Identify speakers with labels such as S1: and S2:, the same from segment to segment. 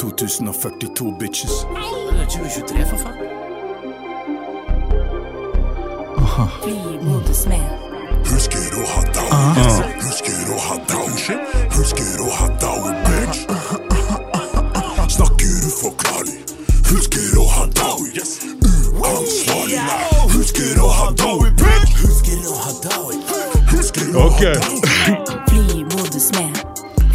S1: 2042, bitches.
S2: Det er 2023, for faen.
S3: Bli modesmed.
S1: Husker å ha down. Husker å ha down. Husker å ha down, bitch. Snakker uforklarlig. Husker å ha down. Mm, Uansvarlig. Husker å ha down, bitch. Husker å ha down. Husker å
S4: Ok.
S1: ha down.
S3: Bli modesmed.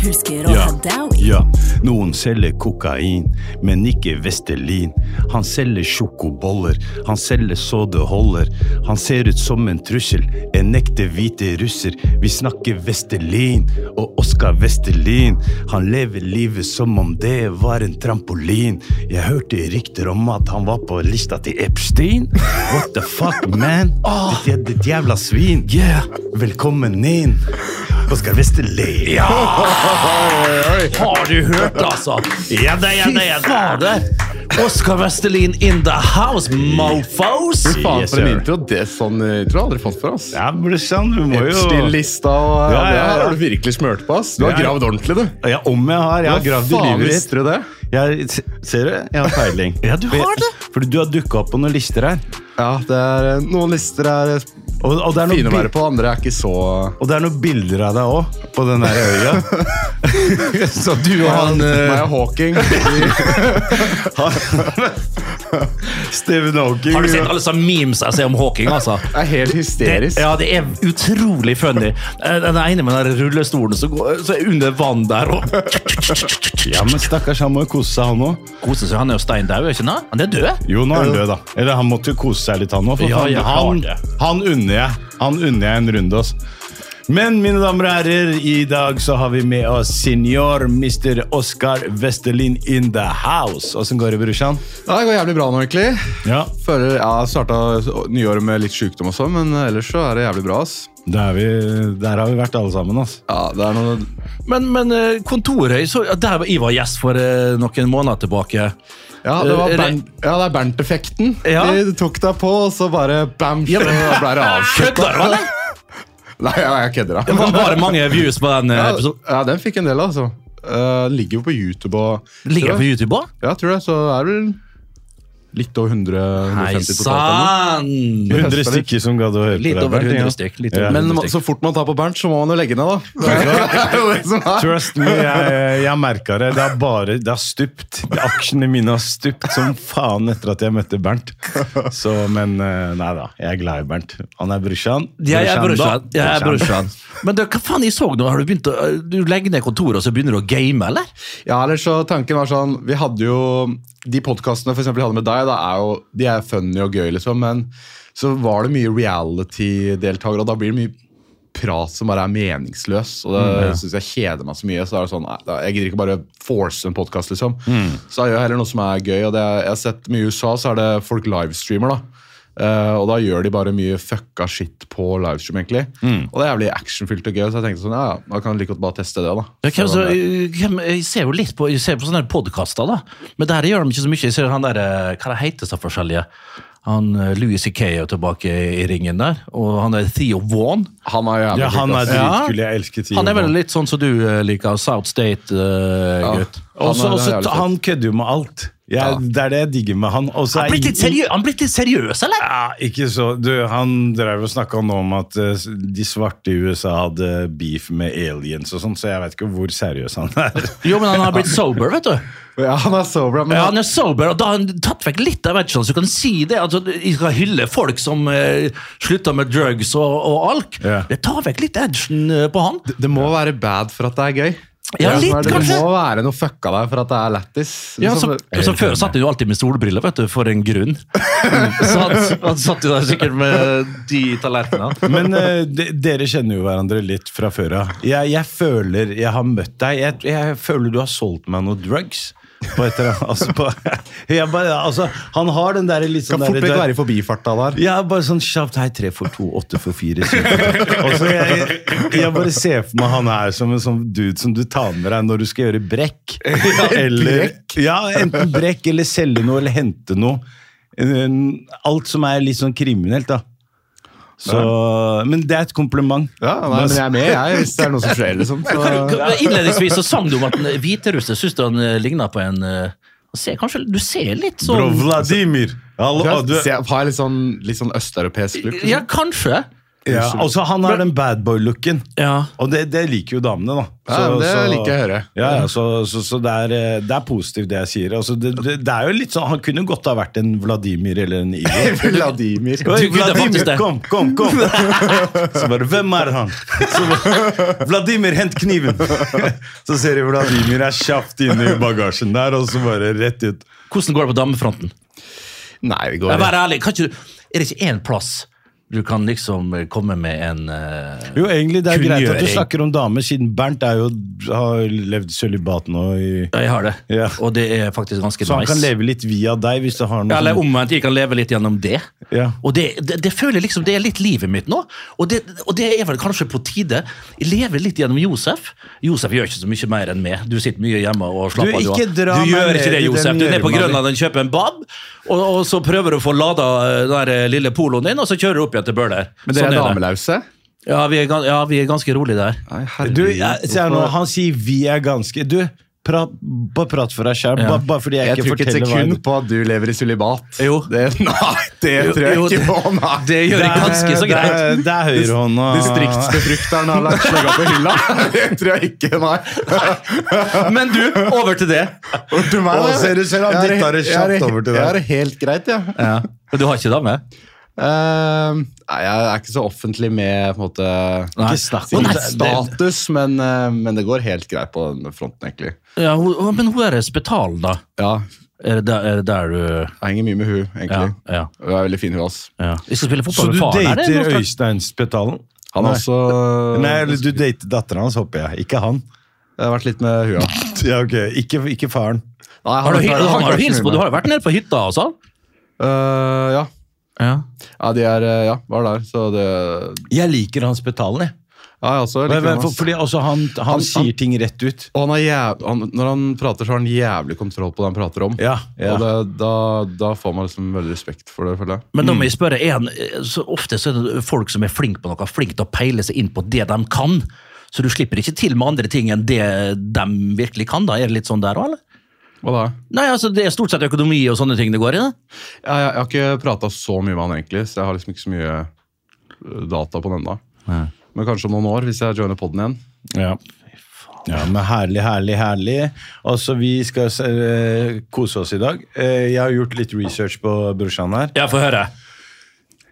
S3: Husker å
S4: Ja.
S3: ha dowie.
S4: Ja. Noen selger kokain, men ikke Vestelin. Han selger sjokoboller, han selger så det holder. Han ser ut som en trussel, en ekte hvite russer. Vi snakker Vestelin og Oskar Vestelin. Han lever livet som om det var en trampolin. Jeg hørte rykter om at han var på lista til Epstein. What the fuck, man? Ditt, ditt jævla svin. Yeah. Velkommen inn. Oskar Vestelin.
S2: Har du hørt, altså? Ja da, ja da, ja da. Oskar Westerlin in the house, mofos!
S5: Fy faen,
S4: Yes,
S5: for en
S4: sir.
S5: intro. Det er sånn intro aldri fått for oss.
S4: Ja, men det er sant, du må jo
S5: Epstein-lista og ja,
S4: Ja, ja,
S5: Det her
S4: ja.
S5: har du virkelig smørt på, ass. Du har
S4: Ja, ja.
S5: gravd ordentlig, du.
S4: ja, Om jeg har, jeg har
S5: Hva
S4: gravd i
S5: faen
S4: livet ditt.
S5: visste du det?
S4: Jeg, se- ser du? Jeg har peiling. ja, du
S2: har det.
S4: Fordi du har dukka opp på noen lister her.
S5: Ja, det er eh, Noen lister er eh,
S4: Og, og, det er
S5: fine å
S4: noen
S5: være på, andre er ikke så eh,
S4: bil- og det er noen bilder av deg òg, på den der øya. Så du og han
S5: Maya
S4: eh,
S5: Hawking. Vi-
S4: Stephen Hawking
S2: Har du sett alle sånne memes jeg ser om Hawking, altså?
S5: er helt hysterisk.
S2: ja, det er utrolig funny. Eh, Den ene med den der rullestolen som går så er under vann der og
S4: Ja, men Stakkars, han må jo kose seg, han òg.
S2: Koser seg. Han er jo stein dau, er ikke han? Han er død.
S4: Jo, nå er han død, da. Eller han måtte jo kose seg litt, han òg.
S2: Ja, ja,
S4: han,
S2: klart
S4: han unner jeg. Han unner jeg en runde, altså. Men mine damer og herrer, i dag så har vi med oss senior Mr. Oskar Westerlin in the house. Åssen går det, brorsan?
S5: Ja, det går jævlig bra nå, egentlig.
S4: Ja,
S5: Føler, ja, Starta nyåret med litt sjukdom også, men ellers så er det jævlig bra. ass.
S4: der, der har vi vært alle sammen, altså.
S5: Ja, det er noe...
S2: Men, men eh, kontoret så, ja, Der var jeg var gjest for eh, noen måneder tilbake.
S5: Ja, det, var
S2: Eh,
S5: Bernt, ja, det er Bernt-effekten.
S2: Ja.
S5: De tok deg på, og så bare bam, så ble det avslutta.
S2: Kødder du, eller?
S5: Nei, ja, jeg kødder.
S2: Det
S5: da.
S2: var bare mange views på den eh,
S5: Ja,
S2: episoden.
S5: ja, den fikk en del, altså. Eh, ligger jo på YouTube og
S2: Ligger jeg på YouTube òg?
S5: Ja, tror jeg, så er det vel litt over 100
S2: Nei
S5: 150 totalt.
S2: sann!
S4: 100 stykker som gadd å høre
S2: Litt
S4: på deg.
S2: over
S4: Bernt,
S2: 100
S4: ja.
S2: stykk. Litt
S4: Ja.
S2: over
S5: Men
S2: 100
S5: så fort man tar på Bernt, så må man jo legge ned, da. Det er jo det som er.
S4: Trust me, jeg, jeg merka det. Det har bare, det har stupt. Aksjene mine har stupt som faen etter at jeg møtte Bernt. Så, men eh, nei da, jeg er glad i Bernt. Han er brorsan.
S2: Jeg er
S4: da.
S2: brorsan. Jeg er brorsan. Men du, hva faen jeg så nå? Har du begynt å du legger ned kontoret og så begynner du å game, eller?
S5: Ja, eller så tanken var sånn Vi hadde jo De podkastene for eksempel, vi hadde med deg, da er jo, de er funny og gøy, liksom, men så var det mye reality-deltakere, og da blir det mye prat som bare er meningsløs. Og det
S2: Mm,
S5: synes jeg kjeder meg så mye. Så er det sånn, nei, da- Jeg gidder ikke bare force en podkast, liksom.
S2: Mm.
S5: Så jeg gjør heller noe som er gøy. og det, er- Jeg har sett mye i USA, så er det folk livestreamer, da. Eh, og da gjør de bare mye fucka shit på livestream, egentlig.
S2: Mm.
S5: Og det er jævlig actionfylt og gøy, så jeg tenkte sånn, ja, ja, da kan jeg like godt bare teste det, da.
S2: Ja, hvem
S5: Så-
S2: så, hvem, jeg ser jo litt på, jeg ser på sånne podkaster, da. Men der gjør de ikke så mye. Jeg ser han der, eh, Hva det heter de forskjellige? Han eh, Louis C.K. er jo tilbake i ringen der. Og han er Theo Vaughan.
S5: Han er jævlig
S4: Ja, han er dritkul. Jeg elsker Tio.
S2: Han er vel litt sånn som du eh, liker. South eh,
S5: Ja.
S2: State-gutt.
S5: Han er-
S4: Også,
S5: det er jævlig
S4: også,
S5: fett.
S4: han kødder jo med alt. Jeg,
S5: Ja.
S4: Det er det jeg digger med han. Og så
S2: han
S4: er
S2: blitt litt
S4: ingen-
S2: seriø- han blitt litt seriøs, eller?
S4: Ja, ikke så. Du, han drev og snakka nå om at eh, de svarte i USA hadde beef med aliens og sånn, så jeg vet ikke hvor seriøs han er.
S2: Jo, men han har blitt sober, vet du.
S5: Ja, han er så bra. Men
S2: Ja, han
S5: han,
S2: er sober, og da har han tatt vekk litt av edgen. Så du kan si det. Altså, jeg skal hylle folk som eh, slutter med drugs og, og alk.
S4: Ja.
S2: Det tar vekk litt edgen eh, på han.
S5: det må være bad for at det er gøy.
S2: Ja,
S5: Det
S2: litt,
S5: er-
S2: kanskje.
S5: Det må være noe fucka der for at det er lættis.
S2: Ja, så,
S5: Liksom,
S2: så Før satt han jo alltid med solbriller, vet du, for en grunn. Så han, han satt jo der sikkert med de tallerkenene.
S4: Men eh, de, dere kjenner jo hverandre litt fra før av. Jeg, jeg føler jeg har møtt deg. Jeg, jeg føler du har solgt meg noe drugs. På et eller annet- altså, på, jeg bare, altså, han har den derre litt
S5: kan
S4: sånn
S5: fort
S4: derre-
S5: vekk være i forbifarta der.
S4: Ja, bare sånn kjapt Hei, tre for to, åtte for fire syv for to. Og så jeg, jeg bare ser for meg han her som en sånn dude som du tar med deg når du skal gjøre brekk. Eller, ja, enten brekk eller selge noe eller hente noe. Eh, Alt som er litt sånn kriminelt, da. Så, men det er et kompliment.
S5: Ja, nei, men jeg er med, jeg, hvis det er noe som skjer, liksom. Så,
S2: Innledningsvis så sang du om at en hviterusser syns du han eh, lignet på en eh, han ser, kanskje, Du ser litt
S4: Bro,
S2: sånn
S4: Vladimir! Hallo, du er-
S5: så Altså, jeg har litt sånn, litt sånn østeuropeisk look.
S2: Ja, kanskje.
S4: ja, altså, han har den badboy-looken.
S2: Ja.
S4: Og det, det liker jo damene, da.
S5: Ja, men det liker jeg å høre.
S4: Ja, ja, så så, så det, er, eh, det er positivt, det jeg sier. Altså, det, det, det er jo litt sånn, Han kunne godt ha vært en Vladimir eller en Igor. Oi,
S5: Vladimir.
S2: Du kunne faktisk
S4: Vladimir,
S2: det.
S4: kom, kom, kom! Så bare Hvem er han? Så bare, Vladimir, hent kniven! Så ser jeg Vladimir er kjapt inne i bagasjen der, og så bare rett ut.
S2: Hvordan går det på damefronten?
S5: Nei, vi
S2: Ja,
S5: går
S2: Vær ærlig. Kan ikke, du- er det ikke én plass du kan liksom eh, komme med en eh,
S4: Jo, egentlig det er greit at du
S2: Kunngjøring.
S4: snakker om damer, siden Bernt er jo, har levd sølibat nå i
S2: Ja, jeg har det.
S4: Ja.
S2: Og det er faktisk ganske
S4: Så han
S2: nice.
S4: kan leve litt via deg hvis du har noe sånn
S2: Ja, Eller
S4: som-
S2: omvendt, jeg kan leve litt gjennom det.
S4: Ja.
S2: Og det, det, det føler jeg liksom, det er litt livet mitt nå, og det, og det er vel kanskje på tide. Jeg lever litt gjennom Josef. Josef gjør ikke så mye mer enn meg. Du sitter mye hjemme og
S4: Du,
S2: slapper av.
S4: ikke
S2: du,
S4: dra meg
S2: gjør
S4: ned
S2: ikke det,
S4: i den
S2: Josef. Du er nede på
S4: gjørma di.
S2: Grønland og kjøper en bab, og, og så prøver du å få lada eh, den der eh, lille poloen din, og så kjører du opp igjen til Bøler.
S5: Men dere
S2: Sånn
S5: er
S2: det.
S5: damelause?
S2: Ja, vi er, gan- ja, vi er ganske rolig der.
S5: Nei,
S4: Du,
S5: herregud.
S4: jeg, ser nå, han sier vi er ganske Du, prat, bare prat for deg sjøl.
S2: Ja.
S4: Bare, fordi jeg,
S5: Jeg
S4: ikke
S5: tror ikke et
S4: forteller hva
S5: sekund
S4: jeg
S5: på at du lever i sølibat.
S2: Jo.
S5: Det, nei, det
S2: Jo,
S5: tror jeg
S2: jo,
S5: ikke
S2: det-
S5: på, nei.
S2: Det gjør jeg ganske så
S4: Det
S2: greit.
S4: er, det er høyrehånda.
S5: Distriktsbefrukteren har lagt slagga på hylla. Ah. Det tror jeg ikke, nei.
S2: Men du, over til det.
S5: Du meg,
S4: Å, ser du selv, han dytta det kjapt
S5: jeg er-
S4: over til deg.
S5: Jeg er helt greit, jeg. Ja.
S2: Ja. Du har ikke dame?
S5: Ehm, nei, jeg er ikke så offentlig med på en måte
S2: Nei.
S5: Ikke snakk
S2: Å,
S5: om
S2: nei,
S5: det- status, men, eh, men det går helt greit på den fronten, egentlig.
S2: Ja, hun, å, men hun er spetalen, da.
S5: Ja,
S2: Er det der, er det der du
S5: Jeg henger mye med hun,
S2: Ja.
S5: egentlig.
S2: ja.
S5: Hun er veldig fin, hun også.
S2: Ja. Vi skal spille
S4: Så
S2: fotball
S4: du
S2: med faren. er det noe
S4: dater
S2: slags-
S4: Øystein Spetalen?
S5: Han
S4: Nei.
S5: har også
S4: Nei, eller du dater dattera hans, håper jeg. Ikke han.
S5: Jeg har vært litt med hun, ja. Nei,
S4: Ja, ok, Ikke, ikke faren.
S5: han
S2: Har du, hi-
S5: ikke- han
S2: han har
S5: ikke
S2: du
S5: vært
S2: hilst
S5: så
S2: på?
S5: mye
S2: Du
S5: med
S2: har vært nede på hytta og sånn?
S5: Eh, ja.
S2: Ja.
S5: ja, de er eh, Ja, var der, så det
S4: Jeg liker han Spetalen, jeg.
S5: Ja, jeg også.
S4: Men-
S5: liker
S4: men
S5: han,
S4: for-
S5: ass.
S4: Fordi altså, han, han,
S5: Han-
S4: sier ting rett ut.
S5: Og han har jæv, han, når han prater, så har han jævlig kontroll på det han prater om.
S4: Ja,
S5: Og
S4: ja.
S5: det, da, da får man liksom veldig respekt for det, føler jeg.
S2: Men da må jeg spørre, er han, så ofte så er det folk som er flinke på noe, flinke til å peile seg inn på det de kan. Så du slipper ikke til med andre ting enn det de virkelig kan? da? Er det litt sånn der òg, eller?
S5: Hva da?
S2: Nei, altså Det er stort sett økonomi og sånne ting det går i. da.
S5: Jeg, jeg, jeg har ikke prata så mye med han egentlig, så jeg har liksom ikke så mye øh, data på den da. Men kanskje om noen år, hvis jeg joiner poden igjen.
S4: Ja. Ja, men herlig, herlig, herlig. Altså, vi skal eh, kose oss i dag. Eh, jeg har gjort litt research på brorsan her.
S2: Ja, få høre.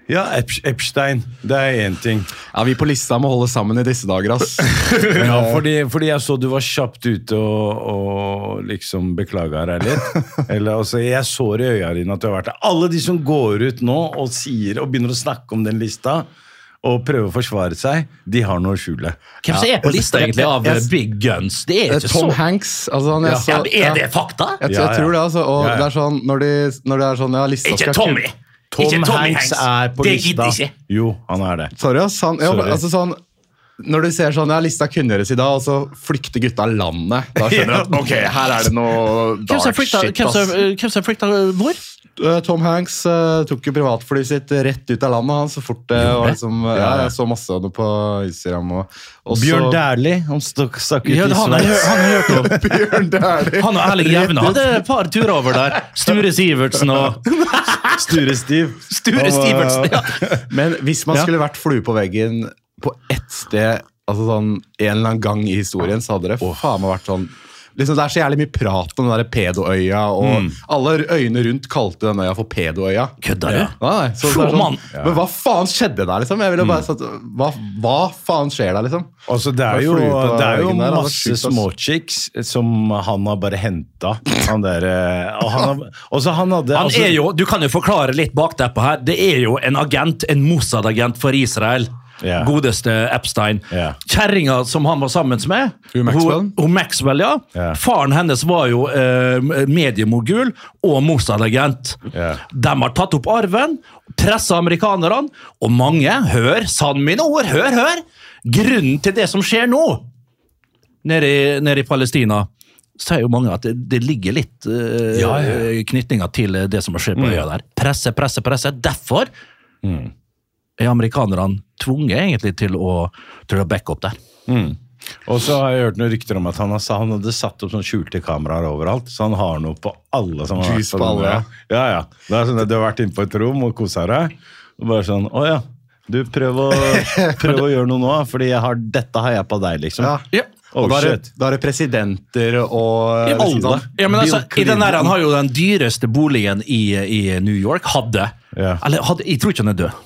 S4: Ja, Ep- Epstein. Det er én ting.
S5: Ja, Vi på lista må holde sammen i disse dager, ass.
S4: Ja, fordi, fordi jeg så du var kjapt ute og, og liksom beklaga deg litt. Eller, altså, jeg så i øya dine at du har vært der. Alle de som går ut nå og, sier, og begynner å snakke om den lista og prøver å forsvare seg, de har noe å skjule.
S2: Hvem som er på lista egentlig av
S5: Jeg- jeg-
S2: big guns? Det er
S5: Eh,
S2: ikke
S5: Tom
S2: så
S5: Hanks. altså han er så...
S2: ja, men Er det
S5: ja.
S2: fakta?
S5: Jeg, tror-
S4: Ja,
S5: jeg
S4: ja.
S5: tror det, altså. Og
S4: Ja, ja.
S5: det er sånn, når de, når det er sånn, ja, lista
S2: Ikke
S5: skal kun-
S2: Tommy! ikke Tommy Hanks
S4: er på
S2: det
S4: lista.
S2: gidder ikke.
S4: Jo, han er det.
S5: Sorry, ass. Han, ja,
S4: Sorry.
S5: men Altså, sånn, når du ser sånn, ja, lista kunngjøres i dag, og så flykter gutta landet. Da skjønner du at ok, her er det noe
S2: Hvem som
S5: dark
S2: frykta-
S5: shit.
S2: hvem som-
S5: ass.
S2: eh, hvem som frykta hvor?
S5: Eh, Tom Hanks eh, tok jo privatflyet sitt rett ut av landet han, så fort det var liksom, eh, ja, Jeg så masse av det på Instagram. Og, og
S4: Bjørn
S5: så,
S4: Dæhlie, han stakk stakk ut
S2: Ja,
S4: i
S2: han, han,
S4: Sveits.
S2: han hørte om
S5: Bjørn Dæhlie!
S2: Han og Erling Jevne hadde et par turer over der. Sture Sivertsen og
S4: Sture Stiv.
S2: Sture
S4: Han eh, var-
S2: Stivertsen, ja.
S5: Men hvis man
S2: Ja.
S5: skulle vært flue på veggen på ett sted altså sånn, en eller annen gang i historien, så hadde det faen meg vært sånn liksom, Det er så jævlig mye prat om den der pedoøya, og alle øyene rundt kalte den øya for pedoøya.
S2: Mm. Kødder du?
S5: Nei, nei, så, det er
S2: Flå,
S5: sånn,
S2: mann. Mm.
S5: Men hva faen skjedde der, liksom? Jeg ville bare sagt, hva, hva faen skjer der, liksom?
S4: Altså, det
S5: Bare
S4: er jo,
S5: flue på
S4: det er jo
S5: veggen der, han er
S4: masse
S5: sjukt, ass.
S4: småchicks som han har bare henta. Han der, eh, og han, har- og så han hadde
S2: Han
S4: altså-
S2: er jo, du kan jo forklare litt bakteppet her. Det er jo en agent, en Mossad-agent for Israel.
S4: Ja.
S2: Godeste Epstein.
S4: Ja.
S2: Kjerringa som han var sammen med.
S5: Hun Maxwell?
S2: Hun, hun Maxwell, ja.
S4: Ja.
S2: Faren hennes var jo eh, mediemogul og Mossad-agent.
S4: Ja.
S2: De har tatt opp arven, pressa amerikanerne, og mange Hør, sann mine ord, hør, hør! Grunnen til det som skjer nå nede i, nede i Palestina, sier jo mange at det, det ligger litt eh,
S4: Ja, ja. Mm.
S2: knytninger til det som skjer på øya der. Presse, presse, presse. Derfor er amerikanerne tvunget egentlig til å, til å backe opp der.
S4: Og så har jeg hørt noen rykter om at han, har, sa- han hadde satt opp sånn skjulte kameraer overalt. Så han har noe på alle som har
S5: Juice
S4: vært
S5: på alle,
S4: den der. ja, ja. Det er sånn at Du har vært inne på et rom og kosa deg. Og bare sånn Å ja. Du, prøv å, prøv å gjøre noe nå, Fordi jeg har, dette har jeg på deg, liksom.
S5: Ja.
S2: Ja.
S4: Oh,
S5: og da er,
S4: shit.
S5: det- da er det presidenter og liksom, sånn,
S2: I alle. Ja, men altså, i den der, han har jo den dyreste boligen i, i New York. Hadde.
S4: Ja.
S2: Eller hadde, jeg tror ikke han er død.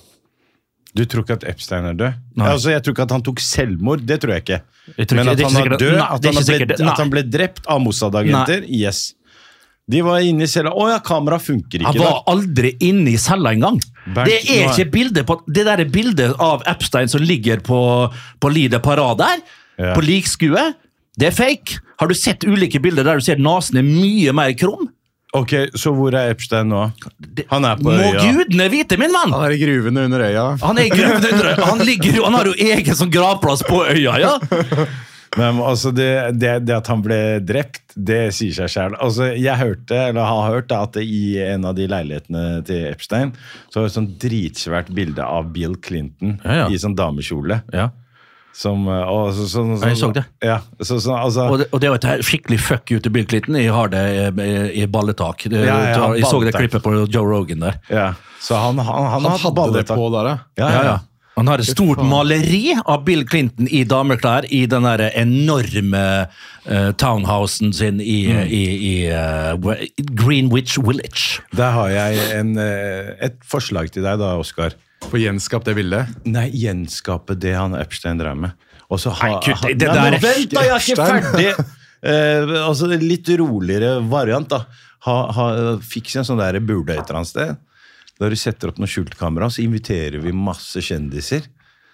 S4: Du tror ikke at Epstein er død?
S2: Nei.
S4: Altså, jeg tror ikke at han tok selvmord, det tror jeg ikke.
S2: Jeg tror ikke- det
S4: Men at
S2: er
S4: han
S2: ikke
S4: er
S2: sikkert-
S4: død,
S2: Nei,
S4: at,
S2: det er
S4: han
S2: ikke
S4: ble,
S2: sikkert- nei.
S4: at han ble drept av Mossad-agenter, yes. De var inne i cella. Å ja, kameraet funker ikke.
S2: Han var aldri inne i cella engang.
S4: Bernt,
S2: Det er
S4: nå er-
S2: ikke bildet på Det der er bildet av Epstein som ligger på, på Lider Parade her,
S4: Ja.
S2: på likskue. Det er fake. Har du sett ulike bilder der du ser nesen er mye mer krum?
S4: da. Ok, Så hvor er Epstein nå?
S2: Det-
S4: Han er på
S2: Må
S4: øya.
S2: gudene vite, min venn!
S5: Han er i gruvene under øya.
S2: Han er i gruven under øya. Han, ligger jo- han har jo egen sånn gravplass på øya, ja.
S4: Men altså, det, det, det at han ble drept, det sier seg sjæl. Altså, jeg hørte, eller har hørt, da, at det i en av de leilighetene til Epstein, så var det et sånn dritsvært bilde av Bill Clinton
S2: Ja, ja.
S4: i sånn damekjole.
S2: ja.
S4: Som, eh, og så, sånn-
S2: Ja, jeg så det.
S4: Ja, så, sånn, altså,
S2: Og det, og det var et skikkelig fuck you til Bill Clinton. Jeg har det eh, i balletak. Det,
S4: Ja, ja,
S2: jeg så det
S4: balletak.
S2: klippet på Joe Rogan der.
S4: ja. Så han, han, han,
S5: Han hadde det
S4: balletak.
S5: på der, ja.
S4: Ja, ja, ja.
S2: Han har et stort maleri av Bill Clinton i dameklær i den der enorme eh, townhousen sin i, i, i eh, Wa- Greenwich Village.
S4: Der har jeg en, eh, et forslag til deg da, Oskar.
S5: Få gjenskapt det bildet.
S4: Nei, gjenskape det han Epstein drev med. Og så ha,
S2: Nei, kutt,
S4: ha-
S2: det
S4: Nei,
S2: der
S4: men
S2: er-
S4: Vent, da! Jeg er ikke
S5: Epstein.
S4: ferdig! Eh, altså, en litt roligere variant, da. Ha, ha, fiks en sånn der bule et eller annet sted. Der du setter opp noe skjult kamera, så inviterer vi masse kjendiser.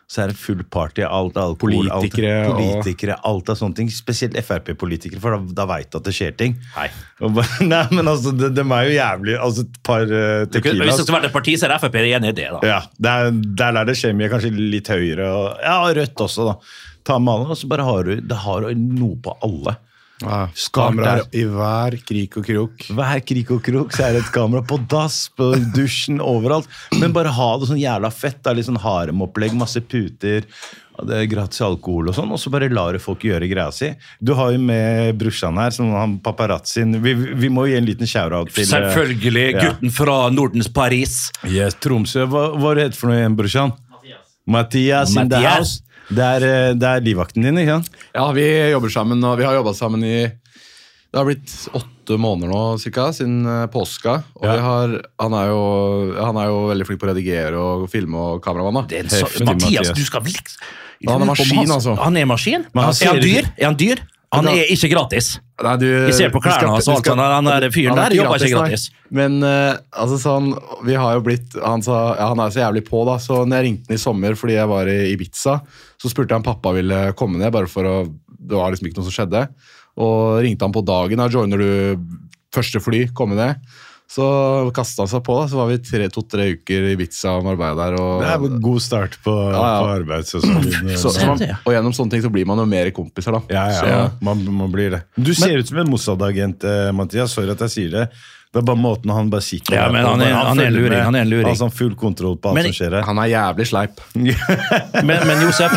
S4: Så er det full party. Alt, alt,
S5: Politikere
S4: alt,
S5: og-
S4: politikere, alt av sånne ting. Spesielt Frp-politikere, for da, da veit du at det skjer ting. Nei, og bare, nei men altså, de, er jo jævlig Altså, et par uh,
S2: Hvis
S4: tequilas
S2: det skulle vært et parti, så er Frp enig i det. da.
S4: ja, der, der er det kjemie kanskje litt høyere. Og, ja, og rødt også, da. Ta med alle, og så bare har du, det har du noe på alle.
S5: Ja,
S4: Skam
S5: Kameraer
S4: der.
S5: i hver krik og krok.
S4: Hver krik og krok så er det et kamera på dass, på dusjen, overalt. Men bare ha det sånn jævla fett. Da, litt sånn haremopplegg, masse puter, og det er gratis alkohol og sånn. Og så bare lar du folk gjøre greia si. Du har jo med brorsan her, som han paparazzien vi, vi må jo gi en liten shout-out til eh,
S2: Selvfølgelig.
S4: ja.
S2: Gutten fra Nordens Paris.
S4: Yes, Tromsø. Hva, hva er det het for noe igjen, brorsan? Mathias. Mathias in the
S2: Mathias.
S4: house. Det er, eh, det er livvakten din, ikke sant?
S5: Ja, vi jobber sammen, og vi har jobba sammen i Det har blitt åtte måneder nå, cirka, siden eh, påska. Og
S4: Ja.
S5: vi har, han, er jo, han er jo veldig flink på å redigere og filme og kameramann. da.
S2: Det er en så,
S4: Heftig,
S2: Mathias,
S4: Mathias.
S2: du skal vel ikke-
S5: Han er maskin, altså.
S2: Han er maskin?
S4: Men han
S2: er,
S4: ser
S2: han dyr?
S4: ikke-
S2: er han dyr? Han er ikke gratis.
S5: Nei, du,
S2: Vi ser på
S5: du skal-
S2: klærne hans og
S5: du
S2: alt
S5: skal-
S2: sånn, han er- fyren
S5: han er
S2: der jobber ikke gratis.
S5: nei. Men eh, altså sånn, vi har jo blitt Han sa ja, han er så jævlig på, da. Så når jeg ringte han i sommer fordi jeg var i Ibiza, så spurte han pappa ville komme ned, bare for å Det var liksom ikke noe som skjedde. Og ringte han på dagen. Da joiner du første fly, komme ned. Så kasta han seg på, da. Så var vi tre- to-tre uker i Ibiza og Marbella der. Og,
S4: Det er en god start på,
S5: ja.
S4: på arbeidssesongen.
S5: så, så man, og gjennom sånne ting så blir man jo mer kompiser, da.
S4: ja, ja,
S5: Så,
S4: Man, man blir det. Du ser ut som en Mossad-agent, eh, Mathias. Sorry at jeg sier det. Det er bare måten han bare sitter
S2: Ja,
S4: der
S2: men
S4: på.
S2: han er- han er en
S4: følger
S2: luring,
S4: med.
S2: han er en luring.
S4: Altså, han har full kontroll på alt
S2: Men-
S4: som skjer her.
S5: eh, Han er jævlig sleip.
S2: Men, men Josef,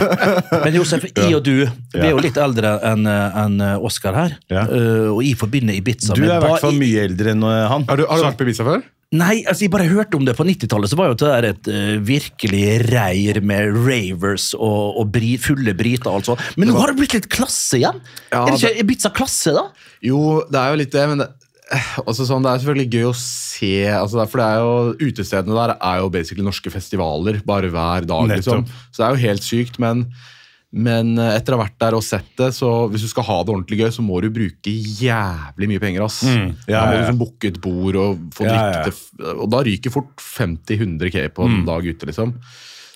S2: men Josef jeg og du vi er jo litt eldre enn enn Oscar her.
S4: Ja.
S2: Eh, og jeg forbinder Ibiza
S4: Du er i
S2: ba-
S4: hvert fall mye eldre enn eh, han.
S5: Har du, har du vært på Ibiza før?
S2: Nei, altså jeg bare hørte om det på 90-tallet. Så var jo det der et eh, virkelig reir med ravers og, og bri, fulle briter. og alt sånt. Men nå har det blitt litt klasse igjen!
S5: Ja,
S2: er det ikke Ibiza klasse, da?
S5: Jo, det er jo litt det, men det, eh, også sånn, det er selvfølgelig gøy å se altså, det er- For det er jo, utestedene der er jo basically norske festivaler bare hver dag.
S4: Nettopp.
S5: Liksom. Så det er jo helt sykt, men, men eh, etter å ha vært der og sett det, så hvis du skal ha det ordentlig gøy, så må du bruke jævlig mye penger. ass.
S4: Mm. ja,
S5: Da må
S4: ja, ja.
S5: du liksom booke et bord og få drikke
S4: Ja, Mm. ja.
S5: til f- Og da ryker fort 50-100 K på en dag ute, liksom.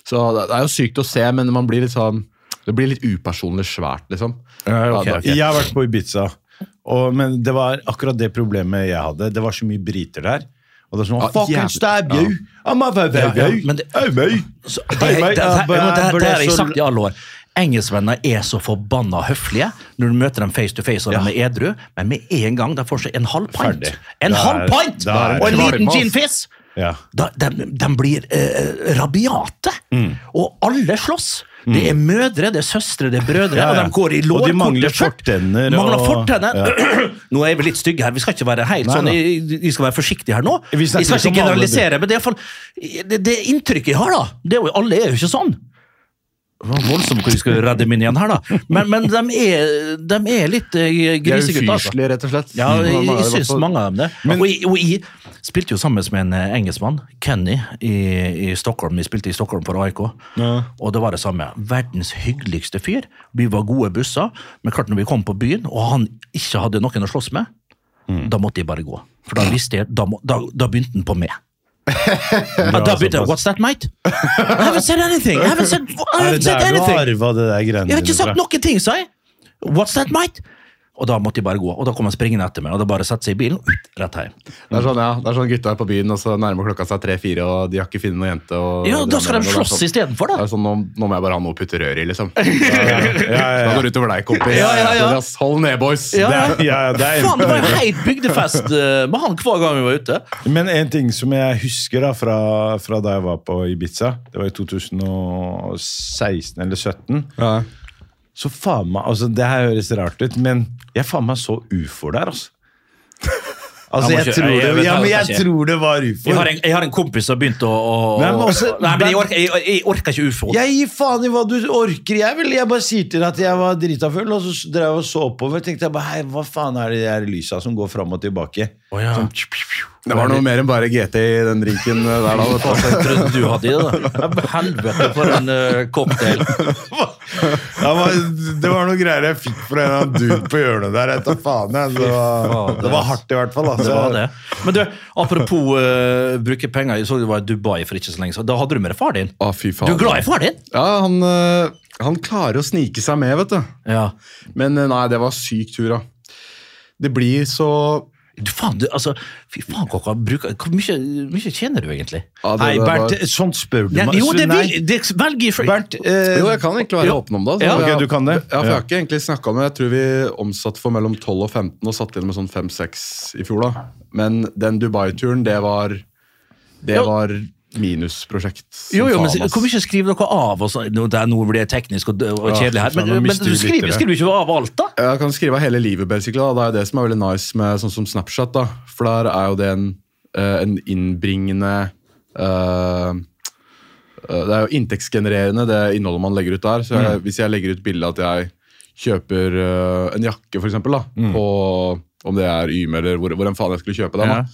S5: Så det det er jo sykt å se, men man blir litt sånn det blir litt upersonlig svært, liksom.
S4: Ja,
S5: Ja,
S4: ok.
S5: det er ikke-
S4: Jeg har vært på Ibiza, og, men det var akkurat det problemet jeg hadde. Det var så mye briter der. Og det er sånn,
S5: Ja,
S4: fucking
S5: jævlig.
S4: stab you! I'm a very,
S2: Ja, ja,
S4: very,
S2: men det-
S4: very, very.
S2: Så, det, det,
S4: Hei,
S2: det,
S4: hei,
S2: det, det,
S4: jeg ble- jeg ble
S2: har jeg
S4: så-
S2: sagt i alle år. Engelskmennene er så forbanna høflige når du møter dem face to face og de er edru, men med en gang de får seg en halv pint
S4: Ferdig.
S2: En
S4: Da er-
S2: halv pint
S4: da er-
S2: og en
S5: da er det
S2: liten
S5: på,
S2: gin
S5: ass.
S2: fizz,
S4: Ja.
S2: da, de, de blir eh, rabiate,
S4: Mm.
S2: og alle slåss. Det er mødre, det er søstre, det er brødre,
S4: Ja,
S2: og
S4: ja.
S2: de går i
S4: Og de
S2: lårkorte
S4: mangler
S2: skjørt.
S4: fortenner
S2: Mangler
S4: og-
S2: fortenner. Nå er vi litt stygge her, vi skal ikke være helt
S4: Nei,
S2: sånn,
S4: nei.
S2: vi- vi skal være forsiktige her nå.
S4: Vi
S2: Vi
S4: snakker
S2: skal
S4: ikke om
S2: ikke
S4: alle, du.
S2: generalisere, men det, er i hvert fall- det, det inntrykket jeg har, da, det er jo, alle er jo ikke sånn. Det var voldsomt hvor vi skulle redde min igjen her, da. Men, men de, er, de er litt eh,
S5: De er
S2: grisegutter. altså.
S5: ufyselige, rett og slett.
S2: Ja,
S5: Mm.
S2: jeg,
S5: Hvordan er
S2: jeg
S5: det
S2: syns
S5: for-
S2: mange av dem det. og, jeg, og jeg spilte jo sammen med en eh, engelskmann, Kenny, i, i Stockholm. Vi spilte i Stockholm for AIK, og det var det samme. Verdens hyggeligste fyr. Vi var gode busser, men klart når vi kom på byen, og han ikke hadde noen å slåss med,
S4: Mm.
S2: da måtte jeg bare gå. For da visste jeg, da, må- da, da begynte han på meg. Ja, da begynte jeg,
S4: såpass.
S2: What's that, mate? I haven't said anything! I haven't said, I
S4: Er
S2: haven't
S4: det
S2: said
S4: der du
S2: anything!
S4: arva det der greiene
S2: Jeg har ikke
S4: dine fra?
S2: sagt noen ting, sa jeg. What's that, mate? Og da måtte jeg bare gå. Og da kom han springende etter meg, og da bare satte seg i bilen ut, rett hjem.
S5: Det er sånn, ja, det er sånn gutta er på byen, og så nærmer klokka seg tre-fire, og de har ikke funnet noen jente. Og
S2: Ja, da skal de
S5: Det er
S2: slåss
S5: sånn-
S2: istedenfor,
S5: Det
S2: da.
S5: er sånn, nå, nå må jeg bare ha noe å putte rør i, liksom. Da går det utover deg, kompis.
S2: Ja, ja, ja.
S5: Andreas, Hold ned, boys.
S2: Ja, ja.
S4: Det er- ja, ja, det er-
S2: Faen, det var jo heit bygdefest eh, med han hver gang vi var ute.
S4: Men en ting som jeg husker da fra, fra da jeg var på Ibiza, det var i 2016 eller 2017
S5: Ja.
S4: Så faen meg altså Det her høres rart ut, men jeg faen meg så ufoer der, altså. Altså,
S2: Jeg må
S4: jeg
S2: ikke-
S4: tror
S2: jeg
S4: det,
S2: vet
S4: ja,
S2: det,
S4: men
S2: kanskje.
S4: jeg tror det var
S2: Jeg har
S4: ufoer.
S2: en, jeg har en kompis som har begynt å, å
S4: Nei, men også-
S2: Nei, men jeg orker, jeg, jeg orker ikke ufo.
S4: Jeg gir faen i hva du orker. Jeg vil, jeg bare sier til deg at jeg var drita full, og så drev jeg og så oppover. Tenkte jeg bare, hei, hva faen er det de her lysa som går fram og tilbake?
S2: Å, ja. Sånn,
S5: Det var noe mer enn bare GT i den drinken eh, der, da. vet du.
S2: Hva slags trodde du hadde i det? da? Helvete, for en eh, cocktail.
S4: Ja, men det var noen greier jeg fikk fra en annen dude på hjørnet der. Jeg tar faen, jeg. Det var, det var hardt, i hvert fall. Altså.
S2: Det var det. Men du, apropos eh, bruke penger, jeg så du var i Dubai for ikke så lenge siden. Da hadde du med deg far din.
S5: Å, fy faen.
S2: Du er glad i far din?
S5: Ja, han, øh, han klarer å snike seg med, vet du.
S2: Ja.
S5: Men øh, nei, det var syk tur, da. Det blir så
S2: Du, faen, du, altså, fy faen, Kokka. bruker- Hvor mye, mye tjener du egentlig?
S5: ja, det-
S4: Nei,
S5: det var-
S4: Bernt, sånt spør du
S2: Ja,
S4: meg.
S2: jo, det,
S4: Nei.
S2: vil, det velger jeg fra-
S4: Bernt, eh,
S5: Jo, jeg kan egentlig være
S2: Ja.
S5: åpen om det. altså.
S2: Ja.
S5: Jeg-
S4: Ok, du kan det.
S5: Ja, for Jeg
S4: Ja.
S5: har ikke egentlig snakket om det. Jeg tror vi omsatte for mellom 12 og 15 og satt inn med sånn 5-6 i fjor. da. Men den Dubai-turen, det var det
S2: Ja.
S5: var minusprosjekt. som
S2: Jo, jo, men
S5: faen, ass.
S2: Hvor mye skriver dere av? Og så, nå, det er, nå blir det teknisk og, og
S5: Ja,
S2: kjedelig her, men,
S4: faen, nå
S2: men
S4: mister
S2: du
S4: vi
S2: skriver,
S4: lyttere.
S2: skriver du ikke av alt, da?
S5: Jeg kan skrive av hele livet, basically. da. Det er jo det som er veldig nice med sånn som Snapchat. da. For der er jo det en, eh, en innbringende eh, eh, Det er jo inntektsgenererende, det innholdet man legger ut der. Så jeg, Hvis jeg legger ut bilde at jeg kjøper eh, en jakke, for eksempel, da, på om det er Yme eller hvor, hvor en faen jeg skulle kjøpe den, da,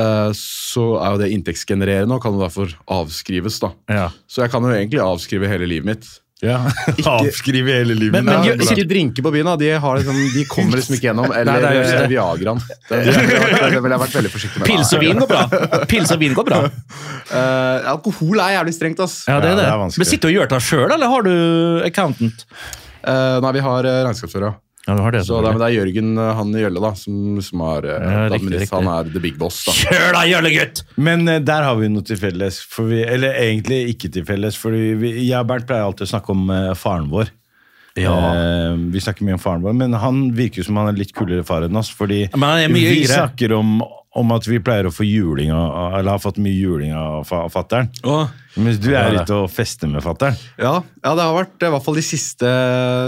S5: eh, så er jo det inntektsgenererende og kan jo derfor avskrives. da.
S2: Ja.
S5: Så jeg kan jo egentlig avskrive hele livet mitt.
S4: Ja. Avskrive hele livet.
S2: Men- men
S5: Ja,
S4: Ja,
S2: gjør-
S5: hvis ikke drinker på byen, da. De, har liksom, de kommer liksom ikke gjennom. Eller
S2: Nei,
S5: liksom
S2: det er jo ikke det.
S5: Viagraen. Det, det, det ville jeg vært veldig forsiktig med.
S2: Pils og vin går bra. Pils og vin går bra.
S5: Eh, alkohol er jævlig strengt, ass.
S2: Ja, det
S4: Ja,
S2: er
S4: det
S2: det.
S4: er vanskelig.
S2: men Sitter du og gjør det sjøl, eller har du accountant?
S5: Eh, nei, vi har eh, regnskapsfører. ja.
S2: Ja, du har det.
S5: Så det, men det er Jørgen eh, han i Gjølle, da, som, som er, eh,
S2: Ja, riktig,
S5: administ-
S2: riktig.
S5: Han er the big boss, da.
S2: Kjør da, jøllegutt!
S4: Men eh, der har vi noe til felles. For vi, eller egentlig ikke til felles. For jeg og Bernt pleier alltid å snakke om eh, faren vår. Eh, vi snakker mye om faren vår, men han virker som han er litt kulere far enn oss. Fordi
S2: Men han er mye
S4: vi
S2: yngre.
S4: snakker om, om at vi pleier å få juling av, eller har fått mye juling av fa- fatter'n. Mens du er
S2: det.
S4: ute og fester med fatter'n.
S5: Ja, ja, det har vært i hvert fall de siste,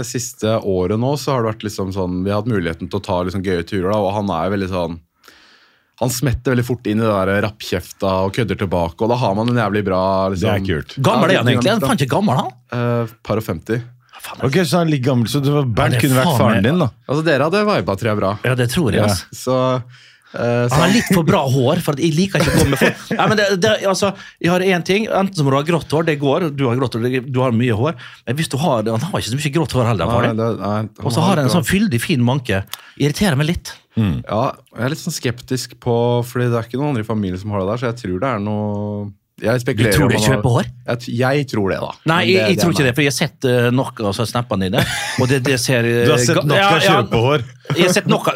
S5: siste året nå, så har det vært liksom sånn Vi har hatt muligheten til å ta liksom gøye turer, da, og han er jo veldig sånn Han smetter veldig fort inn i det der rappkjefta og kødder tilbake, og da har man en jævlig bra liksom,
S4: Det er kult.
S2: Gammel er
S5: Ja,
S2: han egentlig. Han er faen ikke gammel, han.
S5: Eh, par og 50.
S4: Ok, Så han er litt gammel, så du, Bernt
S2: det er
S4: kunne vært
S2: faen
S4: faren
S2: meg-
S4: din, da.
S5: Altså, dere hadde viba, tror jeg, bra.
S2: Ja, det tror jeg,
S4: Ja.
S2: altså.
S5: Så, eh, så
S2: Han har litt for bra hår, for at jeg liker ikke å komme med folk. Nei, men det, det, altså, jeg har én ting. Enten så må du ha grått hår, det går. Du har grått hår, det- du har mye hår. Men hvis du har, han har ikke så mye grått hår heller.
S5: Nei,
S2: faren din.
S5: det- nei, han
S2: Og så har han en
S5: bra-
S2: sånn fyldig, fin manke. Irriterer meg litt.
S5: Ja, jeg er litt sånn skeptisk på Fordi det er ikke noen andre i familien som har det der, så jeg tror det er noe Jeg spekulerer
S2: Du tror
S5: om
S2: det
S5: han har-
S2: kjøper hår?
S5: Jeg, t- jeg tror det, da.
S2: Nei,
S5: Men
S2: jeg, jeg
S5: er
S2: tror ikke
S5: meg.
S2: det, for jeg har sett eh, nok av så snappene dine. Og det, det ser eh,
S4: Du har sett
S2: ga-
S4: nok av kjøpehår.
S2: Jeg har sett nok av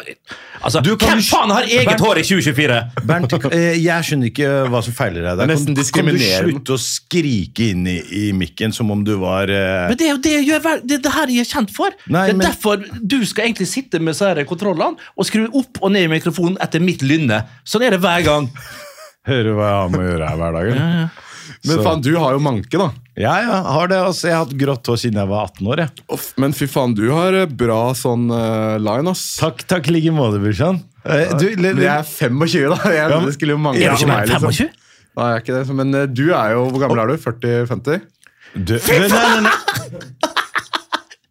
S2: Altså,
S4: Du kan
S2: hvem
S4: jo-
S2: faen har eget hår i 2024?!
S4: Bernt, eh, jeg skjønner ikke hva som feiler deg.
S5: Det
S4: der.
S5: er nesten
S4: Kan- Kan
S5: diskriminerende.
S4: du slutte å skrike inn i, i mikken som om du var eh,
S2: Men det er jo det jeg gjør hver- det, er det her jeg er kjent for.
S4: Nei,
S2: det er
S4: men-
S2: derfor du skal egentlig sitte med så her kontrollene og skru opp og ned i mikrofonen etter mitt lynne. Sånn er det hver gang.
S4: Hører hva jeg har med å gjøre her hver dag. eller?
S5: Men
S4: Så-
S5: faen, du har jo manke, da.
S4: Ja, ja, har det. Altså, jeg har hatt grått hår siden jeg var 18 år. Jeg.
S5: Uff, Men fy faen, du har eh, bra sånn eh, line, ass.
S4: Takk, takk like måte, brorsan. Eh, Du, le-
S5: Men
S4: le-
S5: jeg er 25, da. Jeg,
S4: Ja, men-
S5: det skulle jo mangle
S2: Er du
S5: for
S2: ikke
S5: meg.
S2: mer enn
S5: liksom.
S2: 25?
S5: Nei, jeg er ikke det. Men eh, du er jo Hvor gammel er du? 40-50?
S4: du, nei, nei, nei.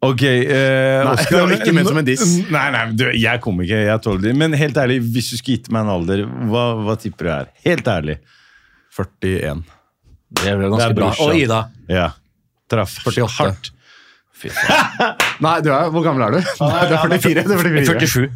S4: Ok, eh,
S5: Nei,
S4: Oscar,
S5: det var ikke ment som en diss.
S4: Nei, nei, du, jeg kom ikke, jeg tåler det. Men helt ærlig, hvis du skulle gitt meg en alder, hva, hva tipper du er? Helt ærlig.
S5: 41.
S2: Det er vel
S4: Det er
S2: ganske bra.
S4: brorsan.
S2: Og Ida.
S4: Ja. Traff
S5: 48.
S4: hardt.
S5: Nei, du er, hvor gammel er du? Nei, du er 44. Du er 44.
S2: 47.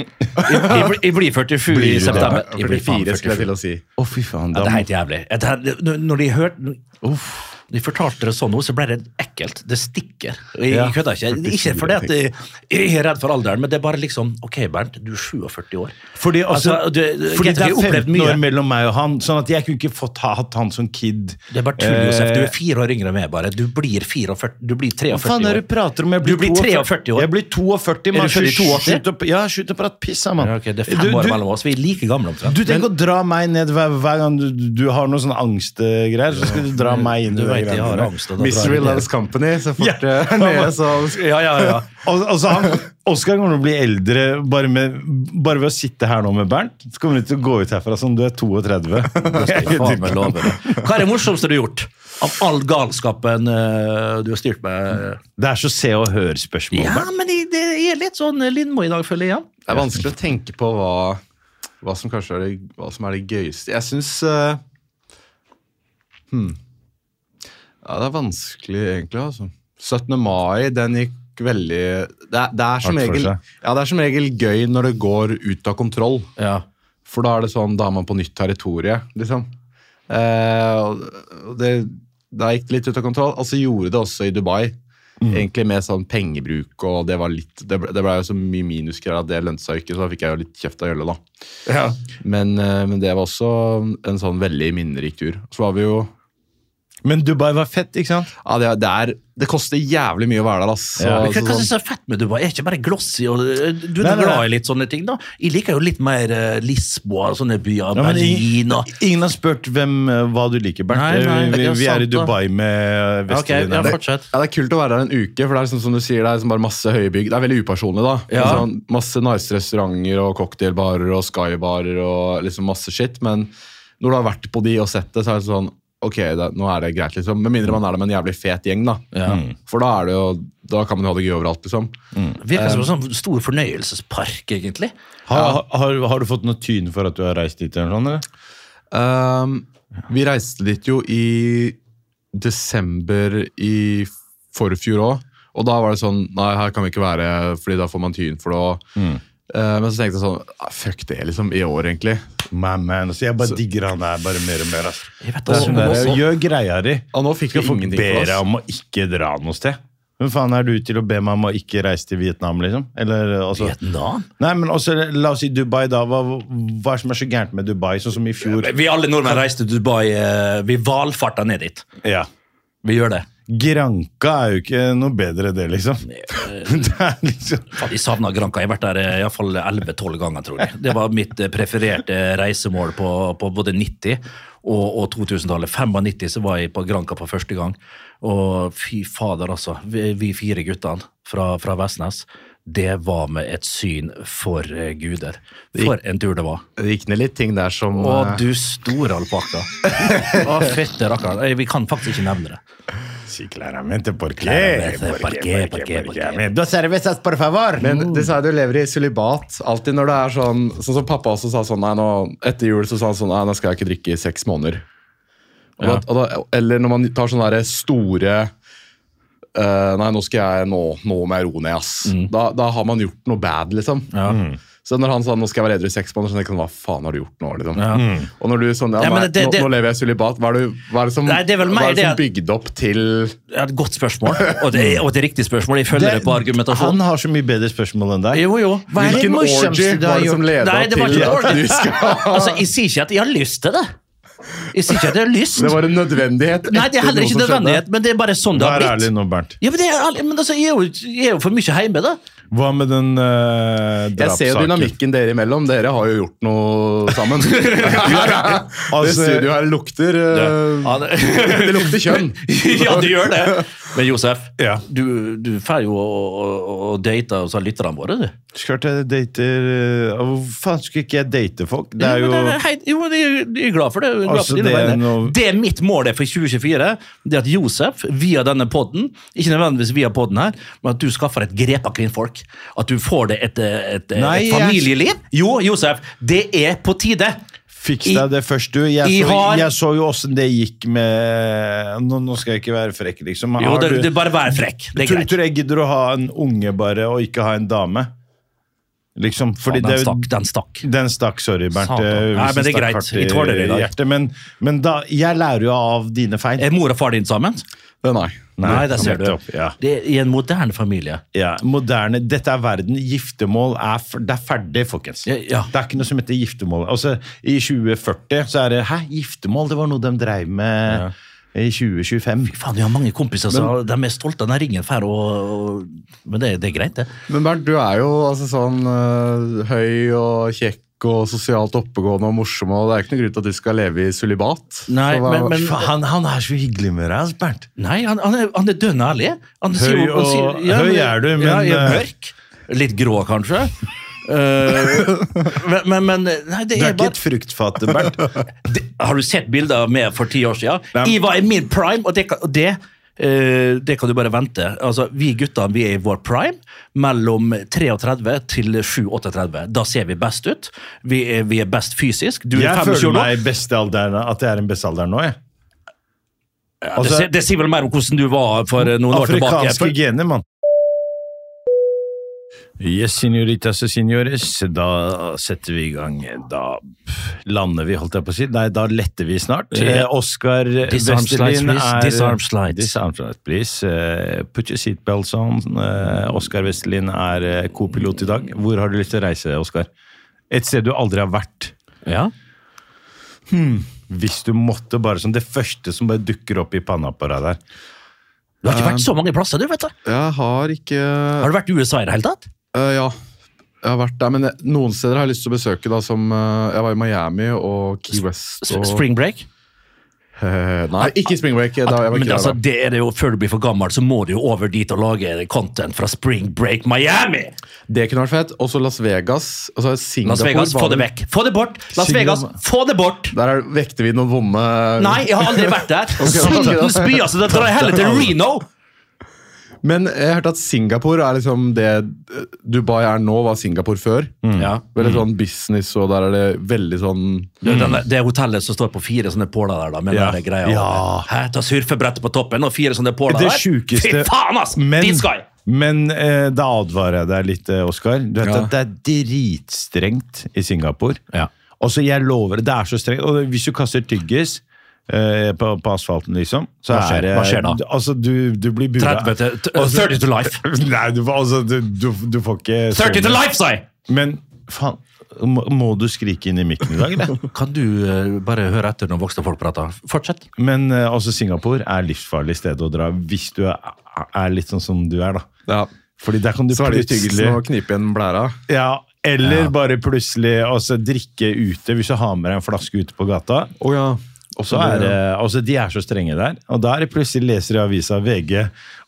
S2: Jeg, jeg, blir- jeg blir 47 i
S4: Blir du det?
S2: september. Jeg blir
S5: 44,
S2: faen
S5: skulle
S2: 47.
S5: jeg til å si.
S4: Å, fy
S2: Ja,
S4: faen. Da,
S2: det er helt jævlig. Jeg- det her- Når de hørte Uff. De fortalte det sånn, nå, så ble det ekkelt. Det stikker. Og Jeg, jeg kødder ikke. Det er Ikke fordi at jeg, jeg er redd for alderen, men det er bare liksom Ok, Bernt, du er 47 år.
S4: Fordi, altså,
S2: Altså, du-
S4: fordi
S2: jeg
S4: det
S2: har
S4: er
S2: opplevd
S4: 15
S2: mye.
S4: år mellom meg og han, sånn at jeg kunne ikke fått ha, hatt han som kid.
S2: Det er bare tull, Josef. Du er fire år yngre enn meg, bare. Du blir 44. Du blir 43
S4: Eh, Hva faen er det du
S2: år.
S4: prater om? Jeg
S2: Du blir 43 år.
S4: Jeg blir 42,
S2: Er
S4: mann.
S2: du født i 82?
S4: Slutt å- Ja, slutt å prate piss, da, mann.
S2: Ja, ok, det er fem
S4: Du-
S2: år
S4: du-
S2: mellom oss. Vi er like gamle omtrent.
S4: Du tenker å dra meg ned hver, hver gang du, du du har noen sånne angstgreier, så skal du dra meg inn
S2: Du
S4: i de
S2: vet jeg har
S4: greiene der.
S2: angst. og da drar
S5: Misery
S2: jeg ned.
S5: Loves Company. Så fort
S4: Ja.
S5: eh, nede, så
S2: Ja, ja, ja.
S4: Og, altså, han, Oskar kommer til å bli eldre bare, med, bare ved å sitte her nå med Bernt. Så kommer du til å gå ut herfra som du er 32.
S2: Faen meg lover det. Hva er det morsomste du har gjort? Av all galskapen eh, du har styrt med?
S4: Det er så se og hør-spørsmål.
S2: Ja,
S4: Bernt.
S2: men det, det er litt sånn Lindmo i dag, føler jeg. igjen.
S5: Det er vanskelig å tenke på hva, hva som kanskje er det, hva som er det gøyeste. Jeg syns hmm. Ja, det er vanskelig, egentlig. altså. 17. mai, den gikk veldig Det er, det er, som,
S4: Hardt for
S5: regel,
S4: seg.
S5: ja, det er som regel gøy når det går ut av kontroll.
S2: Ja.
S5: For da er det sånn, da er man på nytt territorium, liksom. Eh, og og det, da gikk det litt ut av kontroll. Og så gjorde det også i Dubai. Egentlig med sånn pengebruk, og det var litt Det ble, det ble jo så mye minusgreier at det lønte seg ikke, så da fikk jeg jo litt kjeft av Jølle, da. Men, eh, men det var også en sånn veldig minnerik tur. Så var vi jo
S4: Men Dubai var fett, ikke sant?
S5: Ja, det, er- det er Det koster jævlig mye å være der, ass. Så,
S4: Ja.
S2: Men Hva,
S5: så
S2: hva
S5: sånn-
S2: synes jeg er fett med Dubai? Er ikke bare glossy og eh, Du
S4: Altså, Nei,
S2: er
S4: nei,
S2: glad
S4: nei.
S2: i litt sånne ting, da? Jeg liker jo litt mer eh, Lisboa og sånne byer.
S4: Ja, men
S2: Berlin og
S4: ingen, ingen har spurt hvem, eh, hva du liker, Bernt.
S2: Nei, nei,
S4: Eh, vi,
S2: ja,
S4: vi
S2: sant
S4: er i
S2: da.
S4: Dubai med
S2: Ok, ja,
S4: Vestlinjen.
S2: fortsett.
S5: Ja, Det er kult å være der en uke, for det er liksom, som du sier, det er liksom bare masse høye bygg. Det er veldig upersonlig, da.
S2: Ja.
S5: Sånn, masse nice restauranter og cocktailbarer og skybarer og liksom masse shit, men når du har vært på de og sett det, så er det sånn Ok, det, nå er det greit, liksom. Med mindre man er der med en jævlig fet gjeng, da. For da er det jo Da kan man jo ha det gøy overalt, liksom.
S2: Virker som en sånn stor fornøyelsespark, egentlig.
S4: Har, har, har du fått noe tyn for at du har reist dit? eller sånn, eller?
S5: Ehm, vi reiste dit jo i desember i forfjor òg. Og da var det sånn Nei, her kan vi ikke være, Fordi da får man tyn for det. Og,
S2: Mm.
S5: Eh, men så tenkte jeg sånn ah, Fuck det, liksom. I år, egentlig.
S4: My man, altså, Jeg bare digger han der bare mer og mer. ass.
S2: Jeg vet
S4: Det er
S2: altså,
S4: sånn der,
S2: også-
S4: Gjør greia di.
S5: Og nå fikk vi
S4: Ingen
S5: ingenting
S4: ber
S5: for
S4: deg
S5: oss.
S4: om å ikke dra noe sted. Hvem faen er du til å be meg om å ikke reise til Vietnam, liksom? Eller, eh, altså,
S2: Vietnam?
S4: Nei, men også, La oss si Dubai, da. Hva, hva er det som er så gærent med Dubai, sånn som i fjor?
S2: Vi alle nordmenn reiste til Dubai. eh, Vi valfarta ned dit.
S4: Ja.
S2: Vi gjør det.
S4: Granka er jo ikke noe bedre, det, liksom.
S2: eh,
S4: Det er liksom
S2: Faen, jeg savna Granca. Jeg har vært der eh, i hvert fall 11-12 ganger, tror jeg. Det var mitt eh, prefererte reisemål på, på både 90 og, og 2000-tallet. 95 så var jeg på Granca for første gang. Og fy fader, altså. Vi, vi fire guttene fra, fra Vestnes. Det var med et syn for eh, guder. For en tur det var.
S5: Det gikk ned litt ting der som
S2: Å,
S5: eh,
S2: du store alpakka. Å, fytte rakkeren. Eh, Vi kan faktisk ikke nevne det.
S4: Si claramente por qué,
S2: Claramente, por qué,
S4: por qué, por qué,
S2: por qué,
S4: por
S2: por
S4: qué.
S2: qué.
S4: Men Dos cervezas, por favor!
S2: Mm.
S5: Men de sa du lever i sølibat. Alltid når det er sånn Sånn som pappa også sa sånn nei, nå, Etter jul så sa han sånn Nei, nå skal jeg ikke drikke i seks måneder. Og da, og da, eller når man tar sånne der store eh, Nei, nå skal jeg Nå, nå må jeg roe ned, ass.
S2: Mm.
S5: Da, da har man gjort noe bad, liksom. Så når han sa nå skal jeg være edru i seks måneder, så tenkte jeg sånn, hva faen har du gjort nå? liksom? Og når du sånn, ja,
S2: Ja, men
S5: nei,
S2: det- det-
S5: nå, nå lever jeg i sølibat, hva er det, hva er det som,
S2: Nei, det er vel
S5: hva
S2: meg,
S5: er det som
S2: det
S5: bygde opp til
S2: Ja, Et godt spørsmål, og det, og det er riktig spørsmål. Jeg følger det på
S4: han
S2: argumentasjon.
S4: har så mye bedre spørsmål enn deg.
S2: Jo, jo. Hva er det
S5: Hvilken
S4: morsomste
S5: orgy
S4: du har
S5: var det som
S2: Nei,
S5: leda
S2: det var
S5: til
S2: ikke
S5: at
S2: orgy.
S5: du skal
S2: Altså, Jeg sier ikke at jeg har lyst til det. Jeg sier ikke at jeg har lyst.
S5: Det var en nødvendighet.
S2: Nei, det
S5: etter
S2: er heller
S5: noe
S2: ikke
S5: som skjedde.
S2: nødvendighet, men det er bare sånn det
S4: Vær
S2: har
S4: ærlig
S2: blitt.
S4: nå, Bernt.
S2: Ja, men, det er, ærlig, men altså, jeg, er jo, jeg er jo for mye hjemme, da.
S4: Hva med den uh, drapssaken?
S5: Jeg ser jo dynamikken dere imellom. Dere har jo gjort noe sammen. det
S4: Altså-
S5: studioet her lukter eh,
S2: Ja, det-
S5: Det lukter kjønn.
S2: ja, det gjør det! Men Josef,
S4: Ja.
S2: du, du får jo å, å, å date og så lytterne våre, du.
S4: Klart jeg dater eh, Hvor faen skulle ikke jeg date folk? Det er
S2: Jo,
S4: jo
S2: men det er helt- jo, det er- jeg er glad for det. Jeg er Glad
S4: Altså,
S2: for dine
S4: det er
S2: vegne.
S4: noe-
S2: det er mitt mål er for 2024, det er at Josef, via denne podden, ikke nødvendigvis via podden her, men at du skaffer et grep av kvinnfolk. At du får det et, et, et,
S4: Nei,
S2: et
S4: jeg-
S2: familieliv. Jo, Josef, det er på tide!
S4: Fiks
S2: I-
S4: deg det først, du. Jeg
S2: I
S4: så,
S2: har-
S4: jeg så jo åssen det gikk med nå, nå skal jeg ikke være frekk, liksom. men
S2: Jo,
S4: har
S2: det,
S4: du-
S2: det er bare vær frekk. Det er
S4: Tror,
S2: greit.
S4: tror jeg gidder å ha en unge bare, og ikke ha en dame? Liksom, fordi
S2: Faen,
S4: det
S2: den
S4: er jo
S2: stakk, den stakk.
S4: Den stakk, sorry, Bernt.
S2: Satan.
S4: eh, hvis
S2: Nei, men
S4: den
S2: det er
S4: stakk
S2: greit.
S4: hardt
S2: Vi tåler det i dag.
S4: hjertet, Men, men da, jeg lærer jo av dine feil.
S2: Er mor og far din sammen?
S5: Eh, Nei.
S2: Nei, der ser du.
S4: nettopp, ja.
S2: Det er I en moderne familie.
S4: Ja, moderne, Dette er verden. Giftermål er, f- det er ferdig, folkens.
S2: Ja, ja.
S4: Det er ikke noe som heter giftermål. Altså, I 2040 så er det Hæ, giftermål? Det var noe de dreiv med i 2025.
S2: Faen, jeg har mange kompiser som de er stolte av den ringen. For, og, og, men det, det er greit, det.
S5: Men Bernt, du er jo altså, sånn eh, høy og kjekk. Og sosialt oppegående og morsom, og det er ikke noe grunn til at du skal leve i sølibat.
S2: Nei,
S5: Så hva-
S2: men- men-
S4: Faen, han, han er så hyggelig med deg, altså, Bernt.
S2: Nei, han, han, er, han er dønn ærlig. Han sier jo- han
S4: og-
S2: sier-
S4: høy er du, men,
S2: ja, jeg er
S4: eh,
S2: mørk. Litt grå, kanskje. Eh, men, men, men nei, det
S4: Du
S2: er
S4: er ikke
S2: bare
S4: et fruktfat, Bernt.
S2: det, Har du sett bilder av meg for ti år siden?
S4: Nei, men-
S2: Jeg var i min prime, og det, kan- og det eh, det kan du bare vente. Altså, vi guttene vi er i vår prime mellom 33 til 7-38. Da ser vi best ut. Vi er, vi er best fysisk. Du er
S4: Jeg
S2: 25
S4: føler
S2: nå.
S4: meg i bestealderen, at jeg er i bestealderen nå. jeg.
S2: Ja, det,
S4: altså-
S2: sier- det sier vel mer om hvordan du var for eh, noen år tilbake.
S4: Afrikanske gener, mann. Yes, signoritas og signores. Da setter vi i gang. Da lander vi, holdt jeg på å si. Nei, da letter vi snart.
S2: Ja.
S4: Eh, Oskar
S2: Disarm slides,
S4: Westerlin
S2: please.
S4: er
S2: Disarm slides.
S4: Disarm slides, please. Eh, Put your seatbelts on. Eh, Oskar Westerlin er eh, co-pilot i dag. Hvor har du lyst til å reise, Oskar? Et sted du aldri har vært.
S2: Ja.
S4: Hvis du måtte, bare som det første som bare dukker opp i panna på deg der.
S2: Du har ikke vært så mange plasser, du, vet du.
S5: Jeg har ikke
S2: Har du vært i USA i det hele tatt?
S5: Eh, ja. Jeg har vært der, men jeg, noen steder har jeg lyst til å besøke. da, som eh, Jeg var i Miami og Key West.
S2: S-
S5: Og,
S2: Spring break?
S5: Eh, nei, ikke spring break. Da, jeg var
S2: Men
S5: ikke
S2: altså,
S5: der, da.
S2: det er det jo, Før du blir for gammel, så må du jo over dit og lage content fra Spring Break Miami!
S5: Det kunne vært fett. Og så Las Vegas. Altså Singapore,
S2: Las Vegas,
S5: var
S2: få det
S5: vel-
S2: vekk! Få det bort! Las
S5: Singapore.
S2: Vegas, få det bort!
S5: Der er, vekter vi noen vonde
S2: Nei, jeg har aldri vært der!
S5: ok, da.
S2: Sultens by, altså! Da drar jeg heller til Reno!
S5: Men jeg hørte at Singapore er liksom det eh, Dubai er nå, var Singapore før.
S4: Mm.
S2: Ja.
S5: Veldig sånn business, og der er det veldig sånn
S2: Det, den, det er hotellet som står på fire sånne påler der, da, med
S4: Ja.
S2: den greia.
S4: Ja.
S2: Hæ, ta surfebrettet på toppen og fire sånne påler
S4: Det
S2: der?
S4: sjukeste-
S2: Fy faen, ass!
S4: Men,
S2: Dit skal jeg!
S4: men eh, da advarer jeg deg litt, eh, Oskar. Du vet
S5: Ja.
S4: at det er dritstrengt i Singapore.
S2: Ja.
S4: Og så jeg lover det, det er så strengt. Og hvis du kaster tyggis eh, på, på asfalten, liksom, så
S2: Hva skjer?
S4: er det
S2: Hva skjer da?
S4: Altså, du, du blir bua.
S2: 30 til, t-
S4: Og så-
S2: 30 to life!
S4: Nei, du, får- altså, du, du, du får ikke
S2: 30 to life, sa jeg!
S4: Men faen, må, må du skrike inn i mikken i dag, eller?
S2: Kan du eh, bare høre etter når voksne folk prater? Fortsett.
S4: Men eh, altså, Singapore er livsfarlig sted å dra hvis du er, er litt sånn som du er, da.
S5: ja.
S4: Fordi der kan du
S5: Så er det tyggisen å knipe igjen blæra.
S4: Ja, eller bare plutselig altså, drikke ute hvis du har med deg en flaske ute på gata.
S5: Å ja.
S4: Så er det, altså, De er så strenge der. Og da er det plutselig leser i avisa VG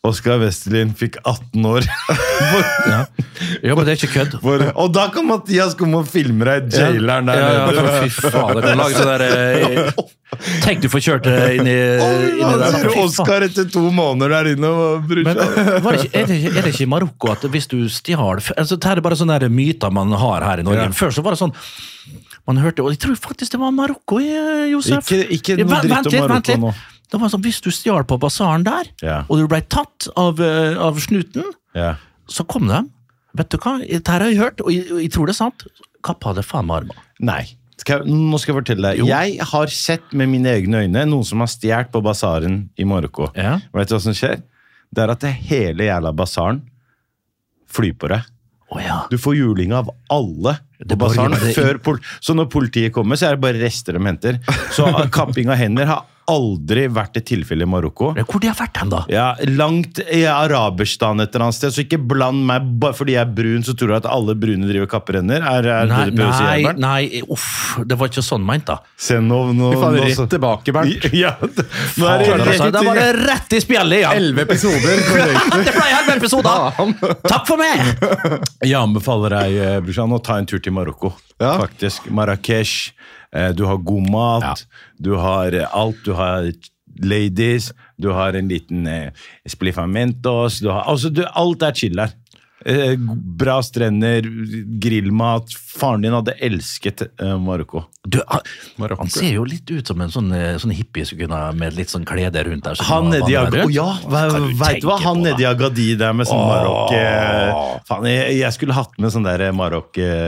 S4: Oskar Westerlin fikk 18 år. Hvor-
S2: Ja, men det er ikke kødd.
S4: hvor, og da kan Mathias komme og filme deg i jaileren der
S2: Ja,
S4: nede.
S2: ja, fy faen, det kan lage sånn der eh, Tenk du får kjørt eh, inn i, inn i
S4: Da
S2: der.
S4: sitter
S2: Fy faen.
S4: Oskar etter to måneder der inne og bryr
S2: Men eh,
S4: seg.
S2: var det ikke, er, det, ikke- er det ikke i Marokko at hvis du stjal altså, Det her er bare sånne der myter man har her i Norge. Før så var det sånn Man hørte Og jeg tror faktisk det var Marokko, eh, Josef.
S4: Ikke- ikke
S2: Ja,
S4: noe
S2: vent-
S4: dritt
S2: vent
S4: om
S2: litt,
S4: Marokko
S2: vent litt.
S4: nå.
S2: Det var sånn, Hvis du stjal på basaren der,
S4: Ja.
S2: og du ble tatt av, eh, av snuten
S4: Ja.
S2: Så kom de. Vet du hva, dette her har jeg hørt, og jeg, og jeg tror det er sant. Kappa det faen meg armen.
S4: Nei. Skal jeg, nå skal jeg fortelle deg. Jeg har sett med mine egne øyne noen som har stjålet på basaren i Marokko.
S2: Ja.
S4: Vet du hva som skjer? Det er at det hele jævla basaren flyr på deg.
S2: Å ja.
S4: Du får juling av alle på
S2: Det bare-
S4: basaren.
S2: det-
S4: Før pol så når politiet kommer, så er det bare rester de henter. Så kapping av hender har aldri vært et tilfelle i Marokko.
S2: Hvor de har vært hen, da?
S4: Ja, Langt i araberstan et eller annet sted, så ikke bland meg. Bare fordi jeg er brun, så tror du at alle brune driver kapperenner? Er, er
S2: Nei,
S4: det det du prøver å si,
S2: nei,
S4: Herbert?
S2: nei, uff, det var ikke sånn meint, da.
S4: Se nå, nå,
S5: Fy faen,
S4: nå
S5: rett tilbake, Bernt.
S4: Ja, det- nå er
S2: Fader,
S4: det
S2: altså,
S4: rett
S2: det var det rett i spjellet igjen!
S5: Elleve episoder.
S2: Det ble halve episode! Takk for meg!
S4: Jeg anbefaler deg eh, Brushan, å ta en tur til Marokko.
S5: Ja.
S4: Faktisk. Marrakech. Eh, Du har god mat. Du har eh, alt. Du har ladies. Du har en liten eh, spliffamentos. Du har, altså, du, alt er chill her. Eh, Bra strender, grillmat. Faren din hadde elsket eh, Marokko.
S2: Du, ah, han, han ser jo litt ut som en sånn, eh, sånn hippie som kunne ha med litt sånn klede rundt der. som
S4: Han
S2: var-
S4: nedi
S2: var der
S4: Agadi
S2: rundt.
S4: ja,
S2: Hva kan du
S4: Veit du hva?
S2: tenke
S4: Han
S2: på, da?
S4: nedi Agadi der med sånn
S2: Åh.
S4: marokk eh, Faen, jeg, jeg skulle hatt med sånn der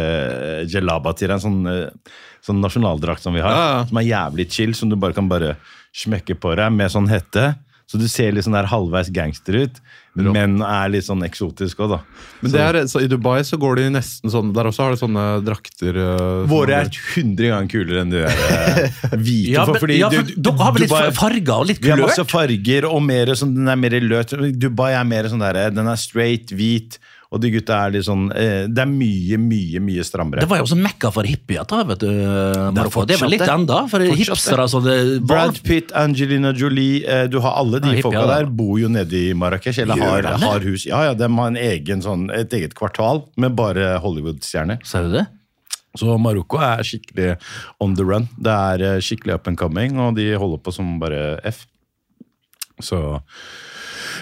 S4: marokk-gelaba til deg. En sånn, eh, sånn nasjonaldrakt som vi har,
S5: Ja, ja.
S4: som er jævlig chill, som du bare kan bare smekke på deg med sånn hette. Så du ser litt sånn der halvveis gangster ut, men er litt sånn eksotisk òg, da.
S5: Men det er, så I Dubai så går de nesten sånn Der også har de sånne drakter. eh,
S4: Våre
S5: som-
S4: er 100 ganger kulere enn de der eh, hvite.
S2: Ja,
S4: for
S2: men,
S4: fordi
S2: ja,
S4: du-
S2: for dere har vel litt
S4: Dubai-
S2: farger og litt
S4: Vi har masse
S2: kulør?
S4: farger, og mer, sånn, den er mer løt. Dubai er mer sånn der, den er straight, hvit, og de gutta er litt sånn eh, Det er mye, mye, mye strammere.
S2: Det var jo også mekka for hippier, da, vet du. Marokko. Det er
S4: fortsatt
S2: vel litt
S4: det.
S2: enda, for
S4: Fortsatt
S2: hipstere altså, det,
S4: Brad Pitt, Angelina Jolie, eh, du har alle de
S2: Ja, hippie,
S4: folka
S2: ja, da.
S4: der, bor jo nede i Marrakech, eller
S2: Gjør
S4: har,
S2: de det?
S4: har hus. Ja, ja, de har en egen, sånn, et eget kvartal med bare Hollywood-stjerner.
S2: Ser du det?
S4: Så Marokko er skikkelig on the run. Det er eh, skikkelig up and coming, og de holder på som bare F. Så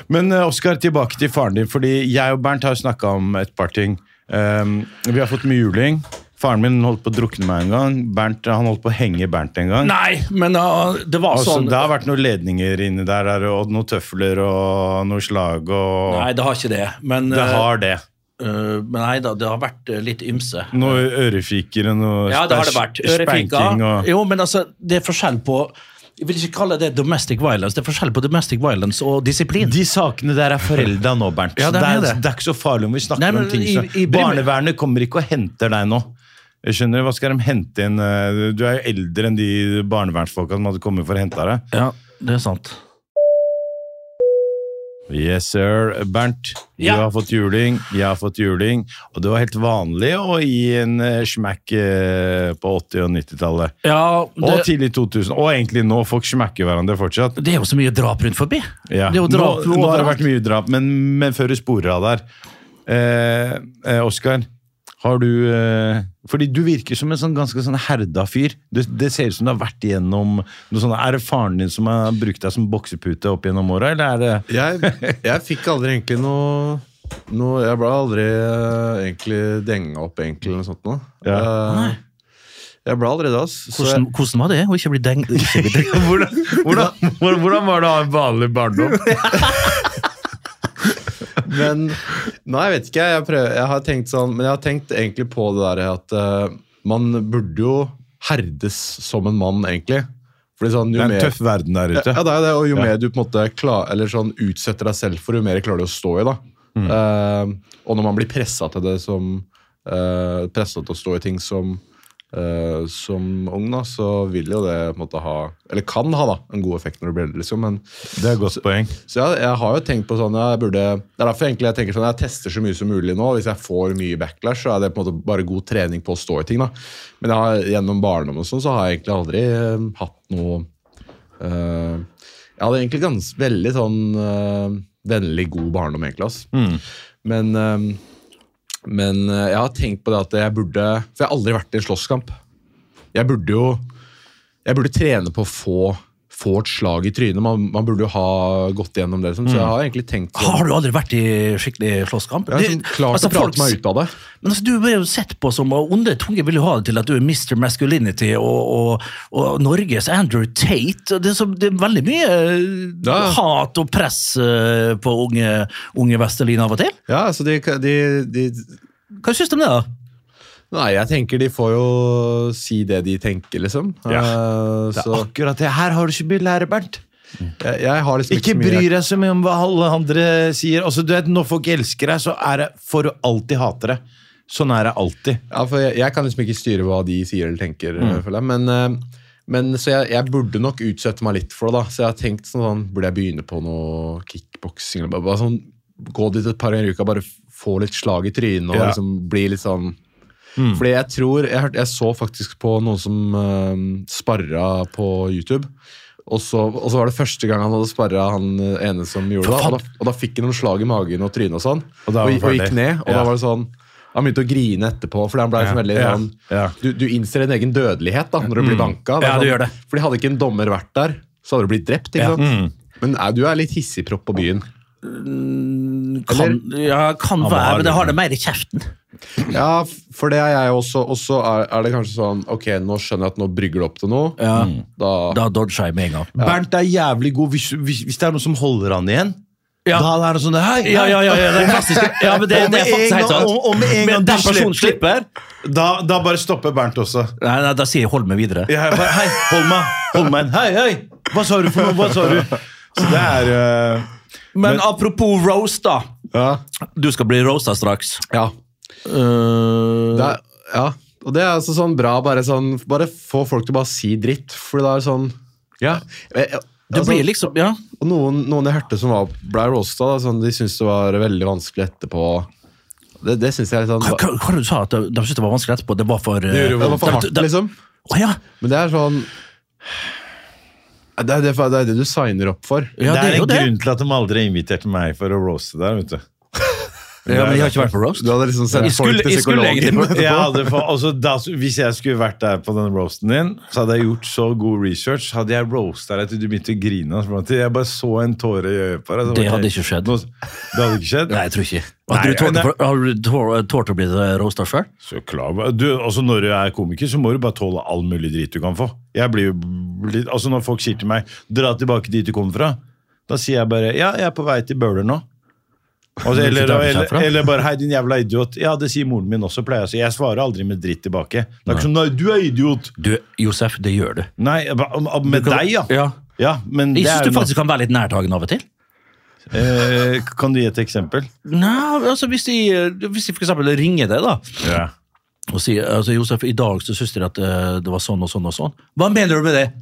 S4: Men eh, Oskar, tilbake til faren din, fordi jeg og Bernt har snakka om et par ting. Um, vi har fått juling. Faren min holdt på å drukne meg en gang. Bernt, han holdt på å henge Bernt en gang.
S2: Nei, men ah, det var
S4: Altså,
S2: sånn
S4: Det har vært noen ledninger inni der, der, og noen tøfler og noen slag og
S2: Nei, det har ikke det. Men,
S4: Det har det.
S2: eh, eh, men nei da, det har vært eh, litt ymse.
S4: Noen ørefiker og noe
S2: Ja, det har det
S4: spank-
S2: vært. Ørefika.
S4: spanking og
S2: Jo, men altså, det er forskjell på Jeg vil ikke kalle det domestic violence. Det er forskjell på domestic violence og disiplin.
S4: De sakene der er forelda nå, Bernt.
S2: Ja,
S4: det,
S2: det
S4: er
S2: er
S4: det,
S2: det.
S4: er, ikke så farlig om vi snakker
S2: Nei, men
S4: om ting
S2: i-
S4: som
S2: i Brim-
S4: Barnevernet kommer ikke og henter deg nå. Jeg skjønner, Hva skal de hente inn eh, Du er jo eldre enn de barnevernsfolka som hadde kommet for å hente deg.
S2: Ja, det er sant.
S4: Yes, sir. Bernt,
S2: Ja.
S4: du har fått juling, jeg har fått juling. Og det var helt vanlig å gi en eh, smekk eh, på 80- og 90-tallet.
S2: Ja,
S4: Og
S2: det,
S4: tidlig 2000. Og egentlig nå. Folk smekker hverandre fortsatt.
S2: det er jo så mye drap rundt forbi.
S4: Ja.
S2: Det er jo drap
S4: nå, nå har det
S2: overalt.
S4: vært mye drap, men, men før du sporer av der eh, eh, Oskar, har du eh, Fordi du virker som en sånn ganske sånn herda fyr. Det, det ser ut som du har vært igjennom noe sånt. Er det faren din som har brukt deg som boksepute opp gjennom åra, eller er det
S5: Jeg, jeg fikk aldri egentlig noe, noe Jeg ble aldri eh, egentlig denga opp, egentlig, eller noe sånt noe.
S4: Ja.
S5: Eh, jeg ble aldri det, ass. Så
S2: Hvordan,
S5: jeg-
S2: hvordan var det å ikke bli deng... Ikke bli deng.
S4: hvordan, hvordan, hvordan var det å ha en vanlig barndom?
S5: Men Nei, jeg vet ikke. Jeg, prøver, jeg har tenkt sånn Men jeg har tenkt egentlig på det der at eh, man burde jo herdes som en mann, egentlig. Fordi sånn,
S4: Det
S5: jo
S4: er en
S5: mer
S4: tøff verden der
S5: ja,
S4: ute.
S5: det er jo det, og jo
S4: Ja.
S5: mer du på en måte klar, eller sånn utsetter deg selv for, jo mer klarer du å stå i. da.
S4: Mm.
S5: Eh, og når man blir pressa til det som uh, Pressa til å stå i ting som eh, som ung, da, så vil jo det på en måte ha Eller kan ha da, en god effekt når du blir eldre, liksom. Men
S4: Det er et godt poeng.
S5: så jeg, jeg har jo tenkt på sånn jeg burde, Det er derfor egentlig jeg tenker sånn jeg tester så mye som mulig nå. Hvis jeg får mye backlash, så er det på en måte bare god trening på å stå i ting. da. Men jeg har, gjennom barndommen og sånn, så har jeg egentlig aldri eh, hatt noe eh, Jeg hadde egentlig ganske veldig sånn eh, vennlig, god barndom, egentlig. ass.
S4: Mm.
S5: Men, eh, men eh, jeg har tenkt på det at jeg burde For jeg har aldri vært i en slåsskamp. Jeg burde jo jeg burde trene på å få, få et slag i trynet. Man, man burde jo ha gått gjennom det. Liksom. Så jeg
S4: Mm.
S5: har egentlig tenkt
S4: Ah,
S5: sånn.
S2: Har du aldri vært i skikkelig slåsskamp?
S5: Jeg har sånn,
S2: Det-
S5: klart
S2: altså,
S5: å prate
S2: folk-
S5: meg ut av det.
S2: Men altså, du ble jo sett på som og Onde tunger vil jo ha det til at du er Mr. Masculinity og, og, og Norges Andrew Tate. Det er, så, det er veldig mye eh,
S5: Ja, ja.
S2: hat og press eh, på unge, unge Vestelin av og til.
S5: Ja, altså de, de, de
S2: Hva syns du om det, da?
S5: Nei, jeg tenker de får jo si det de tenker, liksom. Eh,
S4: Det er
S5: så
S4: akkurat det. Her har du ikke blitt lærer, Bernt.
S5: jeg, jeg har liksom
S4: Ikke
S5: så mye-
S4: bry deg så mye om hva alle andre sier. Altså, du vet, Når folk elsker deg, så er det, får du alltid hate det. Sånn er det alltid. Mm.
S5: Ja, for jeg, jeg kan liksom ikke styre hva de sier eller tenker, eh, føler jeg. Men eh, Men så jeg, jeg burde nok utsette meg litt for det, da. Så jeg har tenkt sånn, sånn Burde jeg begynne på noe kickboksing? Eller bare, bare sånn, gå dit et par ganger i uka, bare få litt slag i trynet og
S4: Ja. Mm.
S5: liksom bli litt sånn Fordi jeg tror jeg, hørte- jeg så faktisk på noen som eh, sparra på YouTube. Og så, og så var det første gang han hadde sparra han eh, ene som gjorde det. Og da, og da fikk han noen slag i magen og trynet og sånn.
S4: Og
S5: Og,
S4: da var han
S5: og gikk
S4: ferdig.
S5: ned. Og
S4: Ja.
S5: da var det sånn Han begynte å grine etterpå, fordi han ble sånn veldig
S4: Ja.
S5: sånn
S4: Ja.
S5: du, du innser din egen dødelighet da, når du blir banka. Det er
S2: Mm. Ja, du
S5: sånn-
S2: gjør det.
S5: Fordi hadde ikke en dommer vært der, så hadde du blitt drept.
S2: Ja.
S5: ikke
S2: Mm.
S5: sant? Men eh, du er litt hissigpropp på byen.
S2: Kan, ja, kan være, men det har det mer i kjeften.
S5: Ja, f- for det er jeg også. Og så er, er det kanskje sånn Ok, nå skjønner jeg at nå brygger det opp til noe. Mm. Da,
S2: Da dodger jeg med en gang.
S4: Bernt er jævlig god hvis, hvis, hvis det er noen som holder han igjen.
S2: Ja.
S4: Da er han sånn Hei! hei.
S2: Ja, ja, ja, ja, det er klassisk. Ja, men det,
S4: Og med
S2: det er faktisk
S4: en
S2: helt
S4: gang-
S2: sant.
S4: og- og med en
S2: Men den
S4: gang du
S2: personen slipper,
S4: Da, da bare stopper Bernt også.
S2: nei, nei, da sier jeg hold meg videre.
S4: Jeg bare, hei, hold meg, hold meg inn. Hei, hei! Hva sa du for noe? Hva sa du? Så det er eh,
S2: Men apropos roast, da.
S5: ja.
S2: Du skal bli roasta straks.
S5: ja.
S2: Øh,
S5: Det er, ja. Og det er altså sånn bra, bare sånn Bare få folk til å bare si dritt, for det er sånn Ja. Eh, eh,
S2: Du
S5: altså-
S2: blir liksom, ja.
S5: Og noen, noen jeg hørte som var, ble roasta, da, sånn, de syntes det var veldig vanskelig etterpå. Det, det syns jeg er litt sånn
S2: Hva, hva, hva du sa at de, de syntes det var vanskelig etterpå? Det var for eh,
S5: Det var for
S2: de-
S5: hardt,
S2: de-
S5: liksom.
S2: Å, ja.
S5: Men det er sånn Det er det, det, er det du signer opp for.
S2: ja,
S4: det er
S2: jo
S4: en
S2: det.
S4: grunn til at de aldri inviterte meg for å roaste der. vet du.
S2: Ja, men jeg har ikke vært på roast.
S5: Du hadde liksom sendt
S2: Jeg skulle-
S5: folk til
S2: jeg skulle
S5: psykologen.
S2: egentlig-
S4: Jeg hadde, fa- altså, da, hvis jeg skulle vært der på den roasten din, så hadde jeg gjort så god research. Hadde jeg roasta deg til du begynte å grine. altså, til Jeg bare så en tåre i øyet på deg. så
S2: Det
S4: var
S2: hadde
S4: jeg-
S2: ikke skjedd.
S4: Nå- Det hadde ikke skjedd?
S2: Nei, jeg tror ikke.
S4: Nei,
S2: Har du tålt
S4: nei.
S2: for- har du tål- tålt å bli eh, roasta sjøl?
S4: Så klar. Du, altså når du er komiker, så må du bare tåle all mulig drit du kan få. Jeg blir jo litt, altså Når folk sier til meg 'dra tilbake dit du kom fra', da sier jeg bare 'ja, jeg er på vei til Bøler nå'. Altså,
S2: Du
S4: eller,
S2: flytter
S4: eller,
S2: herfra?
S4: eller bare 'hei, din jævla idiot'. Ja, det sier moren min også, pleier jeg å si. Jeg svarer aldri med dritt tilbake. Det er ikke sånn 'nei, du er idiot'.
S2: Du, Josef, det gjør du.
S4: Nei, ba- om- med
S2: Du kan-
S4: deg, ja.
S2: Ja.
S4: Ja, men
S2: Jeg
S4: det er
S2: syns
S4: jo
S2: du faktisk kan være litt nærtagende av og til.
S4: noe. eh, Kan du gi et eksempel?
S2: Nei, altså Hvis de, hvis de for eksempel ringer deg da
S4: Ja.
S2: og sier altså, 'Josef, i dag så syns dere at eh, det var sånn og sånn og sånn'. Hva mener du med det?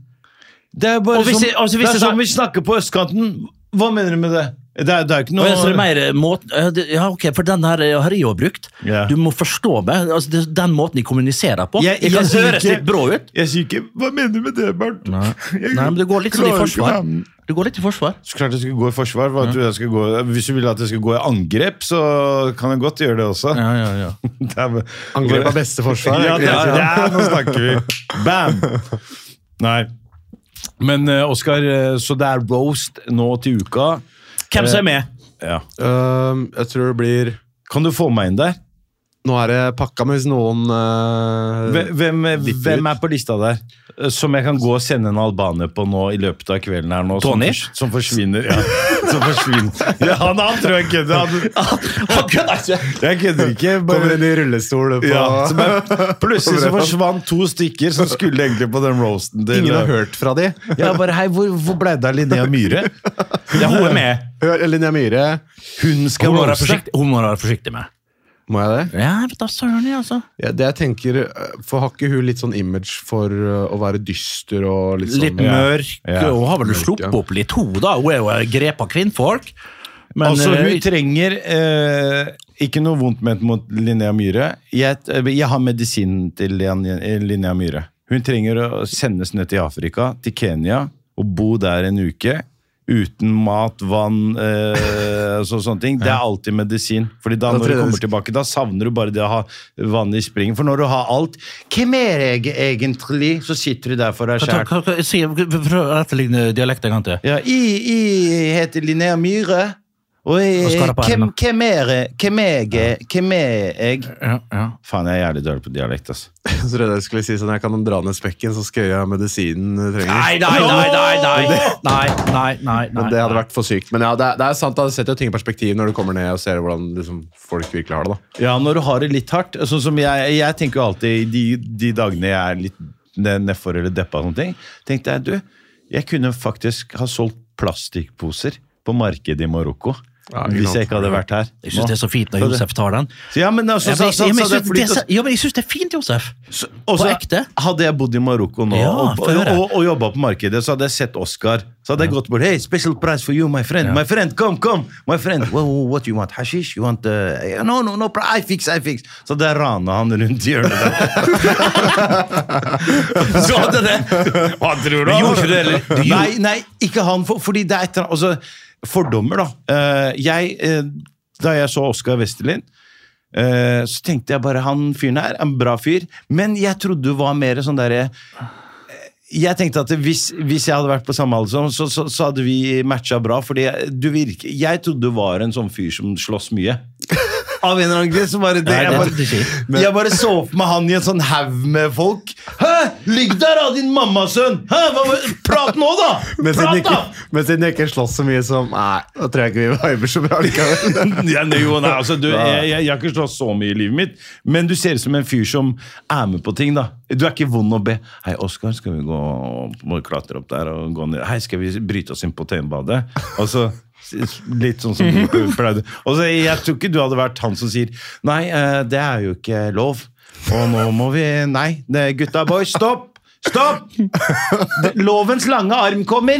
S4: Det er bare
S2: Og hvis
S4: som,
S2: jeg- altså, hvis
S4: det
S2: jeg
S4: er
S2: sa-
S4: som vi snakker på østkanten. Hva mener du med det? Det er, det er ikke
S2: Og jeg ser
S4: noe
S2: mer eh, måten, eh, det- ja, ok, For den her eh, har jeg jo brukt.
S4: Ja.
S2: Du må forstå meg. altså det, Den måten jeg kommuniserer på.
S4: Jeg-
S2: Jeg, kan
S4: jeg sier
S2: høres
S4: ikke-
S2: litt brå ut.
S4: Jeg sier ikke 'hva mener du med det, Bernt'?
S2: Nei, men det går litt sånn i forsvar. Det går litt i forsvar.
S4: Så klart jeg skulle gå i forsvar. Hva tror du jeg skal gå? Hvis du vil at jeg skal gå i angrep, så kan jeg godt gjøre det også.
S2: Ja, ja, ja.
S4: Det er bare-
S5: Angrep er beste forsvar.
S4: Ja, det er,
S5: egentlig.
S4: det er, nå snakker vi. Bam! Nei. Men eh, Oskar, eh, så det er roast nå til uka. Eh,
S2: Hvem som er med?
S4: Ja.
S5: Øhm, Um, jeg tror det blir
S4: Kan du få meg inn der?
S5: Nå er det pakka, men hvis noen øh,
S4: Hvem, hvem-
S5: Litt
S4: hvem
S5: ut.
S4: er på lista der? Eh, Som jeg kan gå og sende en albaner på nå i løpet av kvelden her nå.
S2: Tony?
S4: Som, fors- som forsvinner. Ja, som forsvinner. Ja, han, han tror jeg kødder. Han-
S2: Han kødder ikke!
S4: Jeg kødder ikke.
S5: kommer
S4: Bare,
S5: inn i rullestol på
S4: Ja, som er, plutselig så forsvant to stykker som skulle egentlig på den roasten. til- eh,
S5: Ingen har hørt fra de.
S4: Ja, bare hei, hvor, hvor ble det av Linnea Myhre? Ja, hun er med.
S5: Hør Linnea Myhre.
S4: Hun skal
S2: Hun må være
S4: roaste.
S2: forsiktig, hun må være forsiktig med.
S5: Må jeg det?
S2: Ja, vet du, søren, jeg, altså.
S5: Ja, det jeg tenker, øh, For har ikke hun litt sånn image for øh, å være dyster og litt sånn
S2: Litt mørk.
S4: Ja.
S2: Hun har vel sluppet opp litt hun, da. Hun er jo en grep av kvinnfolk. Men
S4: altså,
S2: eh,
S4: hun trenger eh, ikke noe vondt ment mot Linnea Myhre. Jeg, eh, jeg har medisin til Lin- Linnea Myhre. Hun trenger å sendes ned til Afrika, til Kenya, og bo der en uke. Uten mat, vann eh, så, sånne ting. Det er alltid medisin. Fordi da
S5: Da
S4: når du
S5: tror jeg det
S4: kommer
S5: skal-
S4: tilbake, da savner du bare det å ha vann i springen. For når du har alt Hvem er jeg egentlig? Så sitter du der for deg
S2: Kan ta-
S4: sjæl.
S2: kan- kan- si- Prøv å etterligne dialekten en gang til.
S4: Ja, jeg, jeg heter Linnea Myhre. Og jeg,
S2: Og skarpe
S4: hvem,
S2: armer.
S4: hvem er jeg? Hvem er jeg? Hvem er jeg?
S2: Ja, ja.
S4: Faen, jeg er jævlig dårlig på dialekt, ass.
S5: Så trodde jeg skulle si sånn, jeg kan dra ned spekken, så skal jeg gjøre medisinen du trenger.
S2: Nei, nei, nei, nei, nei, nei, nei, nei,
S5: Men
S2: nei.
S5: det hadde vært for sykt. Men ja, det er, det er sant, da setter jo ting i perspektiv når du kommer ned og ser hvordan liksom, folk virkelig har det. da.
S4: Ja, når du har det litt hardt. Sånn som jeg, jeg tenker jo alltid de, de dagene jeg er litt ned- nedfor eller deppa, og sånne ting, tenkte jeg du, jeg kunne faktisk ha solgt plastikkposer på markedet i Marokko. hvis jeg ikke hadde vært her.
S2: Jeg syns det er så fint når Josef tar den.
S4: Så, ja, men altså,
S2: Ja,
S4: så,
S2: men jeg-
S4: så, så,
S2: men jeg
S4: så,
S2: synes det er så- ja, men jeg syns det er fint, Josef.
S4: så- og så
S2: På ekte?
S4: Hadde jeg bodd i Marokko nå
S2: Ja,
S4: og,
S2: få
S4: og,
S2: høre.
S4: og, og jobba på markedet, så hadde jeg sett Oscar. Så hadde jeg gått bort. Hey, special price for you, my friend. My friend, come, come! My friend, Whoa, whoa, what you want? Hashish? You want uh, No, no, no, I fix, I fix. Så hadde jeg rana han rundt i hjørnet der.
S2: Så hadde det
S4: Hva tror
S2: Du gjorde ikke det, eller? Du gjorde-
S4: Nei, nei, ikke han. For, fordi det er et eller annet altså, Fordommer, da. Eh, jeg, eh, da jeg så Oskar Westerlin, eh, så tenkte jeg bare han fyren her er en bra fyr. Men jeg trodde du var mer sånn derre eh, jeg tenkte at hvis, hvis jeg hadde vært på samme alder som så, så, så hadde vi matcha bra. fordi jeg- du virker, Jeg trodde du var en sånn fyr som slåss mye. Av en eller annen grunn. så bare det,
S2: Nei,
S4: jeg,
S2: det
S4: bare,
S2: trodde jeg ikke.
S4: Men- jeg bare så for meg han i en sånn haug med folk. Hæ! Ligg der, da, din mammasønn! Hæ? Hva, prat nå, da!
S5: Men siden,
S4: Prat,
S5: ikke,
S4: da!
S5: men siden jeg ikke slåss så mye som Nei, da tror jeg ikke vi viber så bra likevel.
S4: ja, nei, jo, nei, altså, du, jeg, jeg, jeg har ikke slått så mye i livet mitt, men du ser ut som en fyr som er med på ting. da. Du er ikke vond å be. 'Hei, Oskar, skal vi gå må vi klatre opp der og gå ned?' 'Hei, skal vi bryte oss inn på Tøyenbadet?' Og så Litt sånn som du pleide. Og så, jeg tror ikke du hadde vært han som sier 'Nei, eh, det er jo ikke lov'. Og nå må vi Nei, det, gutta boys, stopp! Stopp! Det- Lovens lange arm kommer!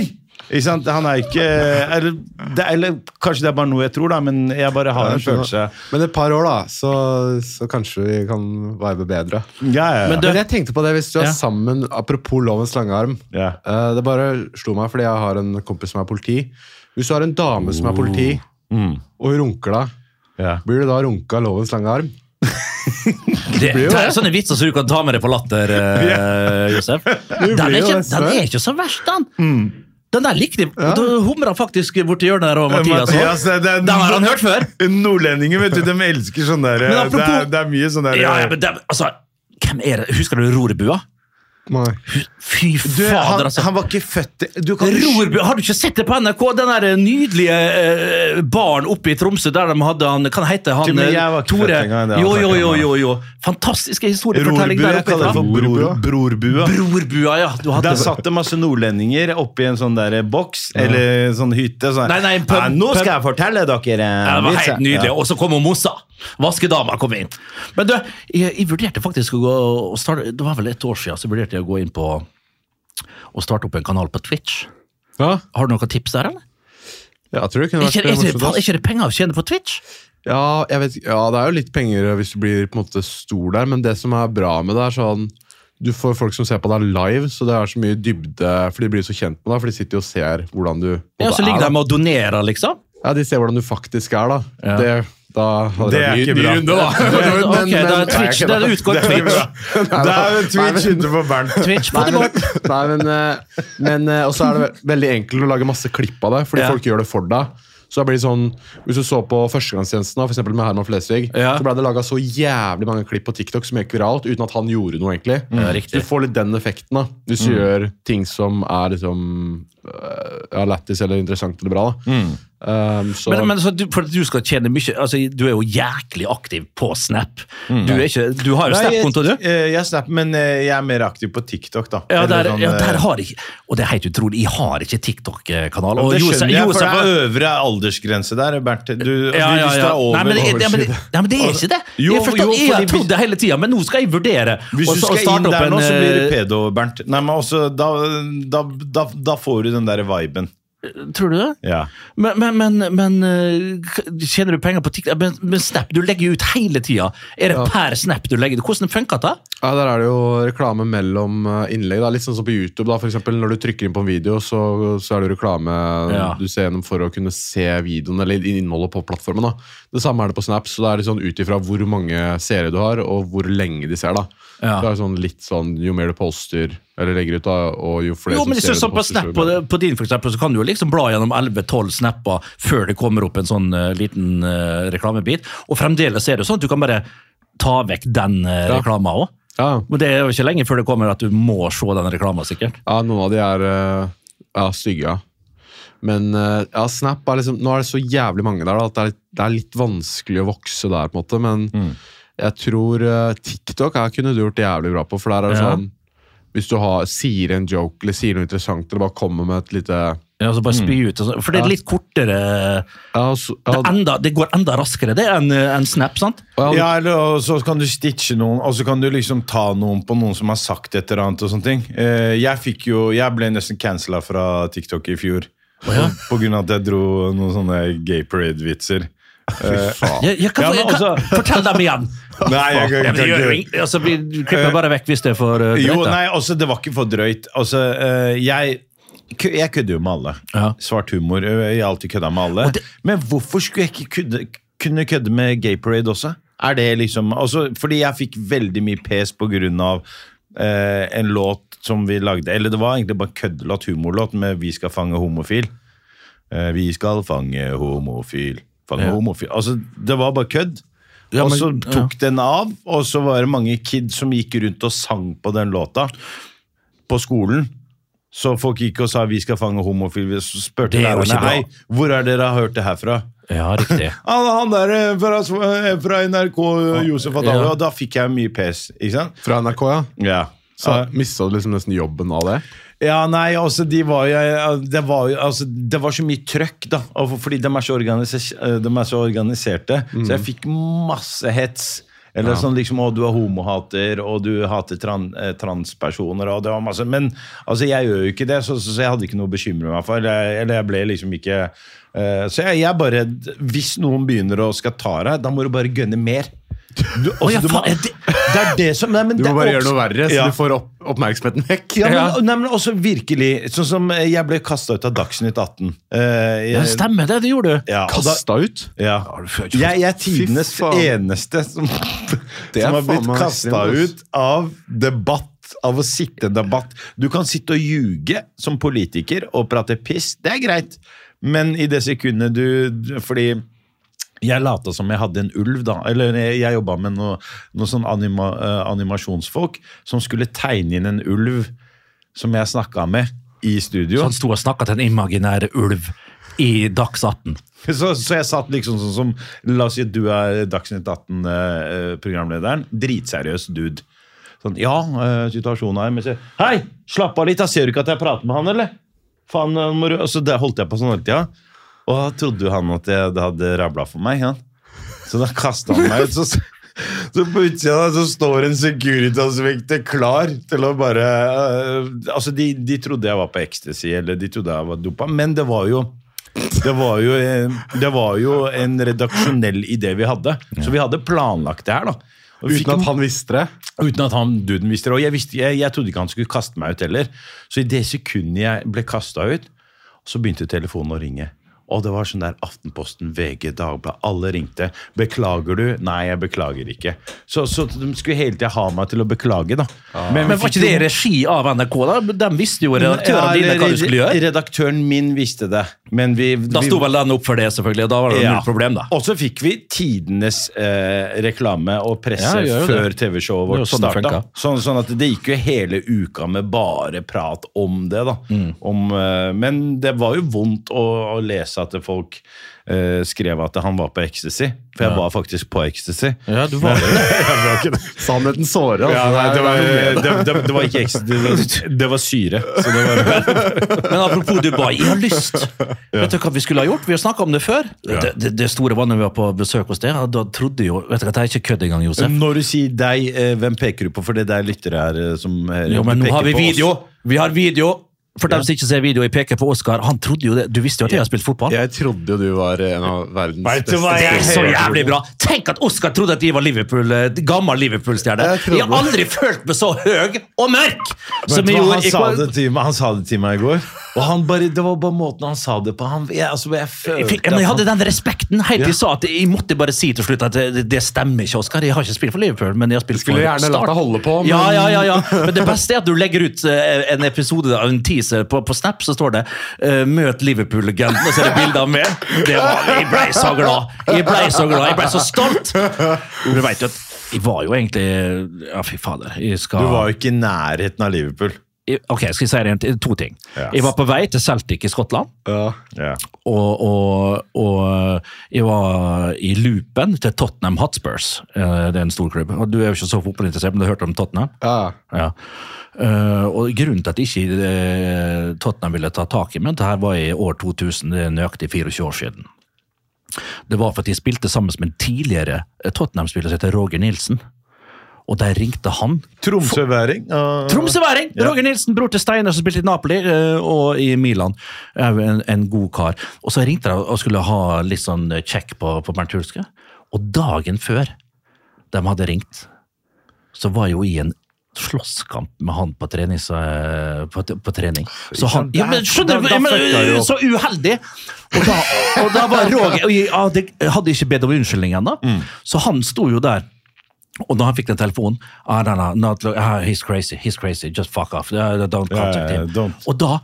S4: Ikke sant? Han er ikke eller, det, eller kanskje det er bare noe jeg tror, da, men jeg bare har en følelse.
S5: sånn, Men et par år, da, så, så kanskje vi kan vibe bedre.
S4: Ja, ja, ja.
S2: Men du-
S5: Men jeg tenkte på det hvis du er
S2: Ja.
S5: sammen Apropos lovens lange arm.
S4: Ja.
S5: Eh, det bare slo meg fordi jeg har en kompis som er politi. Hvis du har en dame
S2: Oh.
S5: som er politi,
S2: Mm.
S5: og runker deg,
S4: ja.
S5: blir du da runka av lovens lange arm?
S2: Det,
S5: blir jo
S2: det er
S5: det.
S2: sånne vitser som du kan ta med deg på latter, eh, Josef. Den er,
S5: blir jo
S2: ikke,
S5: det,
S2: den er ikke så verst, den. Den der likte jeg. Da humra faktisk borti hjørnet der, og Mathias
S4: Mathias, eh,
S2: også.
S4: altså, det er-
S2: Den altså. har han hørt før.
S4: Nordlendinger, vet du, de elsker sånn der
S2: Men apropos-
S4: det, er, det er mye sånn der
S2: Ja, ja, men det, altså, hvem er det? Husker du Rorbua?
S5: Nei.
S2: Fy
S4: du, han,
S2: fader, altså.
S4: han var ikke født i- du kan,
S2: Rorbu, har du ikke sett det på NRK? Den der nydelige eh, baren oppe i Tromsø der de hadde han Kan hete han
S4: Til og med
S2: eh,
S4: jeg var ikke
S2: Tore?
S4: født engang, det har
S2: Jo,
S4: jeg
S2: jo,
S4: snakket
S2: jo,
S4: om, ja.
S2: jo, jo. Fantastiske historiefortelling
S4: Rorbua,
S2: der
S4: jeg
S2: oppe.
S4: kaller det
S2: fra.
S4: for bror,
S5: Brorbua.
S4: brorbua.
S2: Brorbua, ja. Du hadde
S4: Der satt det masse nordlendinger oppi en sånn der boks, eller sånn hytte. Sånn.
S2: Nei, nei, pub-
S4: nå skal jeg
S2: pub-
S4: fortelle dere en
S2: Ja, det var
S4: vits,
S2: helt
S4: ja.
S2: nydelig.
S4: Ja.
S2: Og så kom hun Mossa. Vaskedama kom inn. Men du, jeg, jeg vurderte faktisk å gå og starte Det var vel et år siden så vurderte jeg å gå inn på og starte opp en kanal på Twitch.
S5: Ja,
S2: Har du noen tips der, eller?
S5: jeg tror det kunne
S2: Er ikke,
S5: vært
S2: er ikke,
S5: morsomt.
S2: faen, er
S5: ass.
S2: ikke det penger å tjene på Twitch?
S5: Ja, jeg vet, ja, det er jo litt penger hvis du blir på en måte stor der, men det som er bra med det, er sånn du får folk som ser på deg live, så det er så mye dybde. For de blir så kjent med deg, for de sitter jo og ser hvordan du på en
S2: Ja,
S5: måte
S2: så ligger
S5: er, da.
S2: de og donerer, liksom.
S5: Ja, de ser hvordan du faktisk er, da.
S2: Ja.
S5: Det, da hadde
S4: Det er
S5: vært ny-
S4: ikke
S5: ny
S4: bra.
S5: runde, da.
S2: Men,
S5: Men-
S2: ok, da
S5: men-
S2: er Twitch, da utgår Twitch.
S4: Det er jo Twitch ute på Bernt.
S2: Twitch på
S5: Nei,
S2: det
S5: men,
S2: bort.
S5: nei, men, eh, men eh, også er det ve- veldig enkelt å lage masse klipp av det, fordi
S2: Ja.
S5: folk gjør det for deg. Så da blir det sånn, Hvis du så på Førstegangstjenesten, da, for eksempel med Herman Flesvig,
S2: Ja.
S5: så ble det laga så jævlig mange klipp på TikTok som gikk viralt, uten at han gjorde noe. egentlig.
S2: Ja, riktig. Mm.
S5: så du får litt den effekten da, hvis du gjør ting som er liksom, eh, ja, lættis eller interessant eller bra. da. Um, så,
S2: Mm. Men, men så du, for at du skal tjene mye altså, Du er jo jæklig aktiv på Snap. Du, er ikke, du har jo
S4: Mm. Nei, jeg-
S2: Snap-konto, du?
S4: eh, Jeg er snap, men eh, jeg er mer aktiv på TikTok, da.
S2: Ja,
S4: Eller
S2: der,
S4: sånn,
S2: ja,
S4: eh,
S2: der har jeg ikke Og det er helt utrolig, jeg har ikke TikTok-kanal. Og
S4: det
S2: Josef-
S4: skjønner jeg, for det
S2: Josef-
S4: er øvre aldersgrense der, Bernt. Du, altså,
S2: ja, ja,
S4: Hvis du
S2: ja.
S4: er over
S2: Nei, men, det- ja, men, det- ja, men det er ikke det!
S4: Jo,
S2: jeg, forstår,
S4: jo,
S2: jeg har
S4: fordi
S2: trodd det hele tida, men nå skal jeg vurdere.
S4: Hvis
S2: å
S4: du
S2: s- å
S4: skal
S2: starte
S4: inn
S2: opp
S4: der
S2: en,
S4: nå, så blir du
S2: eh,
S4: pedo, Bernt. Nei, men også, da, da, da, da får du den der viben.
S2: Tror du det?
S4: Ja.
S2: Men, men, men, men eh, k- tjener du penger på TikTok? Men, men Snap, du legger jo ut hele tida. Er det per Snap du legger ut? Hvordan funker det?
S5: Ja, Der er det jo reklame mellom eh, innlegg. Da. Litt sånn som på YouTube. da, for eksempel, Når du trykker inn på en video, så, så er det jo reklame
S2: Ja.
S5: du ser gjennom for å kunne se videoen eller innholdet på plattformen. da. Det samme er det på Snap. så Det er litt sånn ut ifra hvor mange seere du har, og hvor lenge de ser. da.
S2: Ja.
S5: Så det er sånn litt sånn, Jo mer du poster eller legger ut, da, og jo flere
S2: Jo, men jeg
S5: som
S2: synes
S5: ser
S2: sånn På Snap
S5: det du poster, så
S2: på,
S5: blir det-
S2: på din for eksempel, så kan du jo liksom bla gjennom 11-12 snapper før det kommer opp en sånn eh, liten eh, reklamebit. Og fremdeles er det sånn at du kan bare ta vekk den uh,
S5: Ja.
S2: reklama òg.
S5: Ja,
S2: Men det er jo ikke lenge før det kommer at du må se den reklama, sikkert.
S5: Ja, noen av de er eh, ja, stygge, ja. Men eh, ja, Snap er liksom Nå er det så jævlig mange der da, at det er, det er litt vanskelig å vokse der, på en måte. Men jeg tror eh, TikTok er, kunne du gjort jævlig bra på, for der er det
S2: Ja.
S5: sånn Hvis du har, sier en joke eller sier noe interessant, eller bare kommer med et lite
S2: Ja, så bare spy ut. og så- For det er litt kortere
S5: Ja, så,
S2: Det,
S5: ja,
S2: er enda, det går enda raskere det enn en Snap, sant?
S5: og jeg hadde-
S4: Ja, eller og så kan du stitche noen, og så kan du liksom ta noen på noen som har sagt et eller annet. og sånne ting. Eh, Jeg fikk jo, jeg ble nesten cancela fra TikTok i fjor på grunn av at jeg dro noen sånne gay parade-vitser.
S2: Jeg, jeg kan,
S4: Ja, men
S2: jeg kan, fortell dem igjen!
S4: Nei, jeg
S2: Ja,
S4: kan
S2: men det gjør jo
S4: ikke
S2: ing- altså, vi klipper bare vekk hvis det er for uh,
S4: Jo,
S2: drøyt, da.
S4: nei, altså, det var ikke for drøyt. Altså, eh, jeg, kø- jeg kødder jo med alle.
S2: Ja.
S4: Svart humor. eh, Jeg har alltid kødda med alle.
S2: Og det-
S4: Men hvorfor skulle jeg ikke kødde, kunne kødde med Gay Parade også? Er det liksom, altså, fordi jeg fikk veldig mye pes på grunn av eh, en låt som vi lagde. Eller det var egentlig bare en køddelåt, humorlåt, med 'Vi skal fange homofil'. Eh, vi skal fange homofil. Fange
S2: Ja.
S4: homofil. Altså, det var bare kødd.
S2: Ja,
S4: og
S2: men-
S4: så tok den av, og så var det mange kids som gikk rundt og sang på den låta på skolen. Så folk gikk og sa 'vi skal fange homofil'. Så spurte
S2: Det er jo ikke
S4: lærerne
S2: bra.
S4: hei, hvor er dere har hørt det herfra?
S2: Ja, riktig.
S4: Han, han der eh, fra, eh, fra NRK, eh, Josef Adalo.
S2: Ja.
S4: Og da fikk jeg mye pes, ikke sant?
S5: fra NRK, ja.
S4: Ja.
S5: Så mista du liksom nesten jobben av det?
S4: Ja, nei, altså, de var jo, det, var jo, altså, det var så mye trøkk, da. og for- Fordi de er så, organise- eh, de er så organiserte. Så
S5: Mm.
S4: jeg fikk masse hets. Eller sånn liksom, å, du er homohater, og du hater tran, eh, transpersoner, og det var masse. Men altså, jeg gjør jo ikke det, så, så, så jeg hadde ikke noe å bekymre meg for. Eller, eller jeg ble liksom ikke eh, Så jeg, jeg er bare redd Hvis noen begynner å skal ta deg, da må du bare gønne mer.
S2: ja,
S4: Du, altså, du må,
S2: faen, er
S4: det
S2: det-
S4: er det som nei, men
S5: Du
S4: det
S5: må
S4: er
S5: bare gjøre
S4: oppsk-
S5: noe verre, så
S4: Ja.
S5: du får opp, oppmerksomheten vekk.
S4: Ja, men, nei, men også virkelig Sånn som eh, jeg ble kasta ut av Dagsnytt 18. Eh,
S2: Ja,
S4: jeg-
S2: stemmer det, det gjorde du.
S4: ja, og da-
S5: Kasta ut?
S4: ja. Jeg, jeg er tidenes
S5: Fy faen.
S4: eneste som,
S5: Det er
S4: som har blitt
S5: faen meg
S4: kasta
S5: ekstremt, ass.
S4: ut av debatt. Av å sitte i en debatt. Du kan sitte og ljuge som politiker og prate piss. Det er greit, men i det sekundet du du- Fordi jeg lata som jeg hadde en ulv, da. Eller jeg, jeg jobba med noen noe sånn anima, eh, animasjonsfolk som skulle tegne inn en ulv som jeg snakka med i
S2: Så
S4: studio.
S2: han sto og snakka til en imaginær ulv i Dags 18.
S4: Så, så jeg satt liksom sånn som La oss si at du er Dagsnytt 18-programlederen. Dritseriøs dude. Sånn, ja, eh, situasjonen er men så, Hei, slapp av litt, da ser du ikke at jeg prater med han, eller? Faen, eh, må du Og Så det holdt jeg på sånn hele tida. Og da trodde jo han at jeg, det hadde rabla for meg. Ja. Så da kasta han meg ut. Så, så på utsida der så står en Securitas-vekter klar til å bare eh, Altså, de, de trodde jeg var på ecstasy, eller de trodde jeg var dopa, men det var jo det var, jo, en- det var jo en redaksjonell idé vi hadde. Så vi hadde planlagt det her. da. Og vi fikk
S5: Uten at han visste det?
S4: Uten at han duden visste det. Og jeg, visste, jeg, jeg trodde ikke han skulle kaste meg ut heller. Så i det sekundet jeg ble kasta ut, så begynte telefonen å ringe. Og det var sånn der Aftenposten, VG, Dagbladet. Alle ringte. 'Beklager du?' 'Nei, jeg beklager ikke'. Så, så de skulle hele tida ha meg til å beklage, da.
S2: Men, var ikke det i regi av NRK? da? De visste jo redaktørene dine hva du skulle gjøre.
S4: Redaktøren min visste det, men vi
S2: Da
S4: vi-
S2: sto vel den opp for det, selvfølgelig. og Da var det
S4: Ja.
S2: null problem, da.
S4: Og så fikk vi tidenes eh, reklame og presse
S2: Ja, det gjør jo
S4: før
S2: det.
S4: TV-showet
S2: Det er jo
S4: vårt
S2: sånn det
S4: starta.
S2: funker.
S4: Sånn, sånn at det gikk jo hele uka med bare prat om det. da.
S2: Mm.
S4: Om, eh, men det var jo vondt å, å lese at folk eh, skrev at han var på ecstasy. For jeg var faktisk på ecstasy.
S2: Ja, du var det.
S5: Sannheten sårer. Altså.
S4: Ja, nei, det, var,
S5: Det er-
S4: det, det, det var ikke ecstasy, det, det var syre. Så det var,
S2: Men apropos Dubai, jeg har lyst. Vet du hva vi skulle ha gjort? Vi har snakka om det før. Det, det, det store var når vi var på besøk hos deg. og Da trodde jo Vet du hva, det er ikke kødd engang, Josef.
S4: når du sier deg, eh, hvem peker du på? For det der lyttere her eh, som eh,
S2: Jo, men
S4: du
S2: nå
S4: peker
S2: har vi
S4: på oss.
S2: video. Vi har video. For dem som ikke ser video, jeg peker på Oskar. Han trodde jo det. Du visste jo at jeg har spilt fotball.
S5: Jeg trodde jo du var en av verdens
S4: Vet du
S5: beste
S4: hva
S2: Det er så
S5: spillere.
S2: jævlig bra! Tenk at Oskar trodde at de var Liverpool, eh, gammel Liverpool-stjerne.
S5: Jeg trodde
S2: Jeg har aldri følt meg så høy og mørk!
S4: Vet
S2: Som
S4: du
S2: jeg
S4: hva,
S2: gjorde
S4: han,
S2: i
S4: sa
S2: kveld.
S4: det til meg, han sa det til meg i går. Og han bare, Det var bare måten han sa det på. Han, jeg, altså, jeg følte
S2: Jeg, fikk, men jeg
S4: at
S2: hadde
S4: han-
S2: den respekten helt til jeg
S4: Ja.
S2: sa at jeg måtte bare si til slutt at det, det stemmer ikke, Oskar. Jeg har ikke spilt for Liverpool, men jeg har spilt for
S5: Skulle gjerne latt deg holde på, men-
S2: Ja, ja, ja, ja. Men det beste er at du legger ut eh, en episode av en teaser på, på Snap, så står det eh, 'Møt Liverpool-legenden', og så er det bilder av meg. Det var, jeg ble så glad! Jeg ble så glad, jeg ble så stolt! Du vet jo at jeg var jo egentlig Ja, fy fader. Jeg skal
S4: Du var jo ikke i nærheten av Liverpool.
S2: jeg- Ok, jeg skal si det igjen, to ting.
S4: Ja.
S2: Jeg var på vei til Celtic i Skottland.
S5: Ja.
S4: Ja.
S2: og, og, og jeg var i loopen til Tottenham Hotspurs. Eh, Det er en stor klubb. Og du er jo ikke så fotballinteressert, men du har hørt om Tottenham?
S5: Ja.
S2: Ja. Eh, og grunnen til at ikke eh, Tottenham ville ta tak i meg, det her var i år 2000, det er nøyaktig 24 år siden. Det var fordi jeg spilte sammen med en tidligere Tottenham-spiller som heter Roger Nilsen. Og der ringte han
S4: Tromsøværing. og-
S2: Tromsøværing! Roger Nilsen, bror til Steinar som spilte i Napoli eh, og i Milan. Er jo En, en god kar. Og så ringte jeg og skulle ha litt sånn check på, på Bernt Hulske. Og dagen før de hadde ringt, så var jeg jo i en slåsskamp med han på, trenings, eh, på, på trening. Så han ja, men, Skjønner du?
S4: Da- da
S2: Ja, men,
S4: fucka jeg jo opp.
S2: så uheldig! Og da, og da var Roger og jeg, ja, det- Jeg hadde ikke bedt om unnskyldning ennå,
S4: Mm.
S2: så han sto jo der. Og da han fikk den telefonen ah, no, no, not, look- ah, He's crazy, he's crazy, just fuck off. Ah, Don't contact
S4: ja,
S2: him.
S4: don't.
S2: Og da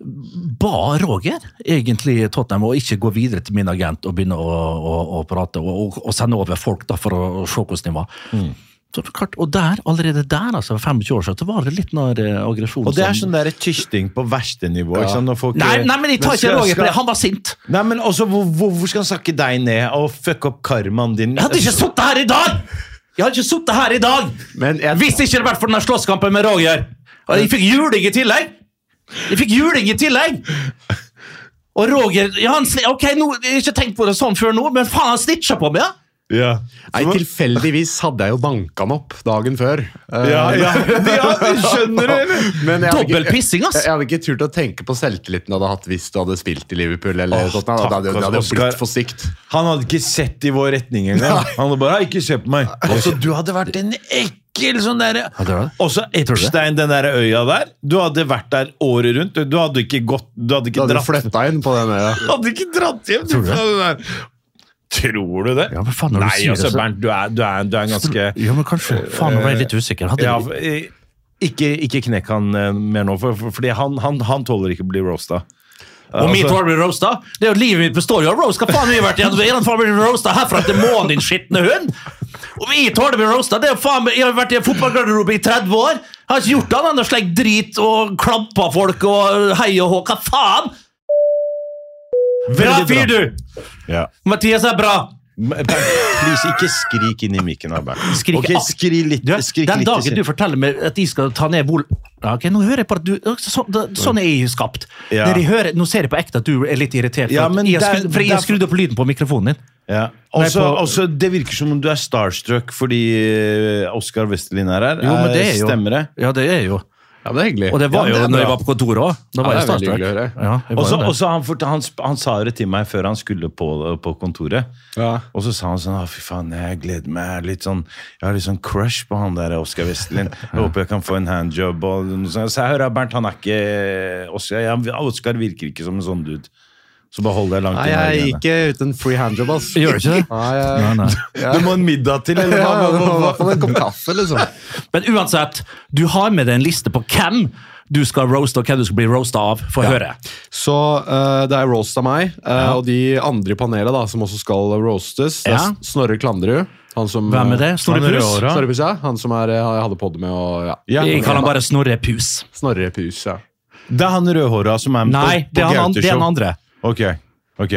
S2: ba Roger egentlig Tottenham å ikke gå videre til min agent og begynne å, å, å prate og, og, og sende over folk da, for å, å se hvordan de var.
S4: Mm.
S2: Så det er klart, og der, allerede der, altså, for 25 år siden, så var det litt når eh, aggresjon
S4: Og det er
S2: som-
S4: sånn der kysting på verste nivå. Ikke sant? Når folk,
S2: nei, nei, men jeg tar ikke
S4: skal-
S2: Roger på det!
S4: skal-
S2: Han var sint!
S4: Nei, men også, hvor- hvor- Hvorfor skal han snakke deg ned og fucke opp karmaen din?
S2: Jeg hadde ikke sittet her i dag! Jeg hadde ikke sittet her i dag
S5: Men jeg-
S2: Hvis ikke det hadde vært for den der slåsskampen med Roger. Og jeg fikk juling i tillegg! Jeg fikk juling i tillegg! Og Roger ja, han, sli- Ok, nå, jeg har ikke tenkt på det sånn før nå, men faen, han snitcha på meg! Ja.
S4: Ja.
S5: Nei, tilfeldigvis hadde jeg jo banka han opp dagen før. Eh,
S4: Ja, ja. ja, skjønner du? eller?
S5: men jeg hadde ikke-
S2: Dobbel pissing, ass!
S5: Jeg hadde ikke turt å tenke på selvtilliten du hadde hatt hvis du hadde spilt i Liverpool. eller
S4: Åh,
S5: Tottenham. Det hadde,
S4: takk,
S5: det hadde jo
S4: Oscar.
S5: blitt for sykt.
S4: Han hadde ikke sett i vår retning engang. Han hadde bare «Nei, ikke se på meg. Altså, du hadde vært en ekkel sånn derre Også Epstein, den der øya der. Du hadde vært der året rundt. Du hadde ikke gått Du hadde
S5: Du
S4: ikke
S5: hadde
S4: dratt
S5: flytta inn på den øya.
S4: Du hadde ikke dratt hjem
S2: Tror du det?
S4: fra den der. Tror du det?
S2: Ja, men faen, når du
S4: Nei,
S2: sier det,
S4: altså,
S2: så-
S4: Bernt, du er, du er, du er en ganske Eh,
S2: Ja, men kanskje. Faen, nå ble jeg litt usikker. Hadde
S4: ja, eh, ikke, ikke knekk han eh, mer nå, for, for, fordi han, han, han tåler ikke å bli roasta.
S2: og mitt
S4: Altså-
S2: hår blir roasta? Det er jo Livet mitt består jo av roast! Hva faen har vi vært igjennom? Gjennom faen blir vi roasta herfra til månen, din skitne hund! Og mitt hår det blir roasta? Det er jo faen, meg- jeg har vært i en fotballgarderobe i 30 år! Jeg har ikke gjort annet enn å slenge drit og klampa folk og hei og hå. Hva faen? Bra
S4: Veldig bra.
S2: fyr, du!
S4: Ja.
S2: Mathias er bra!
S4: Men, Bernt, please, ikke skrik inn i mikken. da, Bernt.
S2: Skrik
S4: Ok,
S2: ak-
S4: skri litt.
S2: Du,
S4: skrik
S2: den
S4: litt i
S2: dagen
S4: sin-
S2: du forteller meg at de skal ta ned vol... Ja, ok, nå hører jeg på at du så, da, Sånn er jeg skapt.
S4: Ja.
S2: Når jeg hører, nå ser jeg på ekte at du er litt irritert. For,
S4: Ja,
S2: at
S4: men
S2: jeg,
S4: der-
S2: skru, for jeg
S4: der-
S2: skrudde opp lyden på mikrofonen din.
S4: ja. også, også, Det virker som om du er starstruck fordi eh, Oscar Westerlin er her. Eh,
S2: Jo, men det er jo
S4: Stemmer det?
S2: Ja, det er jo.
S5: Ja, men det er hyggelig.
S2: Og det var
S5: ja,
S2: jo
S5: men
S2: når
S5: det er
S2: jeg
S5: bra.
S2: var på kontoret òg. Da var jeg
S5: Ja, det er veldig
S2: starstruck.
S5: hyggelig å høre.
S2: Ja, jeg var
S4: Også,
S2: jo det.
S4: også han, fort- han, sp- han sa det til meg før han skulle på, på kontoret.
S5: Ja.
S4: Og så sa han sånn «Å, Fy faen, jeg gleder meg. Jeg er Litt sånn, jeg har litt sånn crush på han der Oskar Vestlin. Jeg håper jeg kan få en handjob. Og noe sånt. Så jeg hører at Bernt han er ikke Oskar ja, Oskar virker ikke som en sånn dude. Så bare hold deg langt
S5: Nei,
S4: unna.
S5: jeg
S4: greiene.
S5: gikk uten free handjob, ass.
S2: Gjør du ikke det?
S5: Nei, jeg...
S2: Nei, nei.
S4: Du må en middag til,
S5: Ja,
S4: eller
S5: ja, det var i
S4: hva?
S5: hvert fall en kopp kaffe, liksom.
S2: Men uansett, du har med deg en liste på hvem du skal roaste, og hvem du skal bli roasta av. Få høre.
S5: Så eh, det er roast av meg, eh, og de andre i panelet da, som også skal roastes. Det er
S2: Ja.
S5: Snorre Klandrud. Han som, eh,
S2: Hvem er det? Snorre
S5: Han er
S2: Pus?
S5: rødhåra. Snorre Pus, ja. Han som er, eh, jeg hadde podde med. Og, ja.
S2: Jeg kaller han bare Snorre Pus.
S5: Snorre Pus, ja.
S4: Det er han rødhåra som er med
S2: Nei,
S4: på,
S2: det
S4: på
S2: er han, det er han
S4: Gauteshow.
S2: andre.
S4: Ok, ok.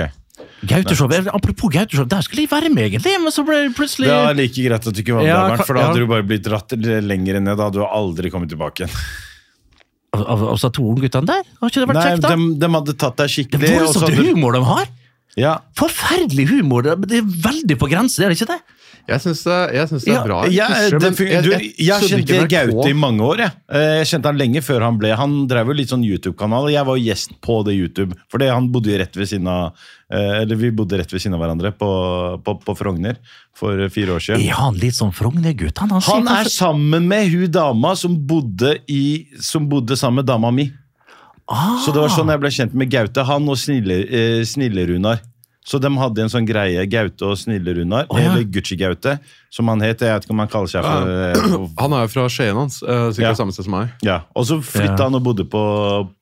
S2: Gauteshow, Apropos Gauteshow, der skulle jeg være med, egentlig, men så ble det plutselig
S4: Det er like greit at du ikke var med,
S2: Ja,
S4: der, Bernt, for da
S2: ja.
S4: hadde du bare blitt dratt lenger ned. Da hadde du aldri kommet tilbake igjen.
S2: Av, av, av Saturn-guttene altså, der? Har ikke det vært
S4: Nei,
S2: kjekt, da?
S4: de, hadde tatt deg
S2: Det
S4: skikkelig.
S2: er
S4: og så
S2: voldsomt
S4: hadde-
S2: humor de har!
S4: Ja,
S2: Forferdelig humor. det er- Det er veldig på grensen, er det ikke det?
S5: Jeg syns det, jeg syns det er
S2: Ja,
S5: bra.
S4: Ja,
S5: Pusher,
S4: det,
S5: men
S4: fun- du, jeg
S5: trodde
S4: kjente
S5: ikke det var
S4: Gaute i
S5: på.
S4: mange år. Jeg. Eh, jeg kjente han lenge før han ble Han drev jo litt sånn YouTube-kanal, og jeg var jo gjest på det YouTube. Fordi han bodde jo rett ved siden av eh, Eller vi bodde rett ved siden av hverandre på, på, på Frogner for eh, fire år siden.
S2: Er han litt sånn Frogner-gutt? Han, han,
S4: Han
S2: sitter-
S4: er sammen med hun dama som bodde, i, som bodde sammen med dama mi.
S2: Ah.
S4: Så det var sånn jeg ble kjent med Gaute. Han og Snille, eh, Snille-Runar. Så de hadde en sånn greie, Gaute og Snille-Runar.
S2: ja. Ah.
S4: Eller Gucci-Gaute, som han het. Jeg vet ikke om han kaller seg for eh,
S5: Han er jo fra Skien hans, eh, sikkert
S4: Ja.
S5: samme sted som meg.
S4: Ja, Og så flytta
S2: Ja.
S4: han og bodde på,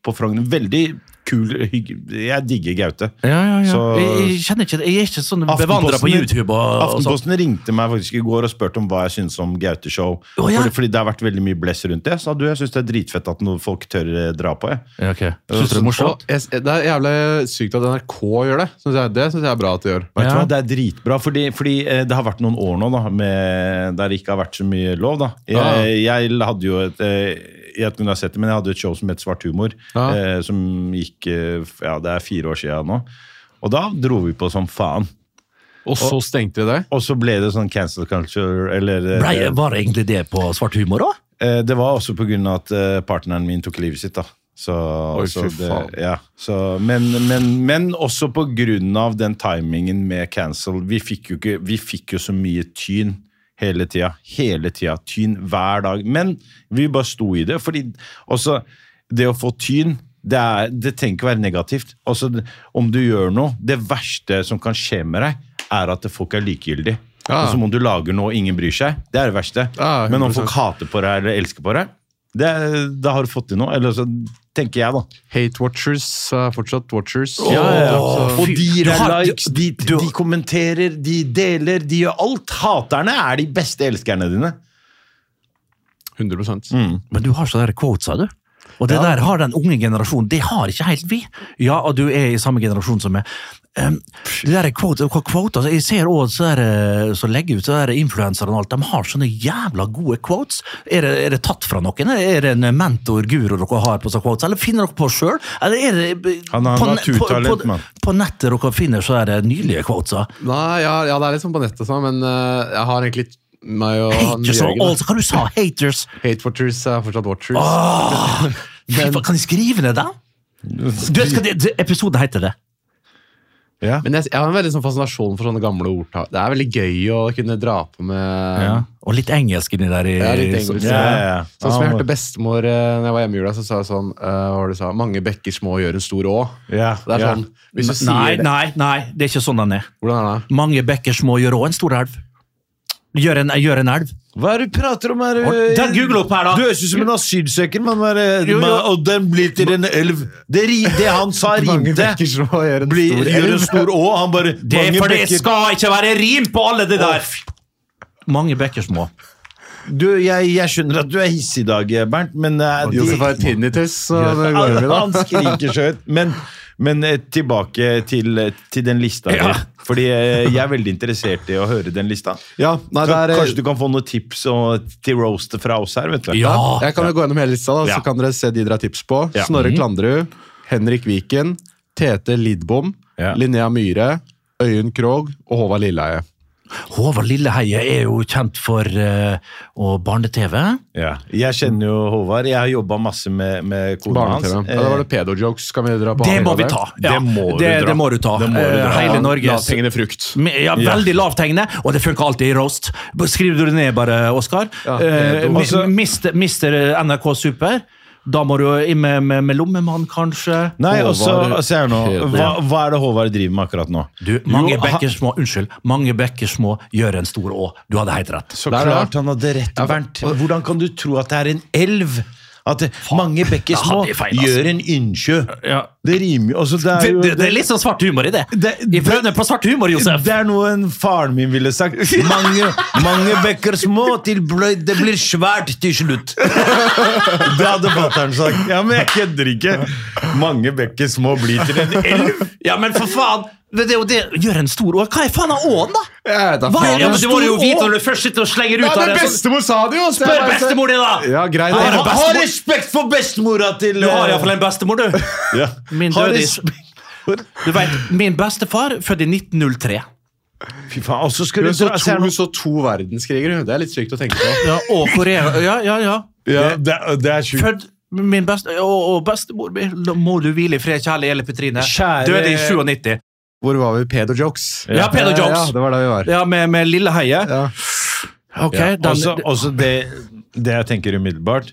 S4: på Frogner. Veldig kul hygg, Jeg digger Gaute.
S2: Ja, ja, ja.
S4: Så-
S2: Jeg, jeg kjenner ikke det. Jeg er ikke sånn bevandra på
S4: Aftenposten-
S2: YouTube. Og, sånn. og sånt.
S4: Aftenposten ringte meg faktisk i går og spurte om hva jeg syntes om Gaute-show.
S2: Å, ja.
S4: fordi, fordi det har vært veldig mye bless rundt det. Så du, jeg syns det er dritfett at noen folk tør eh, dra på. Jeg.
S2: Ja, ok. Synes du det er
S5: Og
S2: morsomt?
S5: jeg, det er jævlig sykt at NRK gjør det. Synes jeg, det syns jeg er bra at de gjør.
S4: Vet du
S2: Ja.
S4: hva, Det er dritbra, fordi, fordi eh, det har vært noen år nå da, med, der det ikke har vært så mye lov. da. Jeg,
S5: Ja.
S4: jeg hadde jo et eh, jeg vet ikke om du har sett det, men jeg hadde et show som het Svart humor,
S5: Ja.
S4: eh, som gikk eh, f- ja, det er fire år siden nå. Og da dro vi på som faen.
S5: Og så stengte de det.
S4: Og så ble det sånn cancel culture. eller... eh,
S2: Blei- var det egentlig det på svart humor òg?
S4: Eh, Det var også på grunn av at eh, partneren min tok livet sitt, da. Så,
S5: Oi,
S4: så
S5: fy
S4: det,
S5: faen.
S4: ja, så, men, men, men også på grunn av den timingen med cancel. Vi fikk jo, ikke, vi fikk jo så mye tyn hele tida. Hele tida. Tyn hver dag. Men vi bare sto i det. fordi også det å få tyn det, er, det trenger ikke være negativt. Altså, det- om du gjør noe Det verste som kan skje med deg, er at folk er likegyldige.
S5: Ja.
S4: Og så må du lage noe og ingen bryr seg. Det er det verste.
S5: Ja,
S4: Men om
S5: 100%.
S4: folk hater på deg eller elsker på deg, det, da har du fått til noe. Eller så tenker jeg, da.
S5: Hate watchers er fortsatt watchers.
S2: Ja, ja, ja.
S5: Så-
S4: Og de
S2: Du
S4: gir deg
S2: har- du-
S4: likes, de,
S2: du-
S4: de kommenterer, de deler, de gjør alt. Haterne er de beste elskerne dine.
S5: 100
S2: Men du har sånne der quotes, sa du. Og det der har den unge generasjonen. Det har ikke helt vi. Ja, og du er i samme generasjon som meg. Um, det der er quote, hva quote, altså, jeg ser også så, der, eh, så legger ut så der influensere og alt, de har sånne jævla gode quotes. Er det, er det tatt fra noen? Er det en mentor, guru dere har på sånne quotes, eller finner dere på sjøl? Eller er det eh,
S4: Han har
S2: på, ne-
S4: naturtalent,
S2: på,
S4: mann.
S2: på, på nettet dere finner så er det nylige quoteser?
S5: Nei, ja, ja, det er litt sånn på nettet, sånn, men eh, jeg har egentlig meg og han
S2: Haters og
S5: Jørgen, da.
S2: alt, hva du sa? Haters.
S5: Hate watchers er fortsatt watchers.
S2: Åh, fy
S5: Men-
S2: faen, kan jeg skrive ned det? Du, skal det, det- episoden heter det.
S4: Ja.
S5: Men jeg, jeg har en veldig sånn fascinasjon for sånne gamle ordtak. Det er veldig gøy å kunne dra på med
S2: Ja. Og litt engelsk inni der. I,
S5: Ja, litt engelsk.
S4: Ja, ja, ja.
S5: Sånn som jeg
S4: Ja,
S5: hørte bestemor eh, når jeg var hjemme i jula, så sa hun sånn eh, Hva var det du sa? Mange bekker små gjør en stor å.
S4: Ja,
S5: Det er
S4: ja.
S5: sånn, hvis du
S2: nei,
S5: sier det
S2: nei, nei, det er ikke sånn den er.
S5: Hvordan er det?
S2: Mange bekker små gjør òg en stor elv. Gjør en, gjør en elv.
S4: Hva er det du prater om her?
S2: Den Google opp her, da.
S4: Du høres ut som en asylsøker, mann. hva er det-
S2: Jo, jo.
S4: man- Og den blir til en elv. Det, ri- det han sa,
S5: Mange
S4: rimte.
S5: bekker små gjør en
S4: Blir-
S5: stor
S4: Gjør en
S5: elv.
S4: stor å. Han bare
S2: Det er
S4: mange
S2: for det
S4: bekker-
S2: skal ikke være rim på alle det der! Mange bekker små.
S4: Du, jeg, jeg skjønner at du er hissig i dag, Bernt, men eh, de-
S5: Josef har tinnitus, så det går over, da.
S4: han skriker så høyt. Men, men eh, tilbake til, eh, til den lista.
S2: Ja.
S4: her. Fordi eh, jeg er veldig interessert i å høre den lista.
S5: Ja, nei, det er, eh,
S4: Kanskje du kan få noen tips og, til roaster fra oss her, vet du.
S2: Ja!
S5: Jeg kan jo gå gjennom hele lista, da,
S4: Ja.
S5: så kan dere se de dere har tips på.
S4: Ja.
S5: Snorre Klandrud, Henrik Viken, Tete Lidbom,
S4: Ja.
S5: Linnea Myhre, Øyunn Krogh og Håvard Lilleheie.
S2: Håvard Lilleheie er jo kjent for eh, og barne-TV.
S4: Ja. Jeg kjenner jo Håvard. Jeg har jobba masse med, med kona hans. Eh,
S5: Barne-TV. Ja, da var det pedo-jokes. Kan vi dra på
S2: Det
S5: avhengig
S2: må
S5: av
S2: vi ta. Ja,
S4: Det må du
S2: det,
S4: dra.
S2: det må du ta.
S4: Det må du dra.
S2: Eh, Hele Norges
S5: Lavthengende frukt.
S2: Med- Ja, veldig lavthengende, og det funker alltid i roast. Skriver du det ned bare, Oskar?
S5: Ja, det
S2: eh,
S5: er dumt.
S2: mi-
S4: Altså-
S2: mister, mister NRK Super, da må du inn med, med, med lommemann, kanskje?
S4: Nei, og så
S5: Håvard
S4: se her nå.
S5: Peder.
S4: Hva, hva er det Håvard driver med akkurat nå?
S2: Du, mange
S4: Jo, han-
S2: bekker små, unnskyld, mange bekker små gjør en stor å. Du hadde helt rett.
S4: Så
S5: Der,
S4: klart
S5: ja.
S4: han hadde rett,
S5: Ja,
S4: Bernt. Hvordan kan du tro at det er en elv? At det, mange bekker
S2: da
S4: små
S2: hadde jeg feil, altså.
S4: gjør en innsjø.
S2: Ja.
S4: Det rimer jo altså, det,
S2: Det,
S4: er jo,
S2: det, det er litt altså, sånn svart humor i det.
S4: Det-
S2: Vi prøvde på svart humor, Josef.
S4: det er noe en faren min ville sagt. Mange, mange bekker små, til bløy, det blir svært til slutt. Det hadde fatter'n sagt. Ja, Men jeg kødder ikke. Mange bekker små blir til en elv.
S2: Ja, men for faen! Det, det, er jo det gjør en stor å. Hva er faen av åen, da?
S5: Jeg vet da
S2: Hva er,
S5: faen.
S2: ja, men du må
S5: Stor
S2: jo vite
S5: å.
S2: når du først sitter og slenger ut
S5: Ja,
S2: av
S5: men
S2: det. sånn-
S5: bestemor sa det jo! så jeg
S2: Spør
S5: bare-
S2: bestemor di, da!
S5: Ja, greit.
S2: Ha,
S5: det.
S2: ha,
S4: Ha respekt for bestemora til eh,
S2: Du har iallfall en bestemor, du.
S4: Ja.
S2: Min
S4: Ha
S2: døde
S4: respekt-
S2: Du vet, Min bestefar født i 1903.
S4: Fy faen, og så skal
S5: Hun
S4: du
S5: så
S4: dra se her
S5: to,
S4: nå.
S5: hun så to verdenskriger, hun. Det er litt sykt å tenke på.
S2: Ja, og Korea. Ja, ja, ja.
S4: Ja, det, det er sjukt.
S2: Født min beste, og, og bestemor mi. La- Må du hvile i fred, kjære Ele Petrine.
S4: Kjære-
S2: Døde i 97.
S5: Hvor var vi? Pedo-jokes.
S2: Ja, pedo-jokes.
S5: Ja, det var der vi var.
S2: Ja, med, med lille heie.
S5: Ja.
S2: Ok,
S4: Ja,
S2: den,
S4: også, også det, det jeg tenker umiddelbart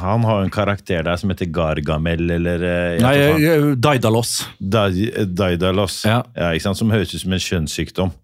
S4: Han har jo en karakter der som heter Gargamel, eller eh, jeg
S2: Nei,
S4: vet ikke
S2: eh, Daidalos.
S4: hva faen. Da- eh, Daidalos.
S2: Ja.
S4: ikke sant? Som høres ut som en kjønnssykdom.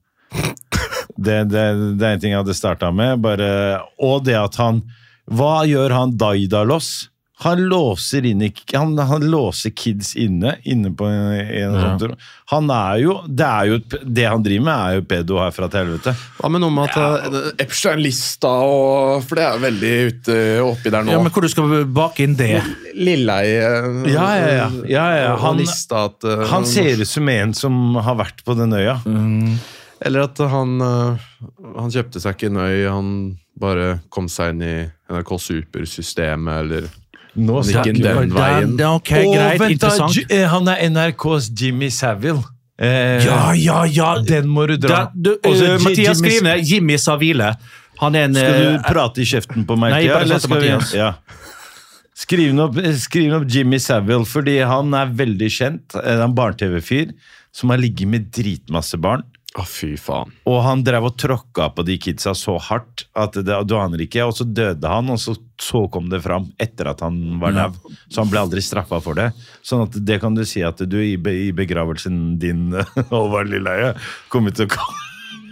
S4: Det, det, det er en ting jeg hadde starta med. Bare, og det at han Hva gjør han Daidalos? Han låser, inn, i- han, han låser kids inne, inne på en, en
S2: Ja.
S4: sånn Han er jo det, er jo et- det han driver med, er jo pedo herfra til helvete.
S5: Hva med noe med at eh, Epstein-lista og For det er veldig ute oppi der nå.
S2: Ja, men Hvor du skal bake inn det?
S5: Lilleheie eh,
S4: Ja, ja, ja. Ja, ja,
S5: og
S4: han-
S5: lista at eh,
S4: Han ser ut som en som har vært på den øya.
S2: Mm.
S5: Eller at han eh, Han kjøpte seg ikke en øy, han bare kom seg inn i NRK Super-systemet, eller
S4: Nå
S5: Men ikke
S4: vi-
S5: den veien.
S2: Ja, ok, greit,
S4: Å, vent da,
S2: interessant.
S4: Ju- eh, han er NRKs Jimmy Savile. Eh,
S2: Ja, ja, ja!
S4: Den må du dra.
S2: Da- du,
S4: Og så
S2: eh,
S4: Ji-
S2: Mathias
S4: Jimmy-
S2: skriver ned Jimmy Savile. Han er en
S4: Skal du
S2: eh,
S4: prate i kjeften på meg?
S2: Nei,
S4: Thea,
S2: bare
S4: eller
S2: prate
S4: skal
S2: på
S4: vi-
S2: Mathias.
S4: Ja. Skriv den opp, eh, skriv den opp Jimmy Savile, fordi han er veldig kjent. Eh, Han er en barne-TV-fyr som har ligget med dritmasse barn.
S5: Å, fy faen.
S4: Og han drev og tråkka på de kidsa så hardt at det, du aner ikke. Og så døde han, og så, så kom det fram etter at han var
S2: Ja.
S4: dau. Så han ble aldri straffa for det. Sånn at det kan du si at du i, be, i begravelsen din, Håvard Lilleheie, kommer til å komme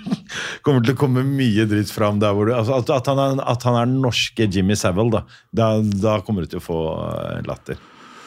S4: Kommer til å komme mye dritt fram der hvor du altså at, at, han er, at han er den norske Jimmy Savile, da. da. Da kommer du til å få eh, latter.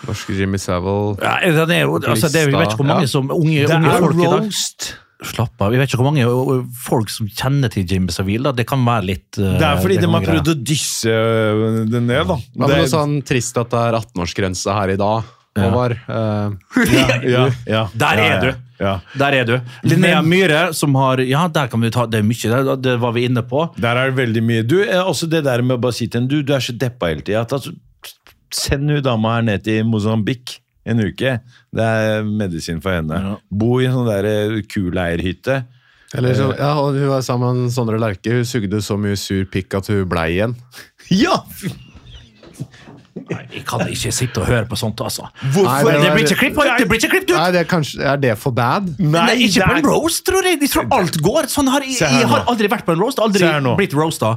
S5: Norske Jimmy Savile.
S2: ja, den er, jo- altså, det, er- vi vet ikke hvor mange
S5: Ja.
S2: som unge,
S4: Det
S2: unge
S4: er
S2: folk i dag
S4: roast!
S2: Slapp av. Vi vet ikke hvor mange ø, ø, folk som kjenner til Jimmy Savile. da. Det kan være litt ø,
S4: Det er fordi de
S2: kan
S4: har
S2: være
S4: prøvd å dysse øh, det ned, da.
S5: Ja, men
S4: Det-
S5: også han sånn trist at det er 18-årsgrense her i dag, Håvard. Eh,
S2: greia.
S4: ja, ja,
S2: Der
S4: ja,
S2: er du.
S4: Ja.
S2: Der er du. Linnea
S4: Men-
S2: Myhre, som har Ja, der kan vi ta Det er mye, det, det var vi inne på.
S4: Der er det veldig mye. Du, eh, også det der med å bare si til henne Du, du er så deppa hele tida. Altså, send hun dama her ned til Mosambik en uke. Det er medisin for henne.
S2: Ja.
S4: Bo i en sånn der eh, kuleierhytte.
S5: eller
S4: Eh.
S5: så, ja, og Hun var sammen med Sondre Lerche. Hun sugde så mye sur pikk at hun blei igjen.
S4: Ja!
S2: Nei, vi kan ikke sitte og høre på sånt, altså.
S5: Hvorfor?
S2: Nei, det blir ikke klipp, det blir ikke klipp ut!
S5: Nei, det er, kanskje, er det for bad?
S2: Nei, ikke
S4: det
S2: på
S4: er-
S2: en roast, tror jeg! De tror alt går. Sånn har, jeg,
S4: Se her
S2: jeg har
S4: nå.
S2: aldri vært på en roast.
S4: Se
S2: Aldri
S4: her nå.
S2: blitt roasta.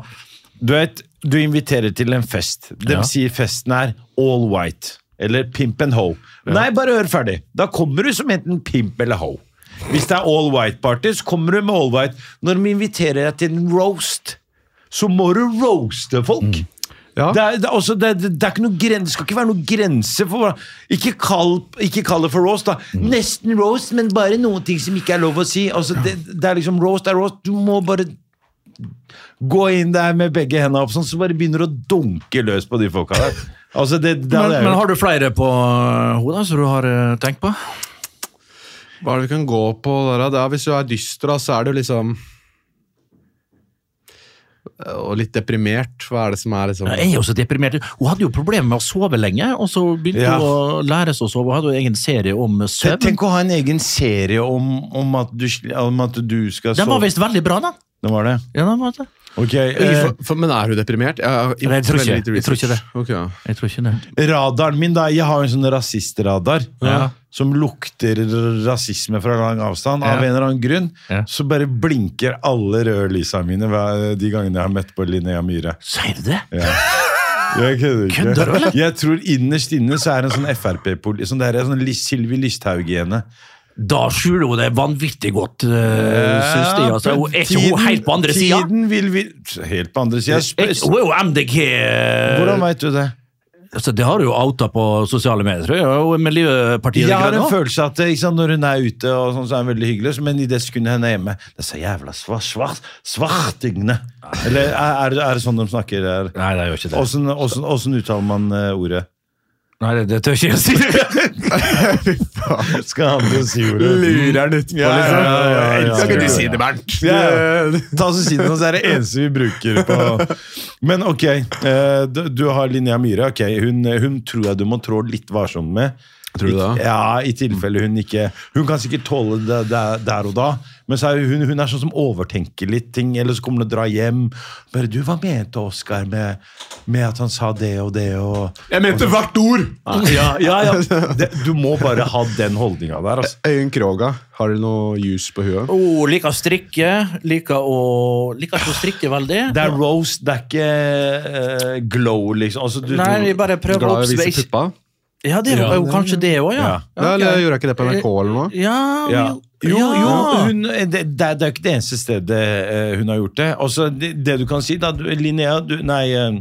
S4: Du vet, du inviterer til en fest. De
S2: Ja.
S4: sier festen er all white. Eller pimp and hoe. Nei, bare hør ferdig. Da kommer du som enten pimp eller hoe. Hvis det er all white-party, så kommer du med all white. Når de inviterer deg til en roast, så må du roaste
S2: Mm.
S4: folk.
S5: Ja.
S4: Det, er, det, er også, det, er- det, er ikke noe gren, det skal ikke være noen grense for hva- Ikke kall, ikke kall det for roast, da.
S2: Mm.
S4: Nesten roast, men bare noen ting som ikke er lov å si. Altså, det, det er liksom roast er roast. Du må bare gå inn der med begge hendene opp, sånn, så bare begynner du å dunke løs på de folka der. Altså, det, det,
S2: Men,
S4: hadde jeg
S2: men
S4: gjort.
S2: har du flere på hodet som du har ø, tenkt på?
S5: Hva er det vi kan gå på der? da? Det er, hvis du er dyster, da, så er du liksom øh, Og litt deprimert. Hva er det som er liksom
S2: Jeg er jo så deprimert. Hun hadde jo problemer med å sove lenge, og så begynte
S4: Ja.
S2: hun å lære seg å sove. Hun hadde jo egen serie om søvn.
S4: Tenk å ha en egen serie om, om, at, du, sl- om at du skal
S2: den var
S4: sove.
S2: visst veldig bra, den.
S4: Det var det.
S2: Ja, den var det.
S4: Ok,
S5: Eh,
S4: eh,
S5: for, for, men er hun deprimert? Jeg, har
S2: Nei, jeg tror
S5: gjort veldig
S2: ikke-
S5: lite
S2: jeg tror ikke
S5: research. Ok, ja.
S2: Jeg tror ikke det.
S4: radaren min, da. Jeg har jo en sånn rasistradar
S2: Ja.
S4: som lukter rasisme fra lang avstand. Av
S2: Ja.
S4: en eller annen grunn
S2: Ja.
S4: så bare blinker alle røde lysa mine hver- de gangene jeg har møtt på Linnea Myhre.
S2: Sier du det?
S4: Jeg kødder ikke.
S2: Kødder du, eller?
S4: Jeg tror innerst inne så er det en sånn Frp-poli... Sånn der, sånn Lis- Sylvi Listhaug i henne.
S2: Da skjuler hun det vanvittig godt, uh, syns de. Altså. Hun er ikke hun helt på andre sida?
S4: Tiden vil vi... Helt på andre sida.
S2: Er ikke- Hun er jo MDG
S4: Hvordan
S2: eh,
S4: veit du det?
S2: altså, Det har hun jo outa på sosiale medier. tror jeg. Hun er Miljøpartiet
S4: Jeg
S2: De
S4: har
S2: Grønne
S4: en
S2: også.
S4: følelse at eh, ikke sant, når hun er ute, og sånn, så er hun veldig hyggelig, så- men i det sekundet hun er hjemme Det er så jævla svart, svart, svartingene. Eller er, er, det- er det sånn de snakker der?
S2: Nei, det gjør ikke det.
S4: Åssen åssen- åssen uttaler man eh, ordet?
S2: Nei, det, det tør ikke jeg si.
S4: Skal han til å si
S5: Lurer
S2: sånn-
S5: den utenpå, liksom.
S4: ja, ja, ja, ja,
S5: Skal ikke
S4: ja,
S5: du si
S4: ja.
S5: det, Bernt?
S4: Ja, ja. Ta oss og si det, så er det eneste vi bruker på Men ok, eh, du, du har Linnea Myhre. ok, hun, hun tror jeg du må trå litt varsomt med.
S5: Tror du det?
S4: Ik- Ja, I tilfelle hun ikke Hun kan sikkert tåle det der, der og da, men så er hun, hun er sånn som overtenker litt ting. Eller så kommer hun og drar hjem. bare, du, 'Hva mente Oskar med, med at han sa det og det?' og Ah,
S5: Jeg mente hvert ord!
S4: ja, ja, ja. Det, Du må bare ha den holdninga der. altså
S5: Øyunn Kroga, har du noe juice på huet?
S2: Hun liker å strikke. Liker å Liker ikke å strikke veldig.
S4: Det er roast, det er ikke eh, glow, liksom. Altså, du,
S2: Nei, vi bare prøver å
S5: Glad i å vise
S2: oppspace.
S5: puppa?
S2: Ja, det er jo kanskje det òg, ja. Eh,
S4: Ja.
S5: Ja, eller Gjorde jeg ikke det på NRK eller noe?
S2: Ja,
S4: ja.
S2: jo,
S4: Jo, jo
S2: ja.
S4: hun, det, det er det er ikke det eneste stedet eh, hun har gjort det. Altså, det, det du kan si, da du, Linnea du, Nei, eh,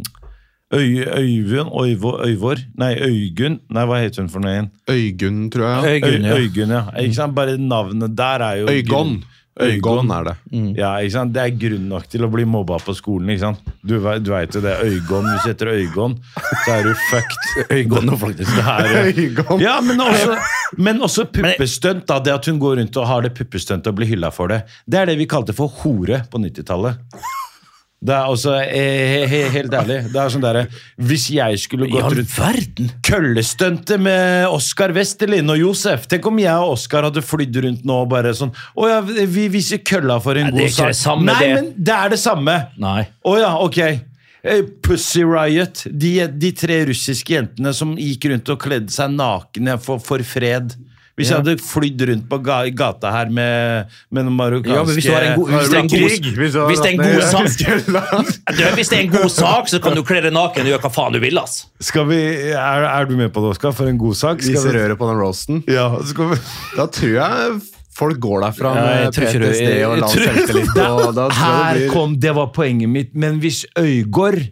S4: Øy, Øyvund Øyvo, Øyvor Nei, Øygunn. Nei, hva heter hun for noe igjen?
S5: Øygunn, tror jeg.
S4: Øy, Øygunn, ja. Ikke sant? Bare navnet der er jo
S5: Øygon. Øygon er det.
S4: Ja, ikke sant? Det er grunn nok til å bli mobba på skolen. ikke sant? Du, ve- du veit jo det. Øygon. Hvis du heter Øygon, så er du fucked. Øygon, faktisk. Det er,
S5: Øygon.
S4: ja, men også, men også puppestunt. da, Det at hun går rundt og har det puppestuntet og blir hylla for det. Det er det vi kalte for hore på 90-tallet. Det er også, eh, he, he, Helt ærlig. Det er sånn derre Hvis jeg skulle
S2: I
S4: gått
S2: all
S4: rundt
S2: verden!
S4: køllestuntet med Oskar Westerlin og Josef. Tenk om jeg og Oskar hadde flydd rundt nå og bare sånn Å ja, vi viser kølla for en
S2: Nei, det er
S4: god
S2: ikke
S4: sak.
S2: det samme,
S4: Nei,
S2: det.
S4: men det er det samme.
S2: Nei.
S4: Å ja, ok. Eh, Pussy Riot. De, de tre russiske jentene som gikk rundt og kledde seg nakne for, for fred. Hvis jeg hadde flydd rundt på ga gata her med, med noen marokkanske
S2: Ja, men hvis du har en god, hvis det er en god, hvis det er en god sak Du, Hvis det er en god sak, så kan du kle deg naken og gjøre hva faen du vil, ass.
S4: Skal vi, er, er du med på det, Oskar? For en god sak?
S5: Vise
S4: Skal vi,
S5: røret på den roasten.
S4: ja, skal vi
S5: Da tror jeg folk går derfra
S2: Ja, jeg
S5: med
S2: tror ikke du-
S5: PTSD
S2: jeg-
S5: og
S2: jeg
S5: lav
S2: tror-
S5: selvtillit. og da tror jeg
S4: Her
S5: Altså, det blir-
S4: kom, det var poenget mitt. Men hvis Øygard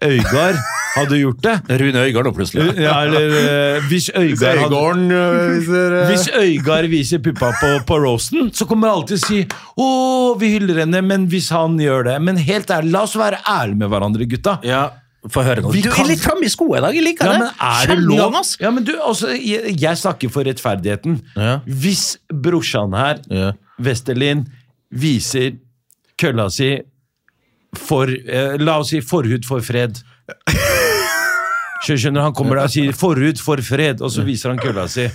S4: Øygard hadde gjort det
S2: Rune Øygard nå, plutselig.
S4: ja, eller, eh, Hvis Øygard hadde
S5: Øygården øh, hvis dere-
S4: hvis Øygard viser puppa på, på roasten, så kommer jeg alltid å si Å, vi hyller henne, men hvis han gjør det Men helt ærlig, la oss være ærlige med hverandre, gutta.
S2: Ja, Få høre nå.
S4: Vi
S2: Du
S4: kan-
S2: er litt framme i skoa i dag. Jeg liker
S4: Ja,
S2: det.
S4: men er det
S2: Kjenn i gang,
S4: lov?
S2: ass.
S4: Ja, men du, altså, jeg, jeg snakker for rettferdigheten.
S2: Ja.
S4: Hvis brorsan her,
S2: Ja.
S4: Westerlin, viser kølla si for eh, La oss si forhud for fred. Skjø- Skjønner, Han kommer der og sier 'forhud for fred', og så viser han kølla si.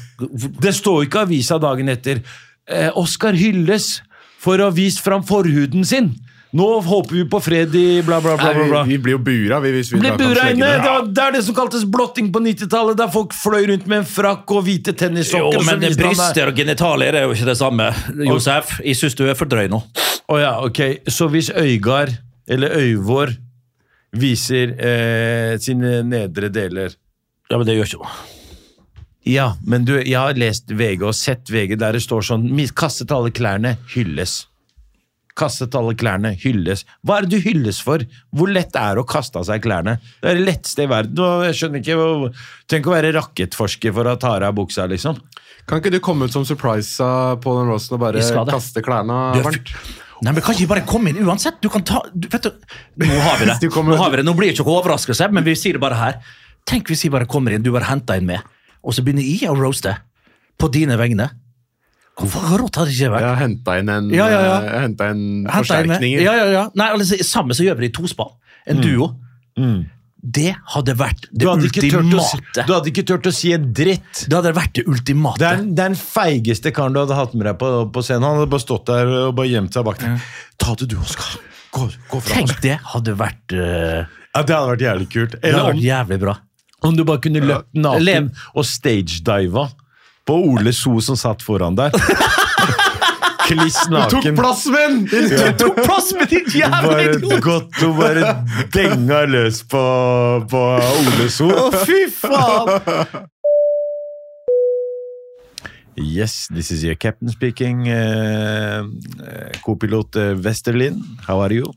S4: Det står jo ikke i avisa dagen etter. Eh, Oskar hylles for å ha vist fram forhuden sin. Nå håper vi på fred i bla, bla, bla.
S5: Nei,
S4: bla, bla.
S5: vi, vi blir jo bura, vi, hvis vi
S4: Ble
S5: drar fram
S4: bura inne!
S5: sleggene.
S4: Det, var, det er det som kaltes blotting på 90-tallet, der folk fløy rundt med en frakk og hvite
S2: Jo,
S4: tennissokker. og så
S2: men
S4: viste han deg-
S2: bryster og genitalier er jo ikke det samme. Josef, jeg syns du er for drøy nå.
S4: Å ja, ok. Så hvis Øygard, eller Øyvor, viser eh, sine nedre deler
S2: Ja, men det gjør ikke noe.
S4: Ja, men du, jeg har lest VG og sett VG der det står sånn "Mi- Kastet alle klærne, hylles. Kastet alle klærne, hylles. Hva er det du hylles for? Hvor lett er det å kaste av seg klærne? Det er det letteste i verden. og Jeg skjønner ikke, hvor- Tenk å være rakettforsker for å ta av deg buksa, liksom.
S5: Kan ikke du komme ut som surprisa på den roasten og
S2: Vi skal
S5: bare
S2: det.
S5: kaste klærne?
S2: Du er
S5: Bernt?
S2: Nei, men Kan ikke vi bare komme inn uansett? Du kan ta du, vet du, Nå har vi det.
S5: Du
S2: Nå,
S5: kommer-
S2: har vi det. nå blir det ikke noe overraskelse, men vi sier det bare her. Tenk hvis vi bare kommer inn, du bare henter inn med, og så begynner jeg å roaste på dine vegne. Hvorfor rått hadde ikke det
S5: Jeg
S2: vært?
S5: har henta inn en,
S2: Ja, ja, ja.
S5: eh, Jeg henta
S2: Henter
S5: inn
S2: inn med-
S5: forsterkninger.
S2: Ja, ja, ja. Nei, altså, samme som gjør vi det i tospann. En duo. Det Mm. hadde vært det
S4: Du hadde, ikke tørt å si,
S2: ultimate.
S4: du hadde ikke tørt å si en dritt.
S2: Det hadde vært det ultimate.
S4: Det er, den- det er den feigeste karen du hadde hatt med deg på, på scenen. Han hadde bare stått der og bare gjemt seg bak deg. Ta det du, Oskar. Gå, gå fra
S2: Tenk
S4: Oskar.
S2: det hadde vært eh,
S4: Ja, det hadde vært jævlig kult.
S2: Det
S4: Eller
S2: hadde
S4: om,
S2: vært jævlig bra.
S4: om du bare kunne løpt naken
S2: Lev.
S4: og stagediva på Ole So som satt foran der. Kliss
S5: Tok
S4: naken.
S5: plass, min!
S2: Du tok plass med din jævla
S4: Bare godt og bare denga løs på, på Ole So.
S2: Fy faen!
S4: Yes, this is your captain speaking. Uh, Co-pilot eh, Westerlin, how are you?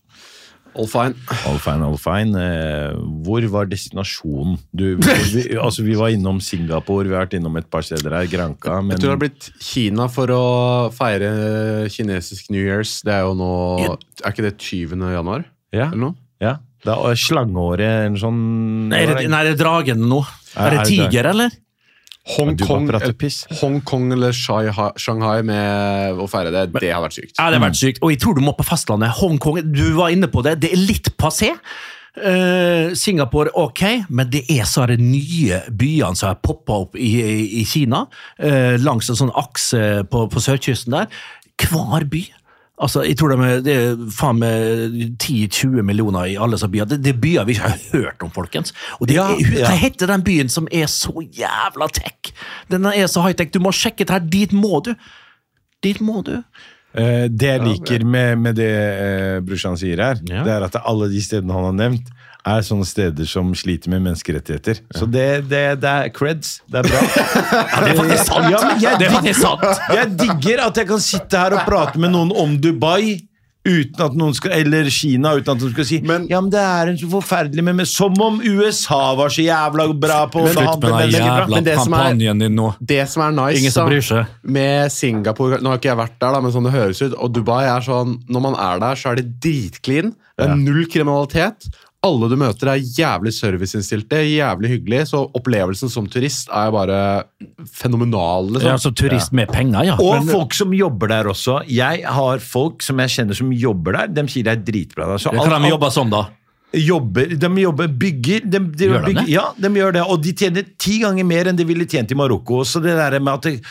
S5: All fine.
S4: All fine, all fine. Eh, hvor var destinasjonen? Du, vi, altså, vi var innom Singapore, vi har vært innom et par steder her, Granca, men
S5: Jeg tror det har blitt Kina for å feire kinesisk New Years. Det er jo nå Er ikke det 20. januar?
S4: ja,
S5: Eller noe?
S4: ja. Det er eh, slangeåret, en sånn
S2: Nei, Er det, nei, er det dragen nå?
S4: Er-
S2: Er det
S4: er det
S2: tiger, eller?
S4: Ja, du
S5: Hongkong
S4: bare prater
S5: eh,
S4: piss.
S5: Hongkong eller Shanghai Shanghai med å feire det, det har vært sykt.
S2: Ja, det har vært
S4: Mm.
S2: sykt. Og jeg tror du må på fastlandet. Hongkong, du var inne på det. Det er litt passé. Eh, Singapore, ok, men det er så er det nye byene som har poppa opp i, i, i Kina. eh, langs en sånn akse på, på sørkysten der. Hver by. Altså, jeg tror de er, Det er faen meg 10-20 millioner i alle sånne byer. Det, det er byer vi ikke har hørt om, folkens. Og det,
S4: Ja,
S2: er-
S4: ja.
S2: Hva heter den byen som er så jævla tech? Den er så high-tech. Du må sjekke det her. Dit må du. Dit må du.
S4: Eh, det jeg liker med, med det eh, brorsan sier her,
S2: Ja.
S4: det er at alle de stedene han har nevnt, er sånne steder som sliter med menneskerettigheter. Så det, det, det er creds. Det er bra.
S2: Ja, det er faktisk sant.
S4: Ja, men jeg-
S2: det er faktisk sant.
S4: Jeg digger at jeg kan sitte her og prate med noen om Dubai uten at noen skal, eller Kina uten at noen skal si
S5: Men-
S4: Ja, men det er en så forferdelig men, men Som om USA var så jævla bra på å
S2: Slutt med
S4: handle
S2: den
S4: mennesker bra.
S2: jævla
S5: Men det som er-
S2: kampanjen din nå.
S5: Det som er nice
S2: Ingen som
S5: da,
S2: bryr seg.
S5: med Singapore Nå har ikke jeg vært der, da, men sånn det høres ut. Og Dubai er sånn Når man er der, så er det dritclean. Det er null kriminalitet. Alle du møter, er jævlig serviceinnstilte, jævlig hyggelig. Så opplevelsen som turist er bare fenomenal.
S2: Ja,
S5: Liksom.
S2: som altså turist med penger, ja.
S4: Og
S2: Men-
S4: folk som jobber der også. Jeg har folk som jeg kjenner som jobber der. De sier det er dritbra der. Så
S2: Hva
S4: alt-
S2: kan de jobbe som, da?
S4: jobber, de jobber, bygger. De, de
S2: Gjør de
S4: bygger,
S2: det?
S4: Ja, de gjør det. Og de tjener ti ganger mer enn de ville tjent i Marokko. Så det der med at det,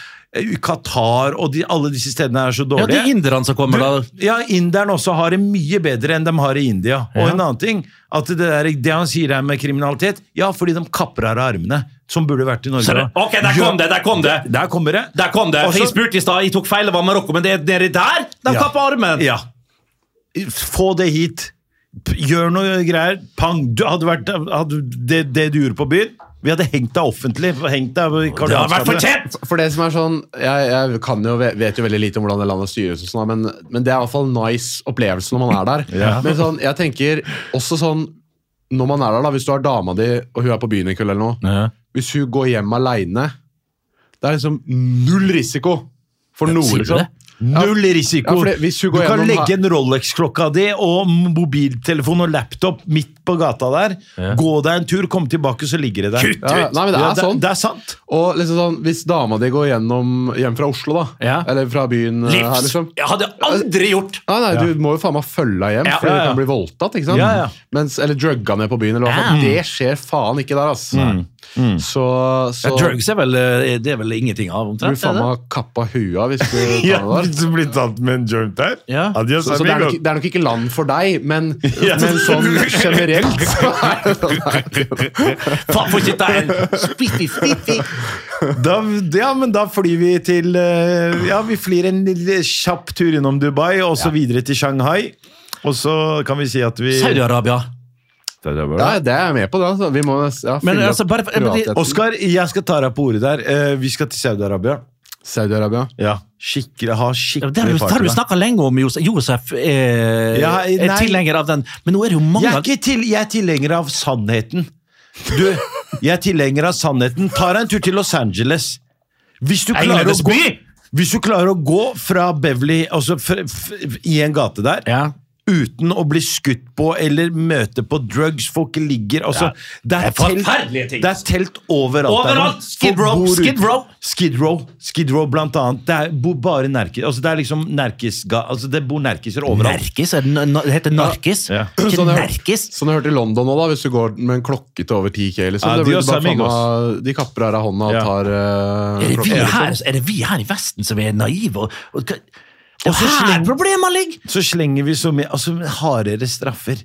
S4: Qatar og de, alle disse stedene er så
S2: Ja,
S4: dårlige
S2: De inderne som kommer, da.
S4: du, ja, inderen også har det mye bedre enn de har i India.
S2: Ja.
S4: Og en annen ting, at det, der, det han sier her med kriminalitet, ja, fordi de kapper av armene, som burde vært i Norge.
S2: Så det-
S4: da.
S2: Ok, der kom det, der kom det.
S4: Der kommer det.
S2: Der kom det!
S4: Også-
S2: For jeg spurte i stad, jeg tok feil, det var Marokko, men det er nedi der! De
S4: Ja.
S2: kapper armen!
S4: Ja. Få det hit. P- Gjør noe greier. Pang. Du hadde vært hadde, det, det du gjorde på byen. Vi hadde hengt deg offentlig. Hengt deg i Karl
S2: Det har vært
S4: Johansgata.
S2: fortjent!
S5: For det som er sånn Jeg, jeg kan jo, ve- vet jo veldig lite om hvordan det landet styres, og sånn, men, men det er i hvert fall nice opplevelse når man er der.
S4: Ja.
S5: Men sånn, jeg tenker også sånn Når man er der, da, hvis du har dama di, og hun er på byen i kveld eller noe, Hvis hun går hjem aleine Det er liksom null risiko for noe.
S2: sier du
S5: liksom.
S2: det?
S4: Null
S5: Ja,
S4: risiko.
S5: for det- hvis hun
S4: du
S5: går
S4: kan
S5: gjennom
S4: legge
S5: her-
S4: en Rolex-klokka di og mobiltelefon og laptop midt på gata der. Gå deg en tur, kom tilbake, så ligger det der.
S5: Ja, ja. nei, men det er sånn.
S4: Det er sant.
S5: Og liksom sånn, Hvis dama di går gjennom hjem fra Oslo, da,
S2: Ja.
S5: eller fra byen eh, her,
S2: Livs!
S5: liksom
S2: Jeg hadde aldri gjort
S5: Nei, nei, Du må jo faen meg følge henne hjem,
S4: Ja,
S5: for
S4: ja, ja.
S5: du kan bli voldtatt. ikke sant?
S4: Ja, ja.
S5: Mens, eller drugga ned på byen. eller hva faen. Det skjer faen ikke der, altså. Så, så
S2: Drugs er vel, eh, det er vel ingenting av,
S5: blir
S2: omtrent?
S5: du faen
S2: er det?
S5: meg kappa huet av hvis du tar
S4: Ja,
S5: det der.
S4: hvis du blir tatt med en joint der.
S2: Ja.
S4: Adios,
S5: Så, så det, er
S4: amigo.
S5: nok, det er nok ikke land for deg, men,
S4: Ja.
S5: men sånn generelt så er det sånn.
S2: Faen, får ikke ta en spitty, spitty.
S4: Da, ja, men da flyr vi til eh, Ja, vi flyr en lille kjapp tur innom Dubai, og så videre til Shanghai. Og så kan vi si at vi
S2: Saudi-Arabia.
S5: Ja, det er jeg med på. det, altså. Vi må ja,
S2: Men
S5: fylle opp
S2: altså, bare for- men de-
S5: privatheten.
S4: Oskar, jeg skal ta deg på ordet der. Eh, vi skal til Saudi-Arabia.
S5: Saudi-Arabia.
S4: Ja. Skikkelig, ha
S2: Ja,
S4: skikkelig
S2: Det har du- det har du snakka lenge om, Josef. Josef er,
S4: Ja, nei.
S2: er tilhenger av den. Men nå er det jo mange
S4: Jeg er, ikke til, jeg er tilhenger av sannheten. Du, jeg er tilhenger av sannheten. Ta deg en tur til Los Angeles. Hvis du klarer å
S2: Englandes
S4: gå,
S2: by!
S4: hvis du klarer å gå fra Beverly altså f f i en gate der,
S2: Ja.
S4: uten å bli skutt på eller møte på drugs. Folk ligger altså, det, er
S2: Det er forferdelige ting.
S4: det er telt overalt. der nå.
S2: Overalt! Skid
S4: Folk
S2: Row,
S4: bor
S2: Skid
S4: ute.
S2: Row.
S4: Skid Row, Skid Row blant annet. Det er, bor bare nerkis. Altså, det er liksom nerkisga... Altså, det bor nerkiser overalt.
S2: Nerkis? Er det, na- na- det heter narkis?
S4: Ja.
S2: Ikke
S5: Sånn er-
S2: nerkis?
S5: Sånn jeg hørte i London nå da, hvis du går med en klokke til over 10K, liksom.
S4: Ja,
S5: det blir
S4: Dios
S5: bare faen
S4: amigos.
S5: meg- de kapper her av hånda og
S4: Ja.
S5: tar eh,
S2: Er det, vi
S5: klokken, liksom.
S2: her, er det vi her i Vesten som er naive? Og, og, hva-
S4: Og så
S2: her
S4: sleng-
S2: problemet ligger!
S4: Så slenger vi så mye altså, Hardere straffer.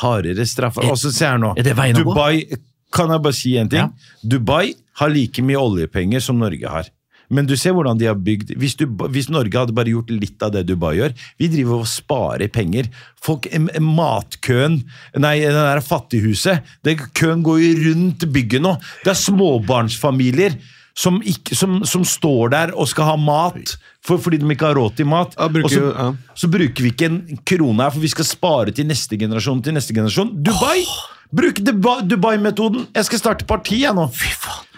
S4: Hardere straffer. Og så se her nå.
S2: Er Eh, det veien å gå?
S4: Dubai Kan jeg bare si en ting?
S2: Ja.
S4: Dubai har like mye oljepenger som Norge har. Men du ser hvordan de har bygd hvis, du, hvis Norge hadde bare gjort litt av det Dubai gjør Vi driver og sparer penger. Folk, em- em- matkøen Nei, det der fattighuset det, Køen går jo rundt bygget nå. Det er småbarnsfamilier som, ikke, som, som står der og skal ha mat for, fordi de ikke har råd til mat.
S5: Ja, bruker
S4: og så,
S5: jo- ja.
S4: så bruker vi ikke en krone her, for vi skal spare til neste generasjon. til neste generasjon. Dubai! Bruk Dubai- Dubai-metoden! jeg skal starte parti, jeg nå.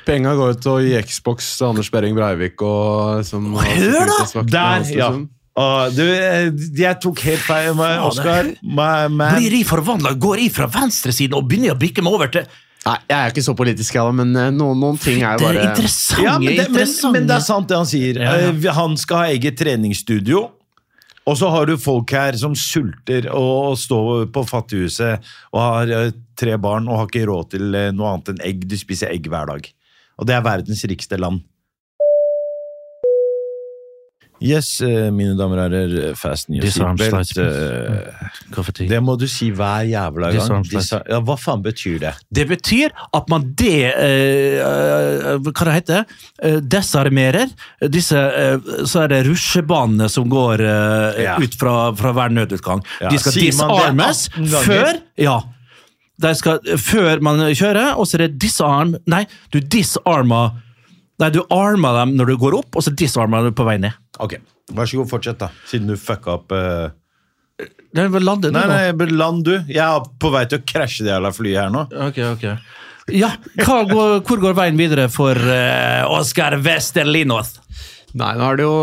S5: Penga går ut og gir Xbox til Anders Behring Breivik og liksom,
S2: hør da!
S5: sikkerhetsvaktene
S4: Der,
S5: hans,
S4: ja.
S5: liksom.
S4: Ah, du, eh, jeg tok helt feil, med Oskar. My man.
S2: Blir jeg forvandla? Går jeg fra venstresiden og begynner jeg å bikke meg over til
S5: Nei, jeg er ikke så politisk, jeg, da, men eh, noen, noen ting er
S2: Det
S5: jo
S2: er
S5: bare
S2: interessante,
S4: Ja, men, det, men,
S2: interessante
S4: men det er sant, det han sier.
S2: Ja, ja.
S4: Eh, vi- Han skal ha eget treningsstudio. Og så har du folk her som sulter og står på fattighuset og har eh, tre barn og har ikke råd til eh, noe annet enn egg. Du spiser egg hver dag. Og det er verdens rikeste land. Yes, eh, mine damer og herrer, eh, fasten your
S2: Disse
S4: seatbelt.
S2: armslagene.
S4: Eh,
S2: Kaffe-tid.
S4: Det må du si hver jævla
S2: Disse
S4: gang.
S2: armslagene.
S4: Disse- Ja, hva faen betyr det?
S2: Det betyr at man de... Eh, eh, hva det heter det? Eh, desarmerer. Disse, eh, så er det rusjebanene som går eh,
S4: Ja.
S2: ut fra, fra hver nødutgang.
S4: Ja,
S2: De skal
S4: sier man det
S2: disarmes
S4: 18 ganger?
S2: før Ja. De skal, før man kjører, og så er det disarm Nei, du disarmer Nei, du armer dem når du går opp, og så disarmer du på vei ned.
S4: Ok, Vær så god, fortsett, da. Siden du fucka opp eh,
S2: Nei, men Lande du
S4: Nei,
S2: nå.
S4: nei, jeg bør- land du. Jeg er på vei til å krasje det jævla flyet her nå.
S2: Ok, ok. Ja, hva går, hvor går veien videre for eh, Oscar Westerlinoth?
S5: Nei, nå er det jo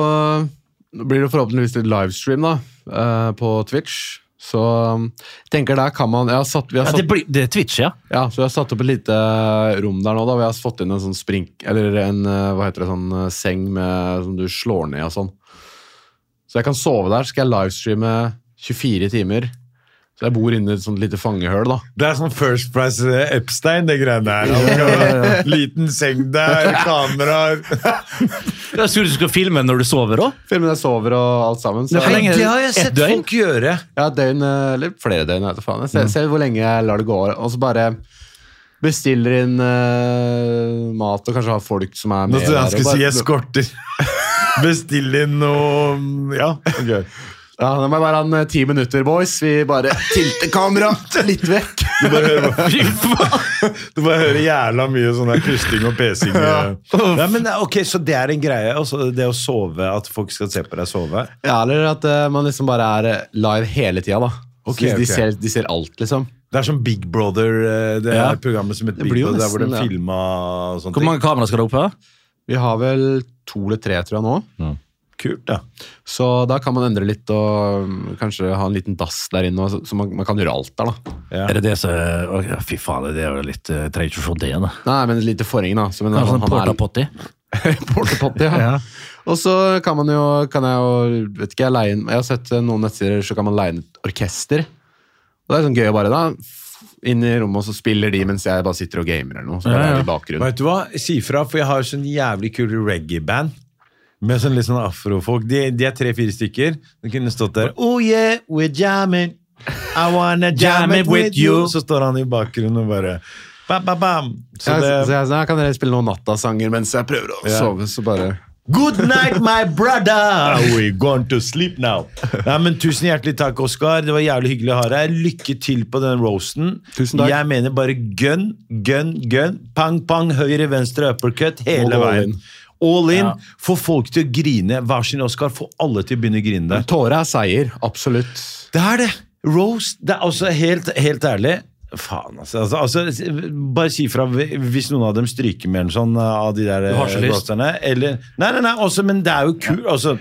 S5: Nå blir det forhåpentligvis litt livestream da eh, på Twitch. Så um, jeg tenker der kan man jeg har satt, vi har
S4: Altså-
S2: Ja,
S5: satt,
S2: det, blir, det er Twitch, ja.
S5: ja, så jeg har satt opp et lite eh, rom der nå, da, hvor jeg har fått inn en sånn sprink... Eller en eh, hva heter det, sånn eh, seng med, som du slår ned og sånn. Så jeg kan sove der. Skal jeg livestreame 24 timer. Så jeg bor inne i et sånt lite fangehøl, da.
S4: Det er sånn First Price eh, Epstein, det greiene der. Han skal ha Liten seng der, kameraer
S2: Jeg skulle du skulle filme når du sover òg.
S5: Filmen jeg sover og alt sammen. Så
S2: Ja, for lenge-
S4: Det har jeg
S2: Et
S4: sett
S2: døgn?
S4: folk gjøre.
S5: Ja, et døgn, eh, eller flere døgn, jeg vet da faen. Jeg ser,
S4: Mm.
S5: ser hvor lenge jeg lar det gå, og så bare bestiller inn eh, mat, og kanskje har folk som er
S4: Nå
S5: med
S4: trodde jeg han
S5: der, og
S4: skulle
S5: bare-
S4: si eskorter. Bestill inn noe mm, Ja. ok.
S5: Ja, det må være en eh, ti minutter, boys. Vi bare tilter kamera litt vekk.
S4: Du bare hører, du bare hører jævla mye sånn der krysting og pesing. Nei, men det er- ok, Så det er en greie, altså, det å sove, at folk skal se på deg sove?
S5: Ja, eller at eh, man liksom bare er eh, live hele tida, da. Så
S4: Ok, ok.
S5: De, ser, de ser alt, liksom.
S4: Det er som Big Brother, eh, det
S2: Ja.
S4: er programmet som heter
S5: Det
S4: Big
S5: blir jo
S4: Brother, der hvor de
S5: nesten, ja.
S4: filma og sånne
S2: Hvor
S4: ting.
S2: mange kameraer skal du opp på?
S5: Vi har vel to eller tre, tror jeg, nå.
S4: Kult, da.
S5: Så da kan man endre litt og mm, kanskje ha en liten dass der inne. og Så så man, man kan gjøre alt der, da.
S4: Ja.
S2: Er det det som ok, Fy faen, det er jo litt eh, Trenger ikke å se det, da.
S5: Nei, men et lite forheng, da. Så, men,
S2: Kanskje
S5: han-
S2: en
S5: han
S2: porta
S5: er-
S2: sånn potty?
S5: Portepott, ja. Og så kan man jo, kan jeg jo, vet ikke, jeg leie inn, jeg har sett eh, noen nettsider, så kan man leie inn et orkester. Og det er sånn gøy å bare da, f- inn i rommet, og så spiller de mens jeg bare sitter og gamer eller noe, så
S2: Ja,
S5: bare
S2: ja.
S5: er det i bakgrunnen.
S4: Vet du hva? Si fra, for jeg har sånn jævlig kul reggae-band. Med sånn litt sånn afrofolk. De, de er tre-fire stykker. De kunne stått der Oh yeah, we're jamming. I wanna jam it with you. Så står han i bakgrunnen og bare bam, bam, bam. Så
S5: Så, jeg, så
S4: det,
S5: jeg sa, kan dere spille noen nattasanger mens jeg prøver å
S4: Ja.
S5: sove, så bare...
S4: Good night, my brother! We're going to sleep now. Nei, men Tusen hjertelig takk, Oskar. Det var jævlig hyggelig å ha deg. Lykke til på den roasten.
S5: Tusen takk.
S4: Jeg mener bare gun, gun, gun. Pang, pang, høyre, venstre, uppercut hele
S5: All
S4: veien.
S5: in.
S4: All in. Få folk til å grine. Hver sin Oskar. Få alle til å begynne å grine der.
S5: Tåre er seier, absolutt.
S4: Det er det! Roast. Det er altså helt, helt ærlig Faen, altså. altså, altså bare si fra hvis noen av dem stryker med eller sånn av de der
S2: Du har så lyst.
S4: roasterne. Eller Nei, nei, nei, også, men det er jo kult. Altså,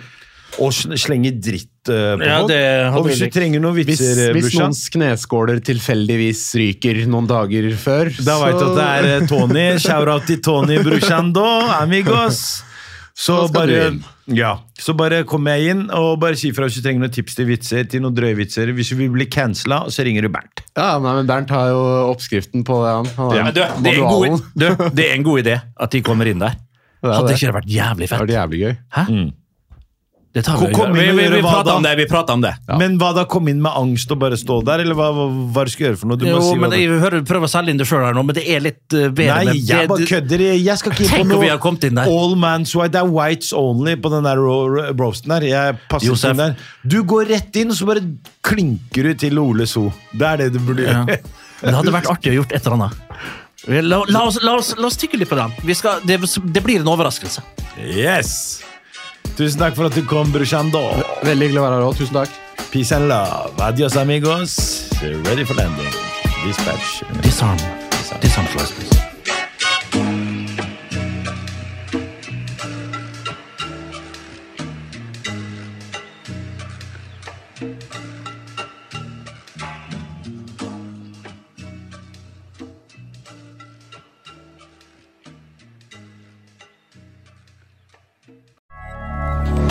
S4: å sl- slenge dritt eh, på
S2: Ja,
S4: folk.
S2: det hadde
S4: Og hvis
S2: jeg
S4: du trenger noen
S5: Hvis,
S4: vitser, eh,
S5: hvis
S4: Bushan,
S5: noens kneskåler tilfeldigvis ryker noen dager før,
S4: da veit du at det er eh, Tony. Shout-out til Tony Bruchando, amigos. Så
S5: Da skal du
S4: bare,
S5: inn.
S4: ja, så bare kommer jeg inn og bare si fra hvis du trenger noen tips til vitser. til noen drøye vitser. Hvis du vil bli cancela, så ringer du Bernt.
S5: Ja, nei, men Bernt har jo oppskriften på det, han. han er
S2: Ja, men du, det, er en
S5: manualen.
S2: god, du, det er en god idé at de kommer inn der.
S5: er
S2: Hadde
S5: det.
S2: ikke det vært jævlig
S5: Det
S2: fett?
S5: var jævlig gøy.
S2: Hæ? Det tar vi,
S4: Hvor kom
S2: vi,
S4: inn og
S2: vi, vi
S4: gjøre hva
S2: prater om
S4: da?
S2: det. vi prater om det.
S4: Men hva da? Kom inn med angst og bare stå der? Eller hva, hva, hva du skal gjøre for noe? Du må
S2: Jo,
S4: si hva
S2: men jeg hører, prøver å selge inn det sjøl her nå, men det er litt eh,
S4: du...
S2: bedre
S4: Nei,
S2: med
S4: jeg bare kødder. Jeg skal ikke inn på
S2: Tenk om
S4: noe
S2: vi har kommet inn der.
S4: All man's white. Det er whites only på den der ro- ro- roasten der. Jeg passer
S2: Josef.
S4: ikke inn der. Du går rett inn, og så bare klinker du til Ole So. Det er det du burde
S2: Ja.
S4: gjøre.
S2: Men det hadde vært artig å gjort et eller annet. Vi- La, la, oss, la, oss, la oss tygge litt på den. Vi skal, det, det blir en overraskelse.
S4: Yes! Tusen takk for at du kom, Brushando.
S5: Veldig hyggelig å være her òg. Tusen takk.
S4: Peace and love. Adios, amigos. Ready for landing. Dispatch.
S2: Disarm. Disarm flies, please.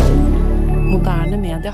S6: Moderne media.